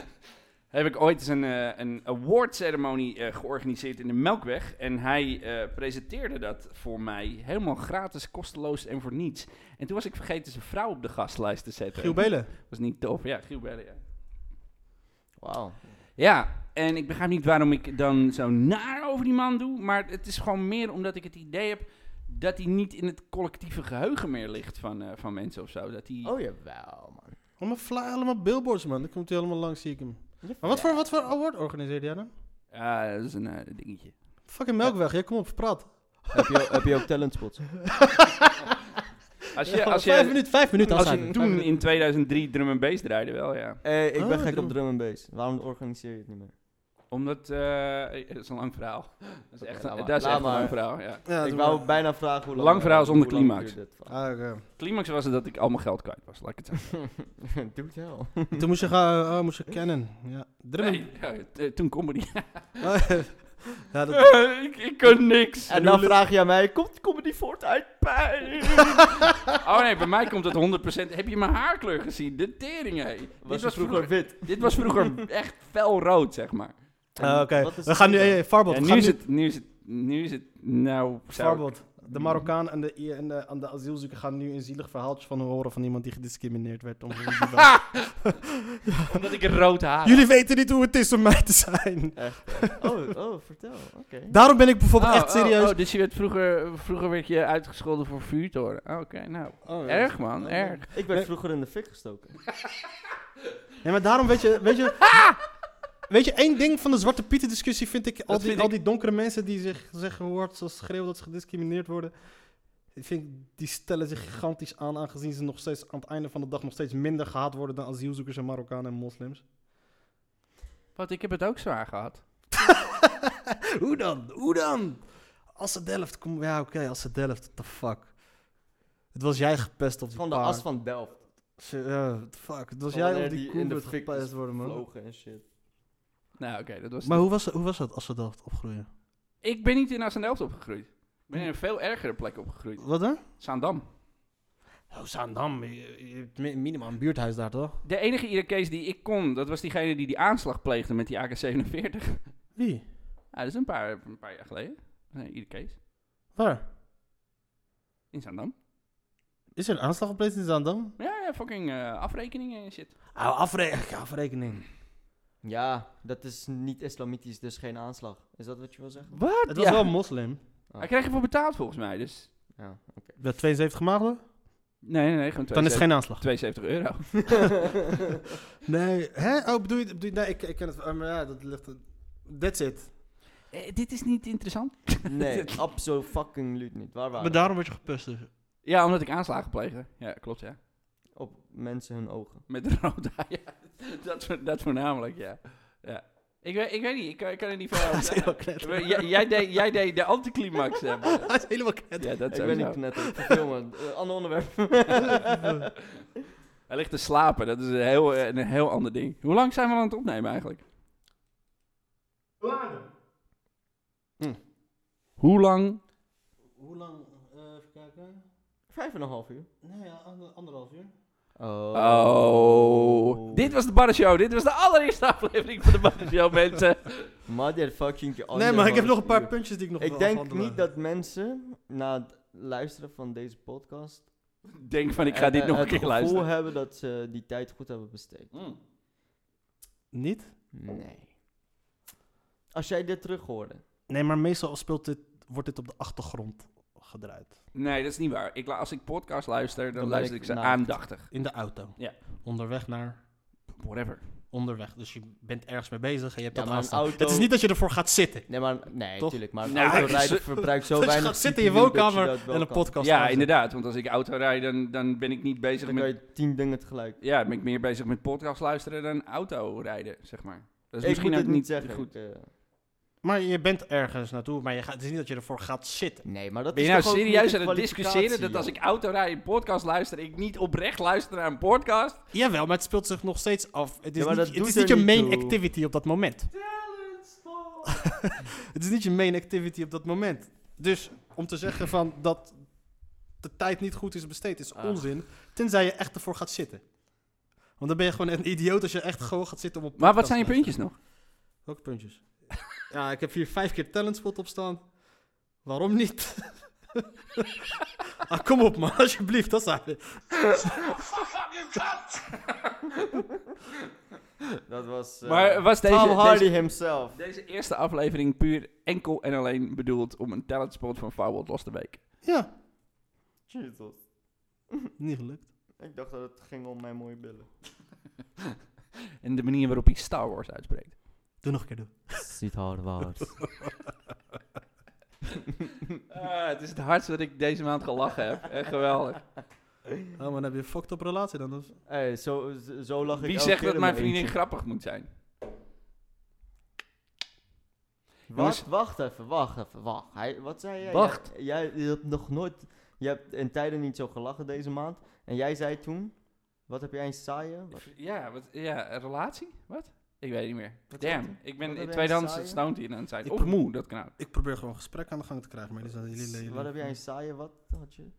Speaker 1: heb ik ooit eens een, eh, een awardceremonie eh, georganiseerd in de Melkweg. En hij eh, presenteerde dat voor mij helemaal gratis, kosteloos en voor niets. En toen was ik vergeten zijn vrouw op de gastlijst te zetten.
Speaker 2: Giel Belen.
Speaker 1: was niet tof. Ja, Giel Belen, ja.
Speaker 3: Wauw.
Speaker 1: Ja, en ik begrijp niet waarom ik dan zo naar over die man doe. Maar het is gewoon meer omdat ik het idee heb dat hij niet in het collectieve geheugen meer ligt van, eh, van mensen of zo. Dat hij...
Speaker 3: Oh jawel, man.
Speaker 2: Allemaal, fly, allemaal billboards, man. Dan komt hij helemaal langs, zie ik hem. Maar wat voor, wat voor award organiseerde jij dan?
Speaker 1: Ja, dat is een eh, dingetje.
Speaker 2: Fucking Melkweg. Jij kom op, praat.
Speaker 3: heb, je, heb je ook talentspots?
Speaker 1: Als je,
Speaker 2: Ja,
Speaker 1: als
Speaker 2: vijf
Speaker 1: je,
Speaker 2: minuten, vijf minuten.
Speaker 1: als
Speaker 2: afsluiten.
Speaker 1: je toen in 2003 drum en bass draaide wel, ja.
Speaker 3: Eh, ik
Speaker 2: Oh,
Speaker 3: ben gek
Speaker 2: drum.
Speaker 3: op drum and bass. Waarom organiseer je het niet meer?
Speaker 1: Omdat, eh het is een lang verhaal. Dat is
Speaker 3: Oké,
Speaker 1: echt,
Speaker 3: laat
Speaker 1: een,
Speaker 3: maar.
Speaker 1: dat is
Speaker 3: Laat
Speaker 1: echt een
Speaker 3: maar.
Speaker 1: lang verhaal, ja.
Speaker 2: Ja,
Speaker 3: ik
Speaker 2: doe
Speaker 3: wou
Speaker 2: maar.
Speaker 3: bijna vragen hoe lang... eh,
Speaker 1: Lang verhaal zonder
Speaker 3: hoe lang
Speaker 1: climax.
Speaker 3: duurt dit verhaal?
Speaker 2: Ah, oké.
Speaker 1: Climax was het dat ik al mijn geld kwijt was, laat ik het zeggen.
Speaker 3: Doe het wel.
Speaker 2: Toen moest je gaan, oh, moest je kennen. Ja, Drum and-
Speaker 1: Nee, ja, t- toen comedy.
Speaker 2: ja, dat,
Speaker 1: Eh, ik, ik kan niks.
Speaker 3: En dan vraag je aan mij, komt comedy voort uit pijn?
Speaker 1: Oh nee, bij mij komt het 100%. Heb je mijn haarkleur gezien? De tering, hé.
Speaker 3: Was
Speaker 1: dit,
Speaker 3: je
Speaker 1: was
Speaker 3: vroeger
Speaker 1: vroeger,
Speaker 3: wit?
Speaker 1: dit was vroeger echt felrood, zeg maar.
Speaker 2: Ah, Oké,
Speaker 3: Wat is
Speaker 2: we gaan nu...
Speaker 3: het dan?
Speaker 2: Hey, Farbot,
Speaker 1: Ja,
Speaker 2: we
Speaker 1: nu,
Speaker 2: gaan
Speaker 1: is het, nu is het, nu is het, nou... zou ik-
Speaker 2: Bijvoorbeeld, de Marokkaan en de, en de, en de asielzoeker gaan nu een zielig verhaaltje van horen van iemand die gediscrimineerd werd. Om
Speaker 1: Omdat ik rood haar
Speaker 2: Jullie weten niet hoe het is om mij te zijn.
Speaker 3: Echt? eh. Oh, oh, vertel. Oké.
Speaker 2: Daarom ben ik bijvoorbeeld echt serieus.
Speaker 1: Oh, dus je werd vroeger, vroeger werd je uitgescholden voor vuurtoren. Oké, nou.
Speaker 2: Oh, ja.
Speaker 1: Erg, man, erg.
Speaker 3: Ik werd vroeger in de fik gestoken.
Speaker 2: Nee, maar daarom weet je, weet je, Weet je, één ding van de Zwarte Pieten discussie vind ik... Al, die,
Speaker 1: vind
Speaker 2: al
Speaker 1: ik-
Speaker 2: die donkere mensen die zich zeggen hoort, zoals schreeuwen dat ze gediscrimineerd worden. Ik vind, die stellen zich gigantisch aan, aangezien ze nog steeds aan het einde van de dag nog steeds minder gehaat worden dan asielzoekers en Marokkanen en moslims.
Speaker 1: Wat, ik heb het ook zwaar gehad.
Speaker 2: Hoe dan? Hoe dan? Als ze Delft kom, Ja, oké, als ze Delft, what the fuck. Het was jij gepest op die
Speaker 3: Van de
Speaker 2: paard.
Speaker 3: as van Delft.
Speaker 2: Ze- ja, what the fuck. Het was
Speaker 3: Van
Speaker 2: jij
Speaker 3: wanneer
Speaker 2: op die,
Speaker 3: die in
Speaker 2: koe
Speaker 3: de
Speaker 2: werd
Speaker 3: fik
Speaker 2: gepest worden, man.
Speaker 3: Vlogen en shit.
Speaker 1: Nou, oké, dat was...
Speaker 2: Maar hoe was, hoe was dat als ze Delft opgroeien?
Speaker 1: Ik ben niet in Assendelft opgegroeid. Ik ben in een veel ergere plek opgegroeid.
Speaker 2: Wat dan?
Speaker 1: Zaandam.
Speaker 2: Oh, Zaandam. Je, je hebt mi- minimaal een buurthuis daar, toch?
Speaker 1: De enige Irakees die ik kon, dat was diegene die die aanslag pleegde met die AK-47.
Speaker 2: Wie?
Speaker 1: Ja, dat is een paar, een paar jaar geleden. Nee, Irakees.
Speaker 2: Waar?
Speaker 1: In Zaandam.
Speaker 2: Is er een aanslag gepleegd in Zaandam?
Speaker 1: Ja, ja fucking eh, afrekeningen en shit.
Speaker 2: Oh, afrekening. afrekening.
Speaker 3: Ja, dat is niet islamitisch, dus geen aanslag. Is dat wat je wil zeggen?
Speaker 1: Wat?
Speaker 2: Het was wel een moslim.
Speaker 1: Hij kreeg ervoor betaald volgens mij, dus...
Speaker 3: Ja, oké.
Speaker 2: Met 72 maagden?
Speaker 1: Nee, nee, nee, gewoon
Speaker 2: Dan is het
Speaker 1: 72
Speaker 2: geen aanslag.
Speaker 1: 72 euro.
Speaker 2: Nee, hè? Oh, bedoel je... Bedoel je nee, ik, ik ken het... eh, Maar ja, dat ligt... That's it.
Speaker 1: Eh, dit is niet interessant.
Speaker 3: Nee, absoluut fucking luut niet. Waar waren we?
Speaker 2: daarom word je gepust dus.
Speaker 1: Ja, omdat ik aanslagen pleegde. Ja, klopt, ja.
Speaker 3: Op mensen hun ogen.
Speaker 1: Met de rode ja. Dat, voor- dat voornamelijk, ja. ja. Ik, weet, ik weet niet, ik kan, ik kan er niet veel over zeggen.
Speaker 2: knetter.
Speaker 1: We- jij- jij, deed, jij deed de anticlimax hebben.
Speaker 2: Hij is helemaal knetter.
Speaker 1: Ja, dat
Speaker 3: ik ben
Speaker 1: sowieso.
Speaker 3: niet knetter, ik verveel me. Eh, ander onderwerp.
Speaker 1: Hij ligt te slapen, dat is een heel, eh, een heel ander ding. Hoe lang zijn we aan het opnemen eigenlijk?
Speaker 3: Hm.
Speaker 1: Hoe lang?
Speaker 2: Hoe lang? eh, even kijken.
Speaker 3: Vijf en een half uur.
Speaker 2: Nee, ja, ander- anderhalf uur.
Speaker 1: Oh. Dit was de Barre Show. Dit was de allereerste aflevering van de Barre Show, mensen.
Speaker 3: Motherfucking je
Speaker 2: nee, maar ik heb
Speaker 3: anderhalf
Speaker 2: nog een paar
Speaker 3: uur.
Speaker 2: puntjes die ik nog
Speaker 3: Ik
Speaker 2: wil
Speaker 3: denk
Speaker 2: afhandelen.
Speaker 3: niet dat mensen na het luisteren van deze podcast...
Speaker 1: Denk van, ik ga dit
Speaker 3: eh,
Speaker 1: nog een
Speaker 3: het
Speaker 1: keer
Speaker 3: gevoel
Speaker 1: luisteren.
Speaker 3: hebben dat ze die tijd goed hebben besteed.
Speaker 2: Niet?
Speaker 1: Hmm.
Speaker 3: Nee. Als jij dit terug hoorde.
Speaker 2: Nee, maar meestal speelt dit, wordt dit op de achtergrond gedraaid.
Speaker 1: Nee, dat is niet waar. Ik, la- als ik podcast luister, dan,
Speaker 3: ben
Speaker 1: luister
Speaker 3: ik
Speaker 1: ik ze
Speaker 3: naakt.
Speaker 1: aandachtig.
Speaker 2: In de auto.
Speaker 1: Ja.
Speaker 2: Onderweg naar...
Speaker 1: Whatever.
Speaker 2: Onderweg. Dus je bent ergens mee bezig en je hebt dat
Speaker 3: Ja, maar een
Speaker 2: aanstaan.
Speaker 3: auto-
Speaker 2: Het is niet dat je ervoor gaat zitten.
Speaker 3: Nee, maar nee,
Speaker 2: Toch?
Speaker 3: natuurlijk. Maar een
Speaker 1: Nou,
Speaker 3: autorijder
Speaker 1: ik-
Speaker 3: verbruikt zo
Speaker 2: Dus je
Speaker 3: weinig.
Speaker 2: gaat zitten in je
Speaker 3: CPU dat
Speaker 2: woonkamer
Speaker 3: dat wel
Speaker 2: en een
Speaker 3: kan.
Speaker 2: podcast
Speaker 1: Ja,
Speaker 2: aanzetten.
Speaker 1: inderdaad. Want als ik auto rijd, dan, dan ben ik niet bezig
Speaker 3: Dan kan
Speaker 1: met...
Speaker 3: je tien dingen tegelijk.
Speaker 1: Ja, dan ben ik meer bezig met podcast luisteren dan auto rijden, zeg maar. Dat is
Speaker 3: ik
Speaker 1: misschien ook
Speaker 3: moet het
Speaker 1: niet
Speaker 3: niet zeggen.
Speaker 1: goed.
Speaker 3: Ik, eh,
Speaker 2: Maar je bent ergens naartoe, maar je gaat, het is niet dat je ervoor gaat zitten.
Speaker 3: nee, maar dat
Speaker 1: Ben je
Speaker 3: is
Speaker 1: nou
Speaker 3: toch ook
Speaker 1: serieus
Speaker 3: niet de
Speaker 1: aan het discussiëren dat
Speaker 3: kwalificatie,
Speaker 1: als ik auto rijd en podcast luister, ik niet oprecht luister naar een podcast?
Speaker 2: Jawel, maar het speelt zich nog steeds af. Het is
Speaker 3: Ja, maar dat
Speaker 2: niet, het
Speaker 3: doet
Speaker 2: is niet
Speaker 3: er
Speaker 2: je
Speaker 3: niet
Speaker 2: main
Speaker 3: toe.
Speaker 2: activity op dat moment. het is niet je main activity op dat moment. Dus om te zeggen van dat de tijd niet goed is besteed, is
Speaker 3: Ah.
Speaker 2: onzin. Tenzij je echt ervoor gaat zitten. Want dan ben je gewoon een idioot als je echt gewoon gaat zitten om op.
Speaker 1: Maar wat
Speaker 2: podcast
Speaker 1: zijn je
Speaker 2: te
Speaker 1: puntjes nog?
Speaker 2: luisteren. Welke puntjes? ja, ik heb hier vijf keer talentspot op staan. Waarom niet? ah, kom op man, alsjeblieft, dat zijn
Speaker 3: joh. Dat was eh,
Speaker 1: Maar was
Speaker 3: Tom
Speaker 1: deze,
Speaker 3: Hardy
Speaker 1: deze,
Speaker 3: himself.
Speaker 1: deze eerste aflevering puur enkel en alleen bedoeld om een talentspot van Firewall los te weken?
Speaker 2: Ja,
Speaker 3: Jesus.
Speaker 2: niet gelukt.
Speaker 3: Ik dacht dat het ging om mijn mooie billen.
Speaker 1: En de manier waarop hij Star Wars uitspreekt.
Speaker 2: Doe nog een keer, doe.
Speaker 3: Ziet hard waard.
Speaker 1: Ah, het is het hardst dat ik deze maand gelachen heb. Echt geweldig.
Speaker 2: Oh, maar dan heb je een fucked up relatie dan. Dus.
Speaker 3: Hey, zo, zo- zo lag ik
Speaker 1: Wie
Speaker 3: elke
Speaker 1: zegt
Speaker 3: keer
Speaker 1: dat
Speaker 3: in
Speaker 1: mijn vriendin
Speaker 3: eentje.
Speaker 1: grappig moet zijn?
Speaker 3: Wat? Wacht even, wacht even, wacht. Hij, wat zei jij?
Speaker 1: Wacht.
Speaker 3: Jij, jij, hebt nog nooit... Je hebt in tijden niet zo gelachen deze maand. En jij zei toen... Wat heb jij een saaie? Wat-
Speaker 1: Ja, wat, ja, een relatie? Wat? Ik weet niet meer. Nou,
Speaker 3: Wat
Speaker 1: Damn,
Speaker 3: gaat-
Speaker 1: ik
Speaker 3: wat
Speaker 1: ben
Speaker 3: heb
Speaker 1: in
Speaker 3: jij
Speaker 1: tweedehands
Speaker 3: saaie?
Speaker 1: stoned hier aan het zijn.
Speaker 2: Ik
Speaker 1: Of
Speaker 2: pro-
Speaker 1: moe, dat kan ook.
Speaker 2: Ik probeer gewoon een gesprek aan de gang te krijgen, maar dit is aan jullie
Speaker 3: S-
Speaker 2: leden.
Speaker 3: Wat heb jij een saaie? Wat had je?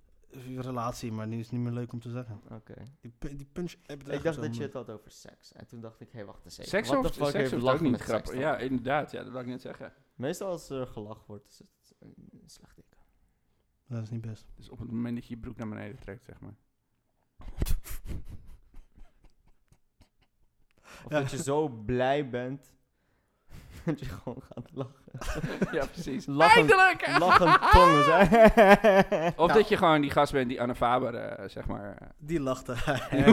Speaker 2: Relatie, maar die is niet meer leuk om te zeggen.
Speaker 3: Oké.
Speaker 2: Die, pu- die punch app
Speaker 3: Ik dacht dat je het had over seks. En toen dacht ik, hé, wacht eens even.
Speaker 1: Seks
Speaker 3: What
Speaker 1: of,
Speaker 3: the fuck
Speaker 1: seks
Speaker 3: heeft
Speaker 1: of ook
Speaker 3: lachen
Speaker 1: niet
Speaker 3: met seks
Speaker 1: grappig.
Speaker 3: dan?
Speaker 1: Ja, inderdaad, ja, dat wil ik net zeggen.
Speaker 3: Meestal als er gelachen wordt, is het een een slecht ding.
Speaker 2: Dat is niet best.
Speaker 1: Dus op het moment dat je je broek naar beneden trekt, zeg maar.
Speaker 3: Of
Speaker 2: Ja.
Speaker 3: dat je zo blij bent, dat je gewoon gaat lachen.
Speaker 1: ja, precies.
Speaker 3: Lachen-
Speaker 1: Eindelijk!
Speaker 3: Lachen tongen zijn. Nou,
Speaker 1: Of dat je eh, gewoon die gast bent die Anne Faber, eh, zeg maar...
Speaker 2: Die lachte.
Speaker 1: eh,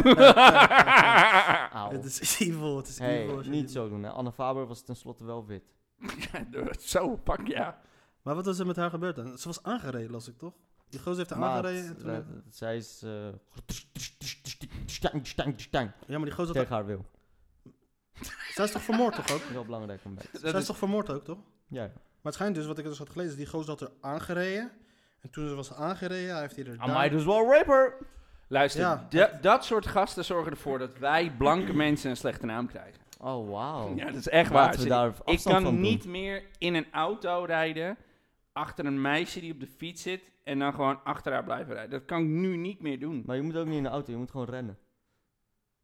Speaker 3: Nou,
Speaker 2: Het is evil, het is
Speaker 3: hey,
Speaker 2: evil. als je
Speaker 3: niet
Speaker 2: dit-
Speaker 3: zo doen. Hè. Anne Faber was tenslotte wel wit.
Speaker 1: Zo, pak ja.
Speaker 2: Maar wat was er met haar gebeurd dan? Ze was aangereden, las ik toch? Die gozer heeft haar
Speaker 3: Maar
Speaker 2: aangereden. En
Speaker 3: het-
Speaker 2: toen...
Speaker 3: eh, zij is... eh, stang, stang, stang,
Speaker 2: ja, maar die gozer had...
Speaker 3: Tegen haar wil.
Speaker 2: Zij is toch vermoord, toch ook?
Speaker 3: Dat is wel belangrijk om bij te
Speaker 2: Zij is toch vermoord ook, toch?
Speaker 3: Ja, ja.
Speaker 2: Maar het schijnt dus, wat ik dus had gelezen, die gozer had er aangereden. En toen ze was aangereden, hij heeft
Speaker 1: Ah,
Speaker 2: hier...
Speaker 3: Amai, dus wel rapper!
Speaker 1: Luister,
Speaker 2: Ja.
Speaker 1: da- dat soort gasten zorgen ervoor dat wij blanke mensen een slechte naam krijgen.
Speaker 3: Oh, wauw.
Speaker 1: Ja, dat is echt waar.
Speaker 3: Laten we daar afstand
Speaker 1: ik
Speaker 3: van
Speaker 1: kan
Speaker 3: doen.
Speaker 1: niet meer in een auto rijden achter een meisje die op de fiets zit en dan gewoon achter haar blijven rijden. Dat kan ik nu niet meer doen.
Speaker 3: Maar je moet ook niet in de auto, je moet gewoon rennen.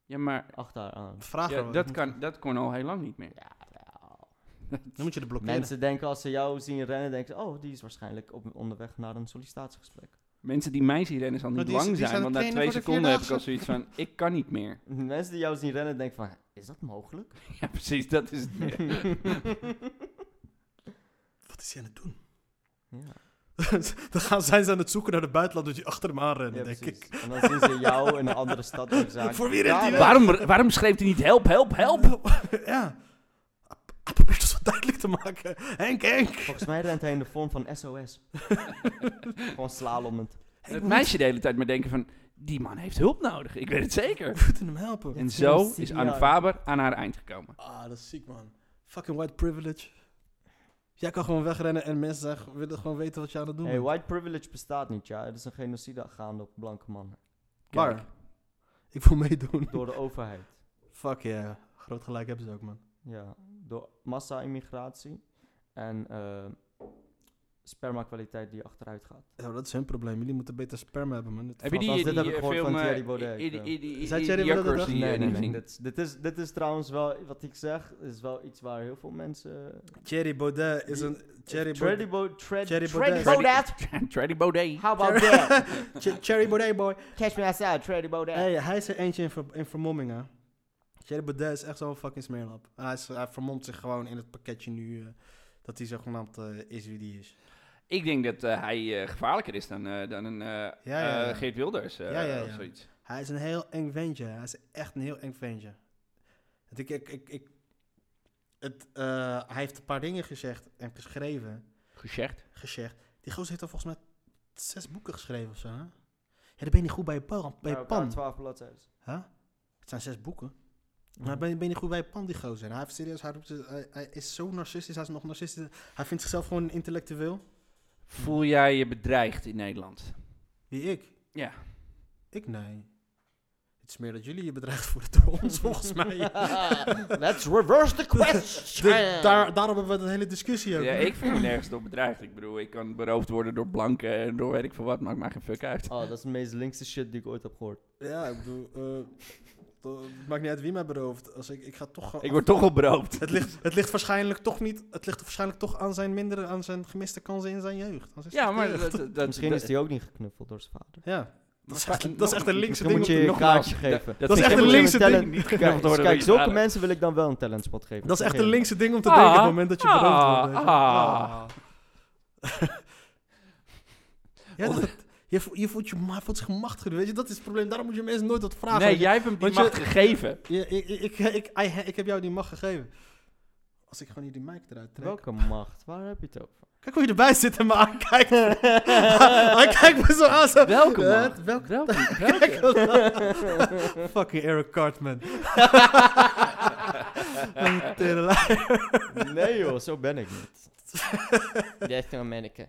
Speaker 1: Ja, maar
Speaker 3: Achter haar aan.
Speaker 2: Vraag
Speaker 1: ja,
Speaker 2: haar
Speaker 1: dat, kan, dat kon al heel lang niet meer.
Speaker 3: Ja, wel.
Speaker 2: Dan moet je er blokkeren.
Speaker 3: Mensen denken als ze jou zien rennen, denken ze, oh, die is waarschijnlijk op, onderweg naar een sollicitatiegesprek.
Speaker 1: Mensen die mij zien rennen zal
Speaker 2: Maar
Speaker 1: niet
Speaker 2: die
Speaker 1: lang
Speaker 2: is- die
Speaker 1: zijn,
Speaker 2: zijn
Speaker 1: want
Speaker 2: aan
Speaker 1: na
Speaker 2: het
Speaker 1: twee
Speaker 2: trainen
Speaker 1: seconden
Speaker 2: voor de
Speaker 1: heb ik al zoiets van, ik kan niet meer.
Speaker 3: Mensen die jou zien rennen, denken van, is dat mogelijk?
Speaker 1: Ja, precies, dat is het.
Speaker 2: Wat is hij aan het doen?
Speaker 3: Ja,
Speaker 2: dan gaan, zijn ze aan het zoeken naar de buitenland dat je achter hem aanrennen,
Speaker 3: ja
Speaker 2: denk
Speaker 3: precies.
Speaker 2: ik.
Speaker 3: En dan zien ze jou in een andere stad of zaak.
Speaker 2: Voor wie rent hij weg?
Speaker 1: Ah, Waarom, waarom schreef hij niet help, help, help?
Speaker 2: ja. Hij probeert het zo duidelijk te maken. Henk, Henk.
Speaker 3: Volgens mij rent hij in de vorm van SOS. gewoon slalomend.
Speaker 1: En het meisje de hele tijd maar denken van, die man heeft hulp nodig, ik weet het zeker.
Speaker 2: We moeten hem helpen.
Speaker 1: En zo
Speaker 3: CPR.
Speaker 1: is Anne Faber aan haar eind gekomen.
Speaker 2: Ah, dat is ziek, man. Fucking white privilege. Jij kan gewoon wegrennen en mensen zeggen- willen gewoon weten wat je aan het doen
Speaker 3: Hey,
Speaker 2: bent.
Speaker 3: white privilege bestaat niet, ja. Er is een genocide gaande op blanke mannen.
Speaker 1: Kijk.
Speaker 2: Waar? Ik wil meedoen.
Speaker 3: Door de overheid.
Speaker 2: Fuck yeah. Groot gelijk hebben ze ook, man.
Speaker 3: Ja, door massa-immigratie en eh, spermakwaliteit die achteruit gaat.
Speaker 2: Ja, maar dat is hun probleem. Jullie moeten beter sperma hebben, man. Dit
Speaker 1: Heb je
Speaker 3: Althans,
Speaker 1: die,
Speaker 3: dit
Speaker 1: die
Speaker 3: heb ik
Speaker 1: eh,
Speaker 3: gehoord
Speaker 1: film...
Speaker 3: van
Speaker 1: eh,
Speaker 3: Thierry Baudet,
Speaker 1: i- i- i- i- i-
Speaker 2: Is dat
Speaker 1: i-
Speaker 2: Thierry
Speaker 1: die
Speaker 2: Baudet
Speaker 1: Jakkers
Speaker 2: dat
Speaker 1: die, eh,
Speaker 3: Nee, nee,
Speaker 1: die
Speaker 3: nee.
Speaker 1: gezien?
Speaker 3: Dit, is- dit, is, dit is trouwens wel, wat ik zeg, is wel iets waar heel veel mensen... eh,
Speaker 2: Thierry Baudet is
Speaker 3: Die-
Speaker 2: een... Thierry Baudet.
Speaker 3: Thierry Baudet.
Speaker 2: Thierry
Speaker 3: Thierry
Speaker 2: Baudet.
Speaker 3: Baudet.
Speaker 1: Thierry Baudet.
Speaker 3: How about that?
Speaker 2: Ch- Thierry Baudet, boy.
Speaker 3: Catch me outside, Thierry Baudet.
Speaker 2: Hey, hij is er eentje in, ver in vermomming, hè. Thierry Baudet is echt zo'n fucking smeerlap. Hij, is, hij vermomt zich gewoon in het pakketje nu... eh, dat hij zogenaamd eh, is wie die is.
Speaker 1: Ik denk dat eh, hij eh, gevaarlijker is dan, eh, dan een eh,
Speaker 2: ja,
Speaker 1: eh,
Speaker 2: ja.
Speaker 1: Geert Wilders eh,
Speaker 2: Ja, ja,
Speaker 1: of
Speaker 2: ja.
Speaker 1: zoiets.
Speaker 2: Hij is een heel eng ventje. Hij is echt een heel eng ventje. Want Ik, ik, ik, ik, het, eh, hij heeft een paar dingen gezegd en geschreven.
Speaker 1: Gezegd.
Speaker 2: gezegd. Die gozer heeft al volgens mij zes boeken geschreven of zo. Hè? Ja, dan ben je niet goed bij je, pan.
Speaker 3: Oh,
Speaker 2: bij je pan.
Speaker 3: 12 bladzijden.
Speaker 2: Huh? Het zijn zes boeken. Maar ben je, ben je niet goed bij je pan, die gozer. En hij, heeft serieus, hij, roept ze- hij, hij is zo narcistisch. Hij is nog narcistisch. Hij vindt zichzelf gewoon een intellectueel.
Speaker 1: Voel jij je bedreigd in Nederland?
Speaker 2: Wie ik?
Speaker 1: Ja.
Speaker 2: Ik nee. Het is meer dat jullie je bedreigd voelen door ons, volgens mij.
Speaker 3: Let's reverse the question.
Speaker 2: De- daar, daarom hebben we een hele discussie
Speaker 1: Ja,
Speaker 2: over.
Speaker 1: ik voel me nergens door bedreigd. Ik bedoel, ik kan beroofd worden door blanken en door weet ik veel wat. Maakt mij geen fuck uit.
Speaker 3: Oh, dat is de meest linkse shit die ik ooit heb gehoord.
Speaker 2: Ja, ik bedoel, eh, dat- het maakt niet uit wie mij berooft. Als ik, ik ga toch gewoon
Speaker 1: Ik
Speaker 2: af-
Speaker 1: word toch al beroofd.
Speaker 2: het, ligt, het ligt waarschijnlijk toch niet. Het ligt waarschijnlijk toch aan zijn mindere, aan zijn gemiste kansen in zijn jeugd. Aan zijn
Speaker 1: Ja, maar
Speaker 2: jeugd.
Speaker 1: dat, dat, dat-
Speaker 3: Misschien
Speaker 1: dat-
Speaker 3: is die ook niet geknuffeld door zijn vader.
Speaker 2: Ja, dat is
Speaker 1: Maar-
Speaker 2: echt, dat is echt een linkse
Speaker 3: Dan
Speaker 2: ding.
Speaker 3: moet je
Speaker 2: om te-
Speaker 3: je
Speaker 1: nogmaals,
Speaker 3: kaartje
Speaker 1: dat-
Speaker 3: geven.
Speaker 1: dat
Speaker 2: is
Speaker 1: vind
Speaker 2: echt
Speaker 1: ik-
Speaker 2: een
Speaker 1: ik
Speaker 2: linkse
Speaker 1: moet een
Speaker 2: ding.
Speaker 1: talent Niet geknuffeld
Speaker 2: dus
Speaker 3: Kijk,
Speaker 1: worden door
Speaker 3: kijk,
Speaker 1: je
Speaker 3: zulke
Speaker 1: vader.
Speaker 3: mensen wil ik dan wel een talentspot geven.
Speaker 2: dat is echt
Speaker 3: Vergeef
Speaker 2: een
Speaker 3: me.
Speaker 2: linkse ding om te denken op het
Speaker 1: Ah,
Speaker 2: moment dat je
Speaker 1: ah,
Speaker 2: beroofd wordt. weet je.
Speaker 1: ah.
Speaker 2: Ja, dat- je, voelt, je, voelt je ma- voelt zich machtiger, weet je? Dat is het probleem. Daarom moet je mensen nooit wat vragen.
Speaker 1: Nee,
Speaker 2: weet je.
Speaker 1: jij hebt hem die
Speaker 2: Want je-
Speaker 1: macht gegeven.
Speaker 2: Ja, ik, ik, ik, ik, I- ik heb jou die macht gegeven. Als ik gewoon hier die mic eruit trek.
Speaker 3: Welke macht? Waar heb je het over?
Speaker 2: Kijk hoe je erbij zit en me aankijkt. Hij kijkt me zo aan. Zo.
Speaker 1: Welke
Speaker 2: Eh,
Speaker 1: macht?
Speaker 2: welke-
Speaker 1: Welke? welke?
Speaker 2: Fucking Eric Cartman. Tederlei.
Speaker 3: Nee joh, zo ben ik niet. Dat is een manneke.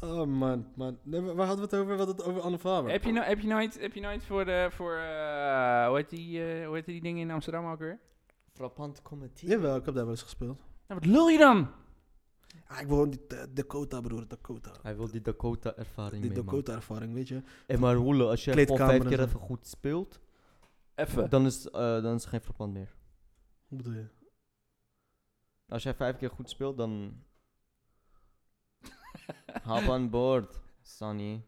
Speaker 2: oh man, man. Nee, maar waar hadden we het over? We hadden het over Anne Faber.
Speaker 1: Heb je, no heb, je nooit, heb je nooit voor, de, voor eh, hoe, heet die, eh, hoe heet die dingen in Amsterdam ook weer?
Speaker 3: Frappant comedy.
Speaker 2: Jawel, ik heb daar wel eens gespeeld.
Speaker 1: Nou, wat lul je dan?
Speaker 2: Ah, ik wil gewoon die eh, Dakota, broer. Dakota.
Speaker 3: Hij wil die Dakota ervaring
Speaker 2: Die Dakota ervaring, weet je.
Speaker 3: En maar Roele, als je gewoon
Speaker 2: Kleedkamer
Speaker 3: vijf
Speaker 2: en
Speaker 3: keer
Speaker 2: zo.
Speaker 3: even goed speelt,
Speaker 1: Even.
Speaker 3: dan is, eh, dan is het geen frappant meer.
Speaker 2: Hoe bedoel je?
Speaker 3: Als jij vijf keer goed speelt, dan... Hop aan boord, Sonny.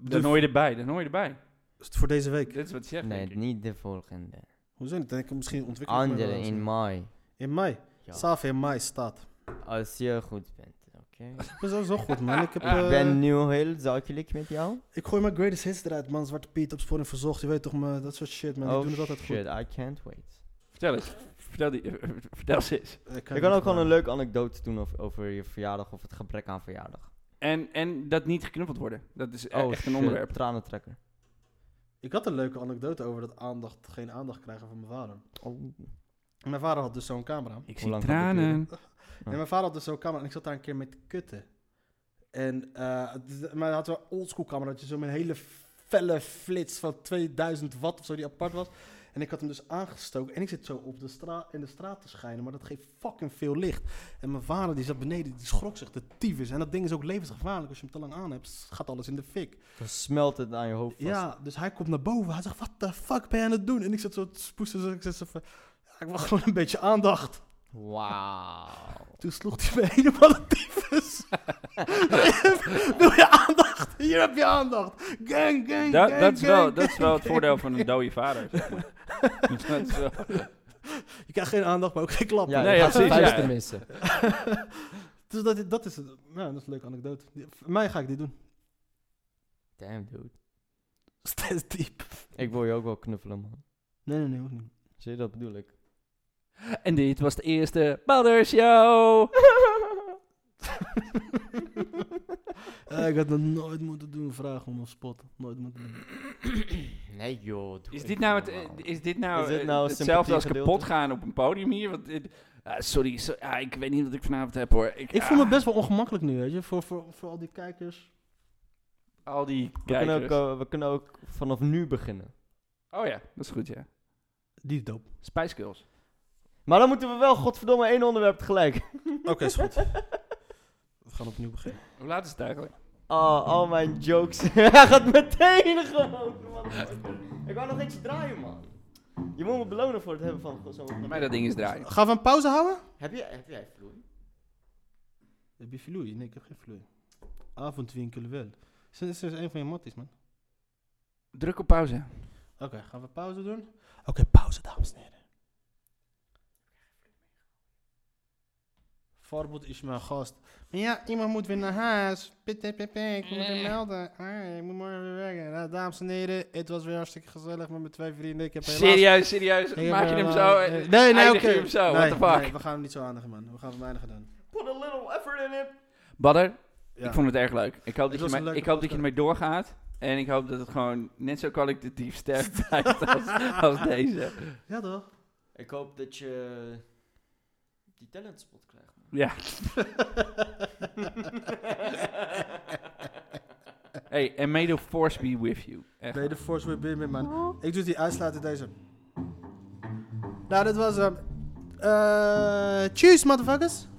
Speaker 1: Dan hoor je erbij, dan hoor je erbij.
Speaker 2: Is het voor deze week?
Speaker 1: Dit is wat je zegt,
Speaker 3: Nee,
Speaker 1: denk ik.
Speaker 3: niet de volgende.
Speaker 2: Hoezo niet? Denk ik misschien ontwikkel ik mij wel
Speaker 3: Andere
Speaker 2: eens.
Speaker 3: in mei.
Speaker 2: In mei.
Speaker 3: Ja.
Speaker 2: Saaf in mei staat.
Speaker 3: Als je goed bent, oké. oké.
Speaker 2: Ik ben sowieso goed, man. Ik, heb,
Speaker 3: Ik
Speaker 2: eh,
Speaker 3: ben nu heel zakelijk met jou.
Speaker 2: ik gooi mijn greatest hits eruit, man. Zwarte Piet, opsporing verzocht. Je weet toch, man, dat soort shit, man. Die
Speaker 3: oh
Speaker 2: doen het altijd Eh,
Speaker 3: shit, I can't wait.
Speaker 1: Vertel eens. Vertel, die, vertel ze eens.
Speaker 2: goed.
Speaker 3: Ik kan ook gewoon een leuke anekdote doen over, over je verjaardag of het gebrek aan verjaardag.
Speaker 1: En, en dat niet geknuffeld worden. Dat is eh,
Speaker 3: oh,
Speaker 1: echt
Speaker 3: shit,
Speaker 1: een onderwerp.
Speaker 3: Tranentrekker.
Speaker 2: Ik had een leuke anekdote over dat aandacht, geen aandacht krijgen van mijn vader.
Speaker 3: Oh.
Speaker 2: Mijn vader had dus zo'n camera.
Speaker 1: Ik
Speaker 3: Hoe
Speaker 1: zie
Speaker 3: lang gaat dit
Speaker 1: tranen.
Speaker 2: En mijn vader had dus zo'n camera en ik zat daar een keer mee te kutten. En eh, het is- maar hij had zo'n oldschool camera, dat je zo met een hele felle flits van 2000 watt of zo die apart was. En ik had hem dus aangestoken en ik zit zo op de straat in de straat te schijnen, maar dat geeft fucking veel licht. En mijn vader die zat beneden, die schrok zich de tyfus. En dat ding is ook levensgevaarlijk, als je hem te lang aan hebt, gaat alles in de fik.
Speaker 3: Dan smelt het aan je hoofd vast.
Speaker 2: Ja, dus hij komt naar boven. Hij zegt, wat the fuck ben je aan het doen? En ik zat zo te spoesten. Dus ik zat zo van, ja, ik wil gewoon een beetje aandacht.
Speaker 3: Wauw.
Speaker 2: Toen sloeg hij me helemaal de tyfus. Wil je aandacht? Hier heb je aandacht. Gang, gang,
Speaker 1: Dat,
Speaker 2: gang,
Speaker 1: dat, is wel,
Speaker 2: gang,
Speaker 1: dat is wel het
Speaker 2: gang.
Speaker 1: voordeel van een dode vader. zeg maar. dat is wel-
Speaker 2: Je krijgt geen aandacht, maar ook geen klap.
Speaker 3: Ja,
Speaker 1: Nee,
Speaker 3: je
Speaker 1: ja,
Speaker 3: gaat zijn
Speaker 1: precies, ja.
Speaker 3: vuisten missen.
Speaker 2: Dus dat, dat, is, nou, dat is een leuke anekdote. Die- Voor mij ga ik dit doen.
Speaker 3: Damn, dude.
Speaker 2: Steeds diep.
Speaker 3: Ik wil je ook wel knuffelen, man.
Speaker 2: Nee, nee, nee, ook niet.
Speaker 3: Zie je, dat bedoel ik.
Speaker 1: En dit was de eerste Badder Show.
Speaker 2: Eh, ik had dat nooit moeten doen, vragen om een spot. Nooit moeten doen.
Speaker 3: nee, joh. doe
Speaker 1: Is dit
Speaker 3: even
Speaker 1: nou, het,
Speaker 3: normaal.
Speaker 1: eh, is dit nou,
Speaker 3: Is dit
Speaker 1: eh,
Speaker 3: nou
Speaker 1: hetzelfde als
Speaker 3: sympathiegedeelte?
Speaker 1: kapot gaan op een podium hier? Want, eh, ah, sorry, so- ah, ik weet niet wat ik vanavond heb hoor. Ik,
Speaker 2: Ik voel me
Speaker 1: ah,
Speaker 2: best wel ongemakkelijk nu, weet je. Voor, voor, voor al die kijkers.
Speaker 1: al die
Speaker 3: We kunnen, ook,
Speaker 1: kijkers.
Speaker 3: eh, we kunnen ook vanaf nu beginnen.
Speaker 1: Oh ja, dat is goed ja.
Speaker 2: Die is dope.
Speaker 1: Spice Girls.
Speaker 3: Maar dan moeten we wel, godverdomme, één onderwerp tegelijk.
Speaker 2: Oké, is goed. We gaan opnieuw beginnen.
Speaker 1: Hoe laat is het eigenlijk?
Speaker 3: Oh, al mijn jokes. Hij gaat meteen gewoon. man. Ik wou nog eentje draaien, man. Je moet me belonen voor het hebben van zo'n...
Speaker 1: Maar dat ding is draaien.
Speaker 2: Gaan we een pauze houden?
Speaker 3: Heb, je, heb jij vloei?
Speaker 2: Heb je vloei? Nee, ik heb geen vloei. Avondwinkel wel. Is dit is een van je matties, man?
Speaker 1: Druk op pauze.
Speaker 2: Oké, gaan we pauze doen? Oké, pauze, dames en heren. Voorbeeld is mijn gast. Maar ja, iemand moet weer naar huis. Pit, pit, pit, pit. Ik moet me weer melden. Ah, ik moet morgen weer werken. Nou, dames en heren, het was weer hartstikke gezellig met mijn twee vrienden. Ik heb helaas...
Speaker 1: Serieus, serieus.
Speaker 2: Ik heb
Speaker 1: Maak je hem
Speaker 2: helaas-
Speaker 1: zo? eh,
Speaker 2: Nee, nee,
Speaker 1: eindig
Speaker 2: oké.
Speaker 1: je hem zo?
Speaker 2: Nee,
Speaker 1: What the fuck?
Speaker 2: nee, we gaan hem niet zo aandigen, man. We gaan hem eindigen dan.
Speaker 3: Put a little effort in it.
Speaker 1: Badder,
Speaker 2: Ja.
Speaker 1: ik vond het erg leuk. Ik hoop,
Speaker 2: Het
Speaker 1: dat je,
Speaker 2: was
Speaker 1: mij-
Speaker 2: een leuke
Speaker 1: ik hoop dat je
Speaker 2: podcast.
Speaker 1: ermee doorgaat. En ik hoop dat het gewoon net zo kwalitatief sterk blijft als, als deze.
Speaker 2: Ja, toch?
Speaker 3: Ik hoop dat je die talentspot krijgt. man.
Speaker 1: Ja. Hey, and may the force be with you. Echt.
Speaker 2: Nee, de Force will be with man. Ik doe die uitsluiten deze. Nou, dat was hem. Eh, cheers, ehm, motherfuckers.